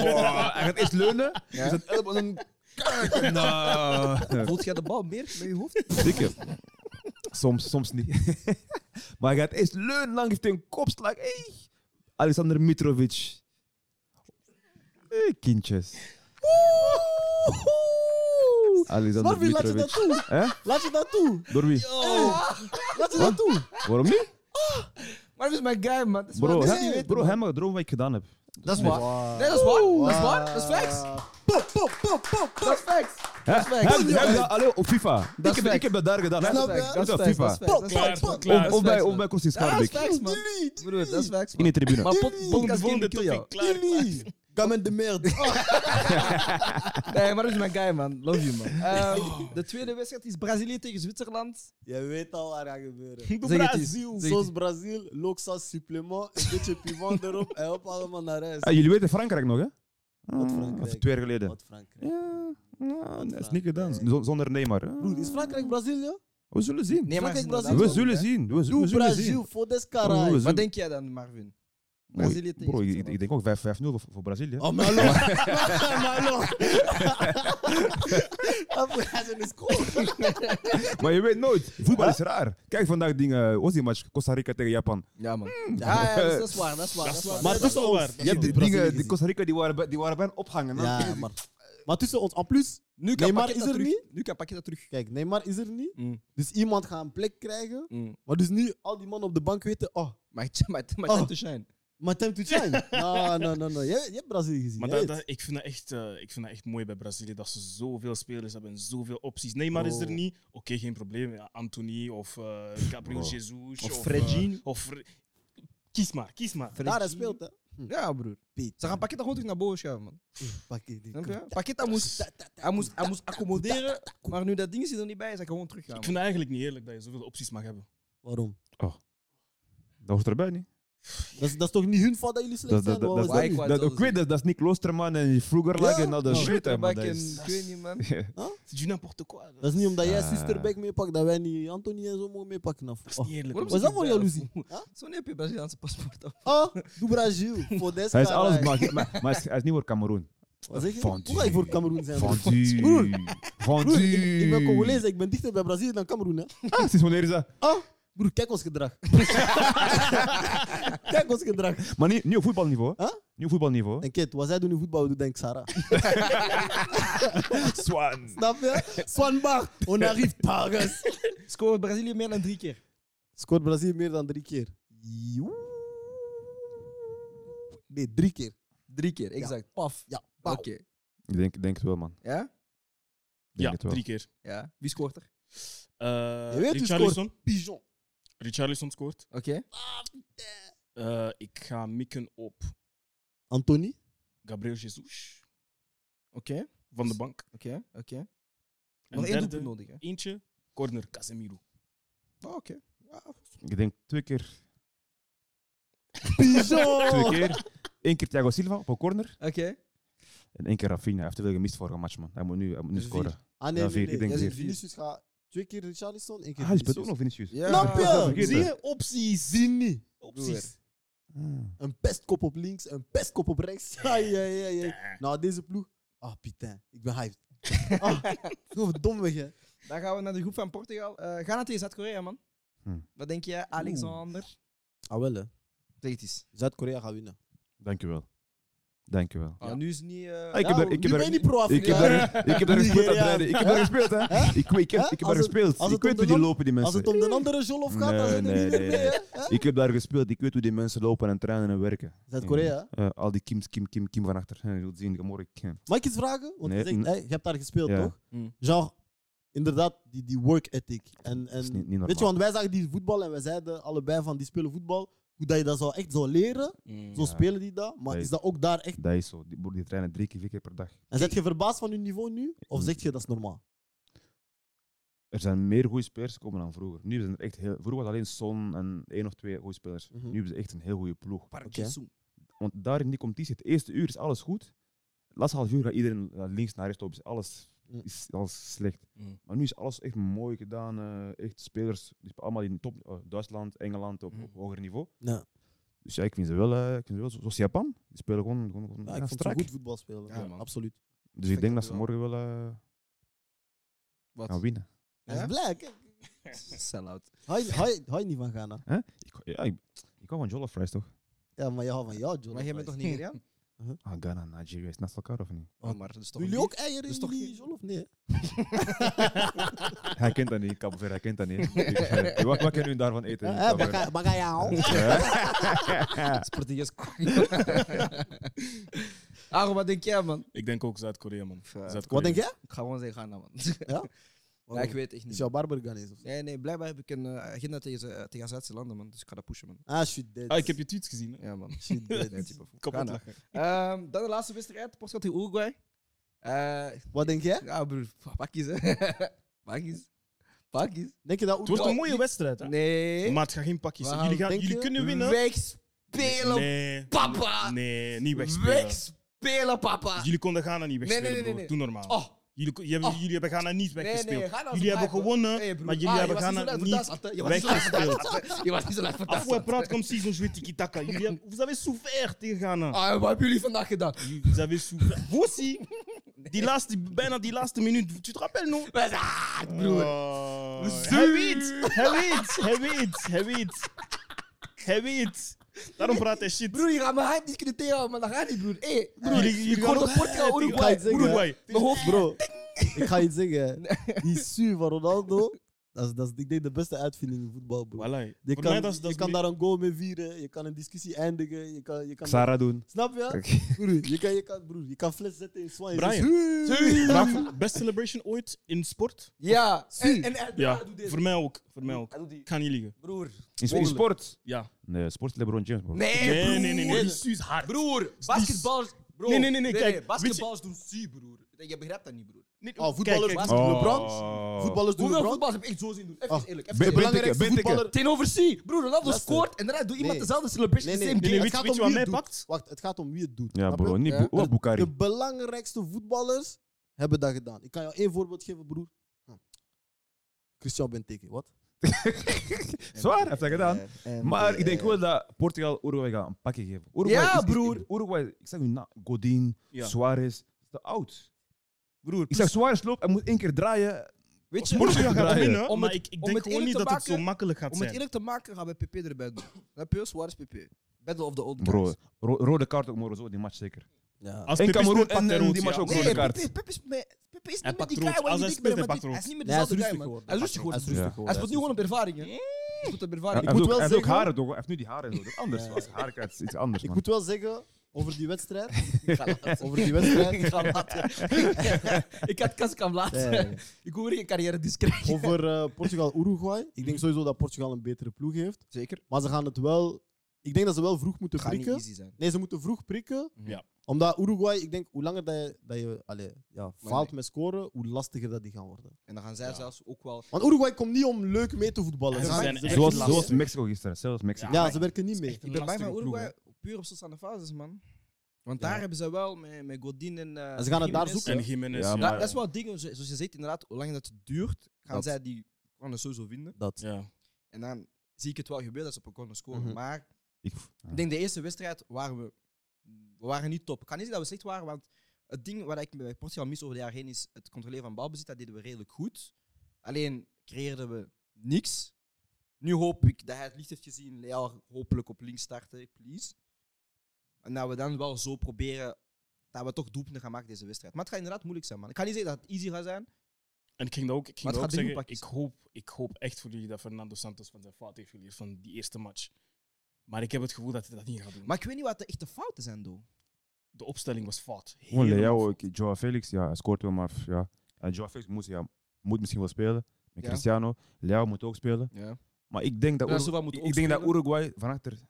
hij gaat eerst leunen, Ja. dus dat elleboog en dan... Kijk, nou. Voelt jij de bal meer met je hoofd? Dikke. Soms, soms niet. maar hij gaat eerst leunen, dan geeft hij een kopslag. Hey. Alexander Mitrovic. Hey, kindjes. Alexander Marvin, laat je dat Mitrovic. toe. Hè? Laat je dat toe. Door wie? Oh. Laat je dat toe. Waarom niet? Ah, Maar dat is mijn guy, man. Dat is Bro, waar, dat is hè? niet weten, bro man. helemaal gedroomd wat ik gedaan heb. Dat is waar. Nee, dat is waar. Dat is waar. Dat is facts. Pop, pop, pop, pop, Dat pop. is facts. Hè? is facts. Heb- Dat is heb facts. dat alleen op FIFA. Ik is heb, facts. ik heb dat daar gedaan. hè? Dat is Snap facts. je? Niet op Dat is facts. FIFA. Dat is facts. Klaar, Dat is facts. klaar. Of bij, of man. bij Kostin Ja, Dat is Schaarbeek. facts, man. Broer, dat is facts, In man. de tribune. Maar pod- podcast game Volgende kill jou. topic, klaar. Jullie. Gamin de merde. Nee, maar dat is mijn guy, man. Love you, man. Ehm, de tweede wedstrijd is Brazilië tegen Zwitserland. Je weet al wat er gaat gebeuren. Zeg het eens. Brazil, Zeg zoals Brazil, loksas supplement, een beetje pivot erop en hop allemaal naar huis. Ah, jullie weten Frankrijk nog, hè? Wat Ah, Frankrijk? Of twee jaar geleden. Wat Frankrijk. Ja, nou, dat is Frankrijk. niet gedaan. Z- Zonder Neymar. hè? Broer, is Frankrijk Brazilië? We zullen zien. Nee, maar Frankrijk, het is Brazilië. we inderdaad zo, zullen hè. zien. We, Doe we zullen zien. Brazil voor des Oh, we carai. zullen- Wat denk jij dan, Marvin? Brazilië tegen Bro, ik, Zwitserland. ik denk ook 5-5-0 voor, voor Brazilië. Oh, maar hallo. Maar hallo. Après, hij is in de school. Maar je weet nooit. Voetbal is raar. Kijk vandaag dingen. Hoe was die match? Costa Rica tegen Japan. Ja, man. Ja, ja, dat is- dat is waar, dat is waar. Dat Dat is is waar. waar. Maar dat tussen is wel waar. ons, Dat Je hebt die Brazilië dingen, die gezien. Costa Rica, die waren, bij- die waren bijna ophangen. hè? Ja, maar, maar tussen ons, en plus, Nu kan Neymar Paketa is er terug. niet. Nu kan Paketa terug. Kijk, Neymar is er niet. Mm. Dus iemand gaat een plek krijgen. Mm. Maar dus nu al die mannen op de bank weten, oh, Maar maar- maar Oh. time to shine. my time to shine. no, no, no, no. Je, je hebt Brazilië gezien. Maar jij dat, weet. dat- ik, vind dat echt, eh, ik vind dat echt mooi bij Brazilië, dat ze zoveel spelers hebben, en zoveel opties. Neymar is er Oh. niet, oké, geen probleem. Ja, Anthony of eh Gabriel bro. Jesus. Of eh, Fredjin. of Fre- kies maar, kies maar. Daar hij speelt, hè. Ja, broer. Piet, Ze gaan Paketa gewoon terug naar boven schuiven, man. pak je die. Snap je? Paketa moest, hij moest, hij moest accommoderen, maar nu dat ding zit er niet bij, is hij gewoon teruggaan. Ik vind het eigenlijk niet eerlijk dat je zoveel opties mag hebben. Waarom? Dat hoort erbij niet. Dat is, dat is toch niet hun fout dat jullie slecht Dat, zijn? dat, dat, dat, Wat was dat- nu? wou dat, het ik wel weet dat, dat is niet Kloosterman en Vloegerlag Ja, en al dat man. shit. hè, maar Quarterback dat is- en ik weet niet, man. C'est du n'importe quoi. Dat is niet omdat jij Ah. Sisterbeck meepakt dat wij niet Anthony en zo mogen meepakken. Of, Dat oh. is niet eerlijk. Waarom Wat is dat voor jaloezie? Zo niet op je Braziliaanse paspoort. af. Oh, doe Brazil. Voor des Hij is alles maar, carai. maar, maar hij is- hij is niet voor Cameroen. Wat zeg je? Hoe Fondue. ga ik voor Cameroen zijn? Broer, Fondue. broer, ik, Fondue. ik ben Congolees, ik ben dichter bij Brazilië dan Cameroen. Hè. Ah, sinds wanneer is dat? Broer, kijk ons gedrag. kijk ons gedrag. Maar niet, niet op voetbalniveau. hè? Huh? Niet op voetbalniveau. En kijk, wat zij doen in voetbal, doet denk ik Sarah. Swan. Snap je? Swanbach, on arrive Paris. Scoort Brazilië meer dan drie keer. Scoort Brazilië meer dan drie keer? Joe. Nee, drie keer. Drie keer, exact. Paf. Ja, Oké. Oké. Ik denk, denk het wel, man. Ja? Denk Ja, het wel. drie keer. Ja. Wie scoort er? Eh Je weet wie Richarlison. Pigeon. Richarlison scoort. Oké. Eh, ik ga mikken op Anthony. Gabriel Jesus Oké. van de bank. Oké. Oké. En Nog één derde, doelpunt nodig, hè? eentje, corner Casemiro. Oh, oké. Ik denk twee keer. Twee Pigeon! keer. Eén keer Thiago Silva op een corner. Oké. En één keer Rafinha. Hij heeft te veel gemist vorige match, man. Hij moet nu, hij moet nu Dus scoren. vier. Ah Ja, nee, vier, nee, ik nee. denk Ja, vier. Vinicius gaat twee keer Richarlison, één keer Ah, hij speelt ook nog Vinicius. Vinicius. Ja. Snap Ah, dat je? vergeten. Zie je? Opties. Zien niet. Broer. Opties. Ah. Een pestkop op links, een pestkop op rechts. Ai, ai, ai, ai. Nou, deze ploeg. Ah, putain. Ik ben hyped. Ah, oh, domweg, hè. Dan gaan we naar de groep van Portugal. Eh ga naar tegen Zuid-Korea, man. Hm. Wat denk jij, Alexander? Ah, wel, hè. Zeg het eens. Zuid-Korea gaat winnen. Dank je wel. Dank je wel. Ah, Nu is het niet... eh, Ah, ik heb Ja, daar- ik Nou, nu heb ben daar- je niet Ik heb pro-Afrika. hè. daar, ik heb daar gespeeld, Nigeria. Andrade. Ik heb daar gespeeld, hè? Ik, ik heb, ik heb Als daar het- gespeeld. Ik als het weet hoe om de die land- lopen, die Als mensen. het om de andere Jolof gaat, dan Nee, zijn er nee, niet meer nee. mee, hè. Hè? Ik heb daar gespeeld. Ik weet hoe die mensen lopen en trainen en werken. Zuid-Korea, hè. Eh, al die Kims, Kim, Kim, Kim van achter. Eh, Je wilt zien, je morgen. Mag ik iets vragen? Want Nee, je, zegt, mm. hey, je hebt daar gespeeld, Ja. toch? Mm. Genre, inderdaad, die, die work ethic. En, en is niet- niet weet je, normaal. want wij zagen die voetbal en wij zeiden allebei van die spelen voetbal. Hoe dat je dat zou echt zou leren, Mm. zo Ja. spelen die dat. Maar Nee. is dat ook daar echt... Dat is zo. Die, broer, die trainen drie keer, vier keer per dag. En zet je verbaasd van hun niveau nu? Of Mm. zeg je dat is normaal? Er zijn meer goede spelers gekomen dan vroeger. Nu zijn er echt heel, vroeger was alleen Son en één of twee goede spelers. Mhm. Nu hebben ze echt een heel goede ploeg. Park Oké. Ji-sung. Want daar in die competitie, het eerste uur is alles goed. Het laatste half uur gaat iedereen naar links naar rechts op. Is Alles Mm. is alles slecht. Mm. Maar nu is alles echt mooi gedaan. eh, echt spelers, die spelen allemaal in top eh, Duitsland, Engeland op, Mm. op hoger niveau. Ja. Dus ja, ik vind ze wel, eh, ik vind ze wel zo- zoals Japan. Die spelen gewoon, gewoon, gewoon Ja, ja, ik vond ze strak. goed voetbal spelen. Ja, Ja, man. absoluut. Dus ik denk dat Respect ze morgen wel eh, Wat? gaan winnen. Hij is blij, kijk. Sell-out. Hou je- hou je- hou je niet van Ghana? Ik, ja, ik, ik hou van Jollof Rice toch? Ja, maar je houdt van jou, Jolof. Maar jij bent toch rice. Nigeriaan? Ah, Ghana en Nigeria is naast elkaar of niet? Oh, maar dat is toch Doen jullie lief? ook eieren Dus in toch die geen- Jolof? Nee. hij kent dat niet, Cabo Verde, hij kent dat niet. Ik- wat, wat kan u daarvan Eh, eten? in Cabo Verde? Bagayao. dus, Dat is Portugees. Aaron, wat denk jij, man? Ik denk ook Zuid-Korea, man. Wat Wat Zuid-Korea. denk jij? Ik ga gewoon zeggen, Ghana, man. Ja, ik Waarom? weet echt Is niet. jouw barber Ghanese of zo? Nee, nee, blijkbaar heb ik een eh, agenda tegen, ze- tegen Aziatische landen, man. Dus ik ga dat pushen, man. Ah, shit, dead. Ah, ik heb je tweets gezien. Hè? Ja, man. Shit, Nee, dead. type voor Kapot Ghana. lachen. Ehm, dan de laatste wedstrijd, Portugal tegen Uruguay. Eh Wat denk jij? ja, broer, pakjes, hè. Pakjes. Pakjes. Denk je dat Het wordt Oekraïne- een mooie wedstrijd, hè? Nee. Maar het gaat geen pakjes. zijn. Waarom Jullie, gaan, denk jullie je? kunnen winnen. Wegspelen, nee. papa! Nee, niet wegspelen. Wegspelen, papa! Jullie konden Ghana niet nee, nee, wegspelen, nee, broer. nee. Doe normaal. Oh, Jullie, kon- jullie hebben, Oh. jullie hebben Ghana niet nee, nee, weggespeeld. Ghana was jullie hebben blijven. gewonnen, Hey, broer. maar jullie Ah, hebben je was Ghana niet zo niet laat verdacht, hè. Je was niet zo laat weggespeeld. verdacht. Je was niet zo laat verdacht. Afwa praat comme s'ils ont joué tiki-taka. Jullie hebben- Vous avez souffert tegen Ghana. Ah, wat hebben jullie vandaag gedaan? Vous avez souffert. Vous aussi. Die laatste, bijna die laatste minuut. Tu te rappelles, non? Wij zijn- Ah, broer. Oh. Broer. Zuur. Hij weet. Hij weet. Hij weet. Hij weet. Hij weet. Daarom praat hij shit. Broer, je gaat mijn hype niet kunnen tegenhouden, maar dat gaat niet, broer. Hé, broer. Jullie- jullie ik gaan hoorde ook- Portugal, tegen Uruguay. Ik ga het zeggen, Uruguay. Mijn hoofd. Bro, ik ga je iets zeggen. Die su van Ronaldo, dat is, dat is ik denk de beste uitvinding in voetbal, bro. Voilà. Je Voor kan, mij dat is- dat je is kan me- daar een goal mee vieren, je kan een discussie eindigen, je kan... Je kan eh, Xara doen. Snap je? Oké. Broer, je kan, je kan, broer, je kan fles zetten in Swan. Brian. Su. Bravo. Best celebration ooit in sport? Ja, en, Zuur. en, en Ja, doe dit. voor mij ook. Voor mij ook. Hij doet die. Ik ga niet liegen. Broer. In, in sport? Ja. Nee, sport is LeBron James, bro. Nee, Nee, nee, nee. nee, broer. Die suus hard. Broer, basketballers... Bro. Nee, nee, nee, nee, kijk, weet je- basketballers doen su, broer. Je begrijpt dat niet, broer. Nee, Oh, voetballers kijk, kijk. doen LeBron. Oh. Voetballers doen Hoeveel LeBron. voetballers heb ik echt zo zien doen? Even Ah, eerlijk. ben- ben Even tikken, belangrijkste ben tikken. voetballer tegenover C. Broer, Ronaldo Luister. scoort en daarna doet iemand Nee. dezelfde celebration. Nee, nee, same nee, game. weet- het gaat weet om je wat wie mij het doet. pakt? Wacht, het gaat om wie het doet. Ja, snap je? bro. Niet oh, Ja. Bu- wat Bukari. De belangrijkste voetballers hebben dat gedaan. Ik kan jou één voorbeeld geven, broer. Hm. Christian Benteke, wat? Zwaar, heeft hij gedaan. En- Maar en- ik denk wel dat Portugal Uruguay gaat een pakje geven. Ja, is- broer. Uruguay, ik zeg nu na, Godin, Ja. Suarez, te oud. Broer, Ik zag Suarez lopen, hij moet één keer draaien. weet je, Moet om je het- gaan draaien. winnen, om maar het- ik, ik om denk het gewoon eerlijk niet te dat het zo maken- makkelijk Om gaat het zijn. eerlijk te maken, gaan we PP erbij doen. Dan Heb je Suarez PP? Battle of the Old Bro, Guys. ro- rode kaart ook Morozo, die match zeker. Ja. Als en Pep is Cameroen speelt, pakt en- hij en rood, die match ja. ook Nee, rode PP kaart. PP is met- PP is Hij niet meer pakt die rood. guy waar Als je hij denkt bij speelt, hij Real pakt Madrid. Hij is rood. niet meer Nee, hij is dezelfde rustig guy, man. geworden. Hij is rustig Hij geworden. is rustig Ja. Hij geworden. speelt nu gewoon op ervaring, hè. Hij speelt op Hij, ervaring. hij moet heeft ook- wel hij heeft ook zeggen- haren, toch? Hij heeft nu die haren. Zo. Dat is anders. Als haarkaart is iets anders, Ik man. moet wel zeggen, over die wedstrijd. Ik ga laten. Over die wedstrijd. Ik ga laten. Ik had Kaskam laten. Nee. Ik hoor geen carrière dus krijgen. eh, Over eh, Portugal-Uruguay. Ik denk sowieso dat Portugal een betere ploeg heeft. Zeker. Maar ze gaan het wel. Ik denk dat ze wel vroeg moeten Gaat niet prikken. easy zijn. Nee, ze moeten vroeg prikken. Ja. Omdat Uruguay, ik denk, hoe langer dat je, dat je allee, ja, faalt nee. met scoren, hoe lastiger dat die gaan worden. En dan gaan zij zelfs ook wel... Want Uruguay komt niet om leuk mee te voetballen. En ze Ze zijn maken- echt Zoals, lastig. zoals Mexico gisteren. Zelfs Mexico. ja, ze werken niet mee. Ik ben bij van Uruguay puur op sociale fases, man. Want daar hebben ze wel met, met Godin en... eh, En ze gaan het daar Jiménez. zoeken. En Jiménez. Ja, Ja, Da- dat is wel dingen, zo- zoals je zegt, inderdaad, hoe lang dat het duurt, gaan Dat. zij die corner sowieso vinden. Dat. Ja. En dan zie ik het wel gebeuren dat ze op een corner scoren. Mhm. Maar Ik, ik denk de eerste wedstrijd waren we, we waren niet top. Ik kan niet zeggen dat we slecht waren, want het ding wat ik bij Portugal mis over de jaren heen is het controleren van balbezit. Dat deden we redelijk goed. Alleen creëerden we niks. Nu hoop ik dat hij het licht heeft gezien. Leal hopelijk op links starten, please. En dat we dan wel zo proberen dat we toch doelpunten gaan maken deze wedstrijd. Maar het gaat inderdaad moeilijk zijn, man. Ik kan niet zeggen dat het easy gaat zijn. En ik ging dat ook, ik Maar het ging dat ook gaat drie pakjes. zeggen, ik hoop, ik hoop echt voor jullie dat Fernando Santos van zijn fout heeft geleerd van die eerste match. Maar ik heb het gevoel dat hij dat niet gaat doen. Maar ik weet niet wat de echte fouten zijn, doe. de opstelling was fout. Oh, gewoon Helemaal Leao, fout. ik- Joao Felix, ja, hij scoort wel, maar f- ja. En Joao Felix moet, ja, moet misschien wel spelen. Met Ja. Cristiano. Leao moet ook spelen. Ja. Maar ik denk dat, Ja, Uru- Silva moet ik ook ik denk dat spelen. Uruguay van achter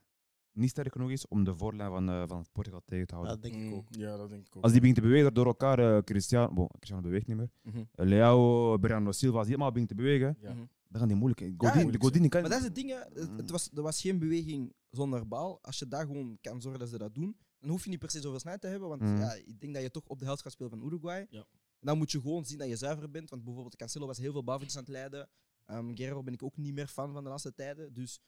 niet sterk genoeg is om de voorlijn van, eh, van Portugal tegen te Ja, houden. dat denk ik ook. Mm, Ja, dat denk ik ook. Als die begint te bewegen door elkaar, eh, Cristiano, bon, Cristiano beweegt niet meer. Mhm. Eh, Leao, Bernardo Silva, als die allemaal begint te bewegen, Ja. Mhm. dan gaan die moeilijk. Godin, moeilijk Godin kan Maar dat is het ding, hè. het, het was, er was geen beweging zonder bal. Als je daar gewoon kan zorgen dat ze dat doen, dan hoef je niet per se zoveel snelheid te hebben. Want Mhm. ja, ik denk dat je toch op de helft gaat spelen van Uruguay. Ja. En dan moet je gewoon zien dat je zuiver bent. Want bijvoorbeeld Cancelo was heel veel balverlies aan het leiden. Ehm Guerrero ben ik ook niet meer fan van de laatste tijden. Dus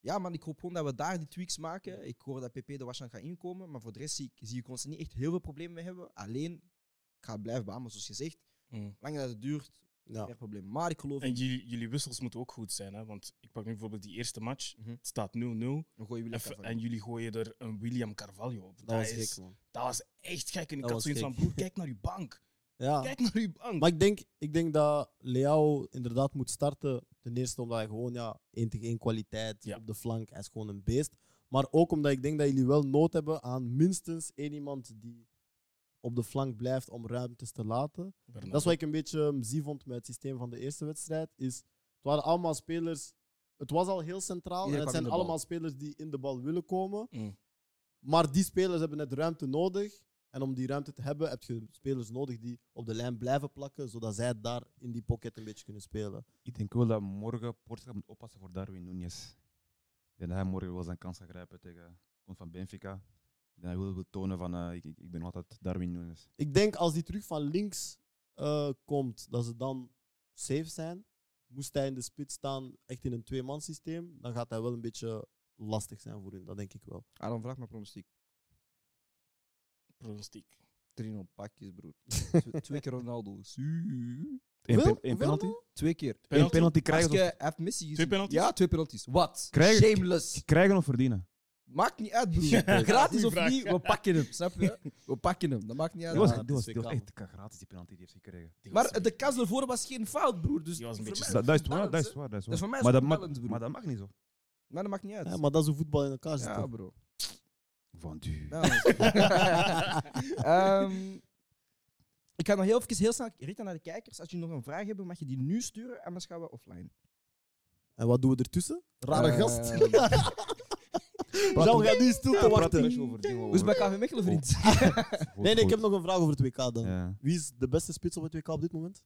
ja, man, ik hoop gewoon dat we daar die tweaks maken. Ik hoor dat PP er waarschijnlijk gaat inkomen. Maar voor de rest zie ik, zie ik ons niet echt heel veel problemen mee hebben. Alleen, ik ga het blijven beamen, zoals gezegd. Mm. Langer dat het duurt, Ja. meer problemen. Maar ik geloof, En jullie, jullie wissels moeten ook goed zijn, hè? want ik pak nu bijvoorbeeld die eerste match. Mhm. Het staat 0-0 dan gooi je en, Willem f- Carvalho. en jullie gooien er een William Carvalho op. Dat, Dat was is, gek, man. dat was echt gek. En ik Dat had was zoiets van, gek. broer, kijk naar uw bank. Ja. Kijk naar uw bank. Maar ik denk, ik denk dat Leao inderdaad moet starten. Ten eerste omdat hij gewoon ja, 1 tegen 1 kwaliteit Ja. op de flank. Hij is gewoon een beest. Maar ook omdat ik denk dat jullie wel nood hebben aan minstens één iemand die op de flank blijft om ruimtes te laten. Bernardo. Dat is wat ik een beetje ehm, zie vond met het systeem van de eerste wedstrijd. Is, het waren allemaal spelers... Het was al heel centraal. Iedereen en kwam in het zijn de bal. allemaal spelers die in de bal willen komen. Mm. Maar die spelers hebben net ruimte nodig. En om die ruimte te hebben, heb je spelers nodig die op de lijn blijven plakken, zodat zij daar in die pocket een beetje kunnen spelen. Ik denk wel dat morgen Portugal moet oppassen voor Darwin Nunes. Ik denk dat hij morgen wel zijn kans gaat grijpen tegen komt van Benfica. Ik denk dat hij wil, wil tonen van eh, ik, ik ik ben altijd Darwin Nunes. Ik denk als die terug van links eh, komt, dat ze dan safe zijn. Moest hij in de spits staan, echt in een twee-man systeem, dan gaat hij wel een beetje lastig zijn voor hun. Dat denk ik wel. Adam, vraag maar pronostiek. Pronostiek. 3-0 pakjes, broer. Tw- Twee keer Ronaldo. Su- Eén Wil- pen- één wil penalty? wel? Twee keer. Eén Penalty? penalty Als krijgen, je- of, hij heeft Messi gezien. Twee penalties? Ja, twee penalties. Wat? Krijg- Shameless. krijgen of verdienen? Maakt niet uit, broer. Gratis Goeie of vraag. niet, we pakken hem. Snap je? We pakken hem. Dat maakt niet uit. Dat was, dat dat is was, dat was WK, echt gratis die penalty die hij heeft gekregen. Die was Maar de kans ervoor was geen fout, broer. Dus Die was een voor beetje mij Dat, dat is balance, waar, dat is hè. waar. Dat is Dat is voor waar. mij Maar, zo'n dat mag, balance, broer. maar dat mag niet zo. Maar dat maakt niet uit. Ja, maar dat is hoe voetbal in elkaar zit. Ja, toch? bro. Van du. Ja, dat is- Ehm, ik ga nog heel even heel snel richten naar de kijkers. Als jullie nog een vraag hebben, mag je die nu sturen, anders gaan we offline. En wat doen we ertussen? Rare Eh, gast. Jean praten- gaat nu stil te wachten. Hoe is het Dus bij KV Mechelen, vriend? Nee, nee, ik heb nog een vraag over het WK dan. Ja. Wie is de beste spits op het WK op dit moment?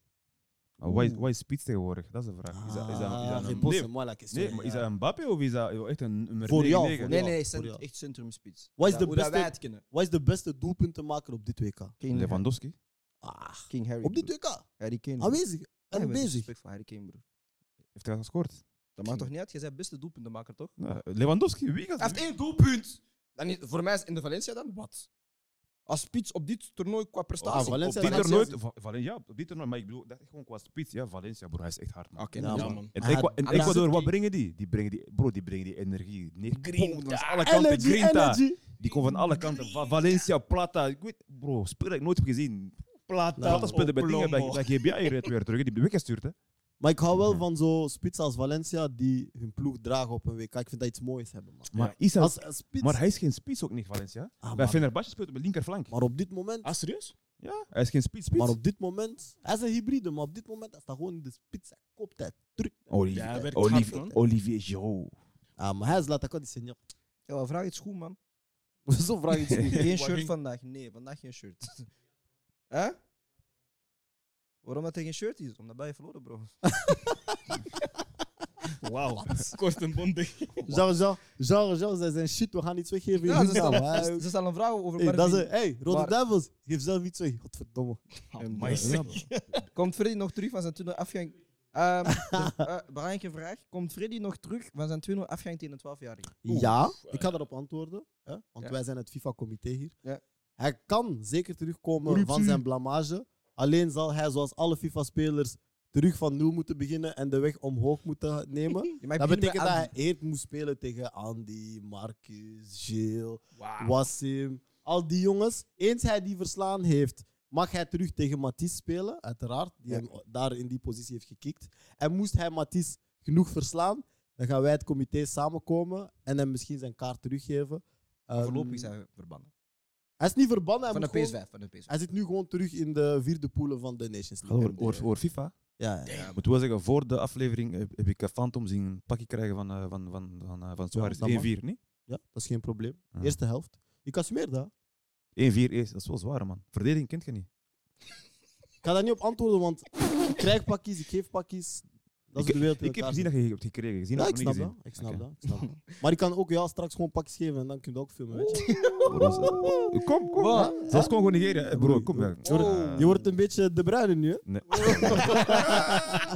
Maar wat is, wat is spits tegenwoordig? Dat is de vraag. Is dat, is dat, is dat Ah, een, reposte, nee, moi la question. nee, maar is dat een eh, Mbappé of is dat echt een nummer Voor jou, 99? voor Nee, Ja, nee, cent- ja. echt centrumspits. Wat is Ja, de hoe dat beste- wij het kennen. Wat is de beste doelpuntenmaker op dit WK? King, Lewandowski? Ah, King Harry. op dit broer. WK? Harry Kane. broer. Aanwezig Ja, en we hebben bezig. respect voor Harry Kane, broer. Heeft hij gescoord? Dat maakt toch niet uit? Jij bent beste doelpuntenmaker, toch? Nou, Lewandowski, wie gaat Hij heeft één doelpunt. Dan is, voor mij is in de Valencia dan wat? Als spits op dit toernooi qua prestatie. Ah, Valencia, op dit Valencia toernooi, is- Va- Valen- ja, op dit toernooi, maar ik bedoel, dat is gewoon qua spits. Ja, Valencia, bro, hij is echt hard. Man. Oké, Ja, nou, Ja, man. man. En, Maar Ecuador, en Anansi- Ecuador, wat brengen die? Die brengen die, bro, die brengen die energie. Nee, Grinta, boom, langs alle kanten. Energy, Grinta. energy. Die komt van alle kanten. Va- Valencia, Plata. Ik weet, bro, speel dat ik nooit heb gezien. Plata. Nou, Plata oh. speelde bij dingen dat, dat GBI werd weer terug. Die heb ik weggestuurd, hè. Maar ik hou wel Mhm. van zo'n spits als Valencia die hun ploeg dragen op een WK. Ik vind dat iets moois hebben, man. Maar, is hij- Als, als spits. maar hij is geen spits ook niet, Valencia. Ah, Bij maar, Fenerbahce speelt hij op de linkerflank. maar op dit moment. Ah, serieus? Ja, hij is geen spits. spits. Maar op dit moment. Hij is een hybride, maar op dit moment is dat gewoon de spits. Hij koopt, hij drukt. Olivier, Ja, hij werkt hard, Olivier, man. Olivier Giroud. Ah, maar hij is laat, die senior. Ja, maar vraag iets goed, man. Zo vraag ik het niet. Geen Waar shirt ging- vandaag. Nee, vandaag geen shirt. Hè? Waarom dat er geen shirt is? Omdat wij verloren, bro. Wauw. Kort en bondig. Jean, Jean, Jean, Jean, zij zijn shit, we gaan iets weggeven. Ja, in ze Luca, stellen, maar- ze- ze stellen een vraag over Hey, dat is, Marvin. een- hey, Rode Maar- Duivels, geef zelf iets weg. Godverdomme. Amai, zeg. Komt Freddy nog terug van zijn 2-0 afgang? Ehm, de- eh, belangrijke vraag. Komt Freddy nog terug van zijn 2-0 afgang tegen een 12-jarige? Ja, ik ga daarop antwoorden, hè, want Ja. wij zijn het FIFA-comité hier. Ja. Hij kan zeker terugkomen Corruptie. van zijn blamage. Alleen zal hij, zoals alle FIFA-spelers, terug van nul moeten beginnen en de weg omhoog moeten nemen. Ja, maar ik begin bij Dat betekent dat hij Andy. eerst moest spelen tegen Andy, Marcus, Gilles, Wauw. Wassim, al die jongens. Eens hij die verslaan heeft, mag hij terug tegen Matisse spelen, uiteraard, die hem daar in die positie heeft gekikt. En moest hij Matisse genoeg verslaan, dan gaan wij het comité samenkomen en hem misschien zijn kaart teruggeven. Ehm, Voorlopig is hij verbannen. hij is niet verbannen. Hij, Van de moet gewoon- PS5. Van de PS5. hij zit nu gewoon terug in de vierde poelen van de Nations League. Over, over, over FIFA. Ja, ja. Ik moet wel zeggen, voor de aflevering heb, heb ik eh, Phantom zien een pakje krijgen van, eh, van, van, van, eh, van Suarez. dat mag. 1-4, niet? ja, dat is geen probleem. Ja. Eerste helft. Ik kasmeer dat. 1-4 is, dat is wel zwaar, man. Verdediging kent je niet. Ik ga daar niet op antwoorden, want ik krijg pakjes, ik geef pakjes. Dat is Ik- de wereld die Ik heb elkaar gezien zit. dat je hebt gekregen. Gezien Ja, heb ik ik snap, nog dat, niet ik snap Oké. dat. Ik snap dat. Maar ik kan ook ja, straks gewoon pakjes geven en dan kun je dat ook filmen. Weet je. gezien. Eh, Kom, kom. Wow. hè. Zelfs Congo Nigeria. eh, Bro, kom. eh. Je wordt, Ah. Oh. je wordt een beetje de bruine nu, hè? Nee.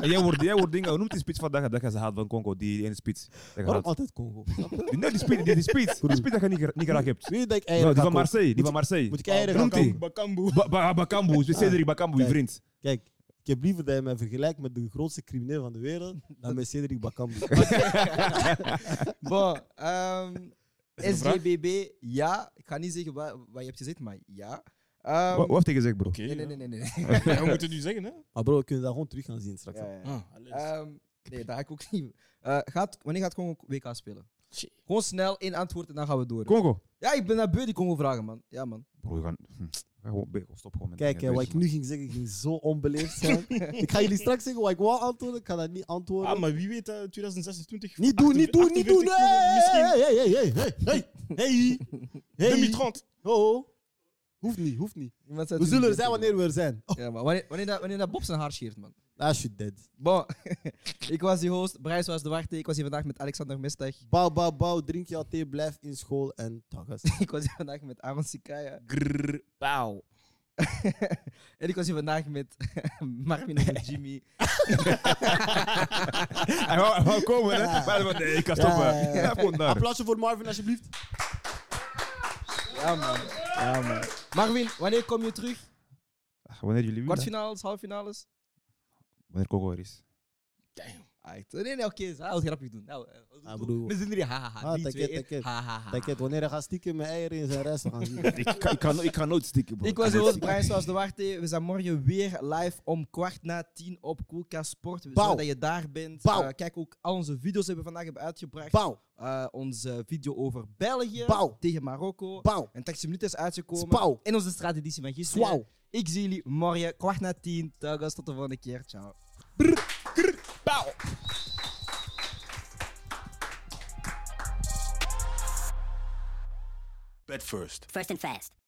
En jij wordt, jij wordt dingen, hoe noemt die spits vandaag dat je ze haalt van Congo? Die, die ene spits. Dat je Waarom haalt. altijd Congo? Snap je? Die, nee, die spits, die, die spits. Die spits dat je niet, gra- niet graag hebt. Weet je dat ik Nou, die van eieren ga kopen? Marseille. Die Moet- van Marseille. Moet ik eieren gaan Noemt kopen? die? Bakambu. Ba- ba- Bakambu, Ah. Cedric Bakambu, je Kijk. vriend. Kijk, ik heb liever dat je mij vergelijkt met de grootste crimineel van de wereld dan met Cedric Bakambu. Bon, ehm, een vraag? SGBB, ja. Ik ga niet zeggen wa- wat, je hebt gezegd, maar ja. Ehm, Wat wat heeft hij gezegd, bro? Oké. nee, nee, ja. nee, nee. nee. Ja, We moeten het nu zeggen, hè? Maar bro, we kunnen dat gewoon terug gaan zien straks. Ja, ja, ja. Ah, alles. Ehm, nee, dat ga ik ook niet. Eh, gaat, wanneer gaat Congo WK spelen? Tjie. Gewoon snel één antwoord en dan gaan we door. Congo. Ja, ik ben naar beu die Congo vragen, man. Ja, man. Bro, we gaan. hm, ga gewoon be- Stop gewoon met Kijk, hè, dingen, wat weet ik je, nu ging zeggen ging zo onbeleefd zijn. ik ga jullie straks zeggen wat ik wou antwoorden, ik ga dat niet antwoorden. Ah, maar wie weet, eh, 2026. Niet doen, niet doen, niet doen! 48 Hey, Misschien hey, hey, hey, hey, hey, hey, hey. 2030. Ho, ho. Hoeft niet, hoeft niet. Iemand zei We toen zullen er niet zijn dat- wanneer we er zijn. Oh, Ja, maar wanneer, wanneer, dat, wanneer dat Bob zijn haar scheert, man. ah, shit, dead. Bon, ik was die host. Bryce was de wachter. Ik was hier vandaag met Alexander Mestag. Bouw, bouw, bouw, drink jouw thee, blijf in school en tagas. Ik was hier vandaag met Aaron Sikaya. Grrr, pauw. en ik was hier vandaag met Marvin en met Jimmy. Hij wou- hij wou komen, Oh, hè? Maar hij zei, nee, ik kan stoppen. Ja, ja, ja. Hij komt daar. Applausje voor Marvin, alsjeblieft. Ja, man. Ja, man. Marvin, wanneer kom je terug? Ah, Wanneer jullie willen. Kwartfinales, halffinales? Wanneer Congo er is. Ah, Nee, nee, oké. Okay. Hij wil grappig doen. Nou, eh, Ah, broer. We zijn er, ha, ha, ha. Ah, Drie, take twee, it, één. take it. Ha, ha, ha. Kijk, het, wanneer hij gaat stiekem mijn eieren in zijn rest gaan zien. Ik kan, ik kan, ik kan nooit stikken, bro. Ik was de host, Brian Swaas de Warte. We zijn morgen weer live om kwart na tien op Koelkast Sport. We Pauw. zorgen dat je daar bent. Pauw. Eh, kijk ook, al onze video's hebben we vandaag hebben uitgebracht. Pauw, Eh, onze video over België Pauw. tegen Marokko. pauw, En 80 minuten is uitgekomen. Spauw. En onze strategie van gisteren. swauw. Ik zie jullie morgen kwart na tien. Telkens tot de volgende keer. Ciao. First and fast.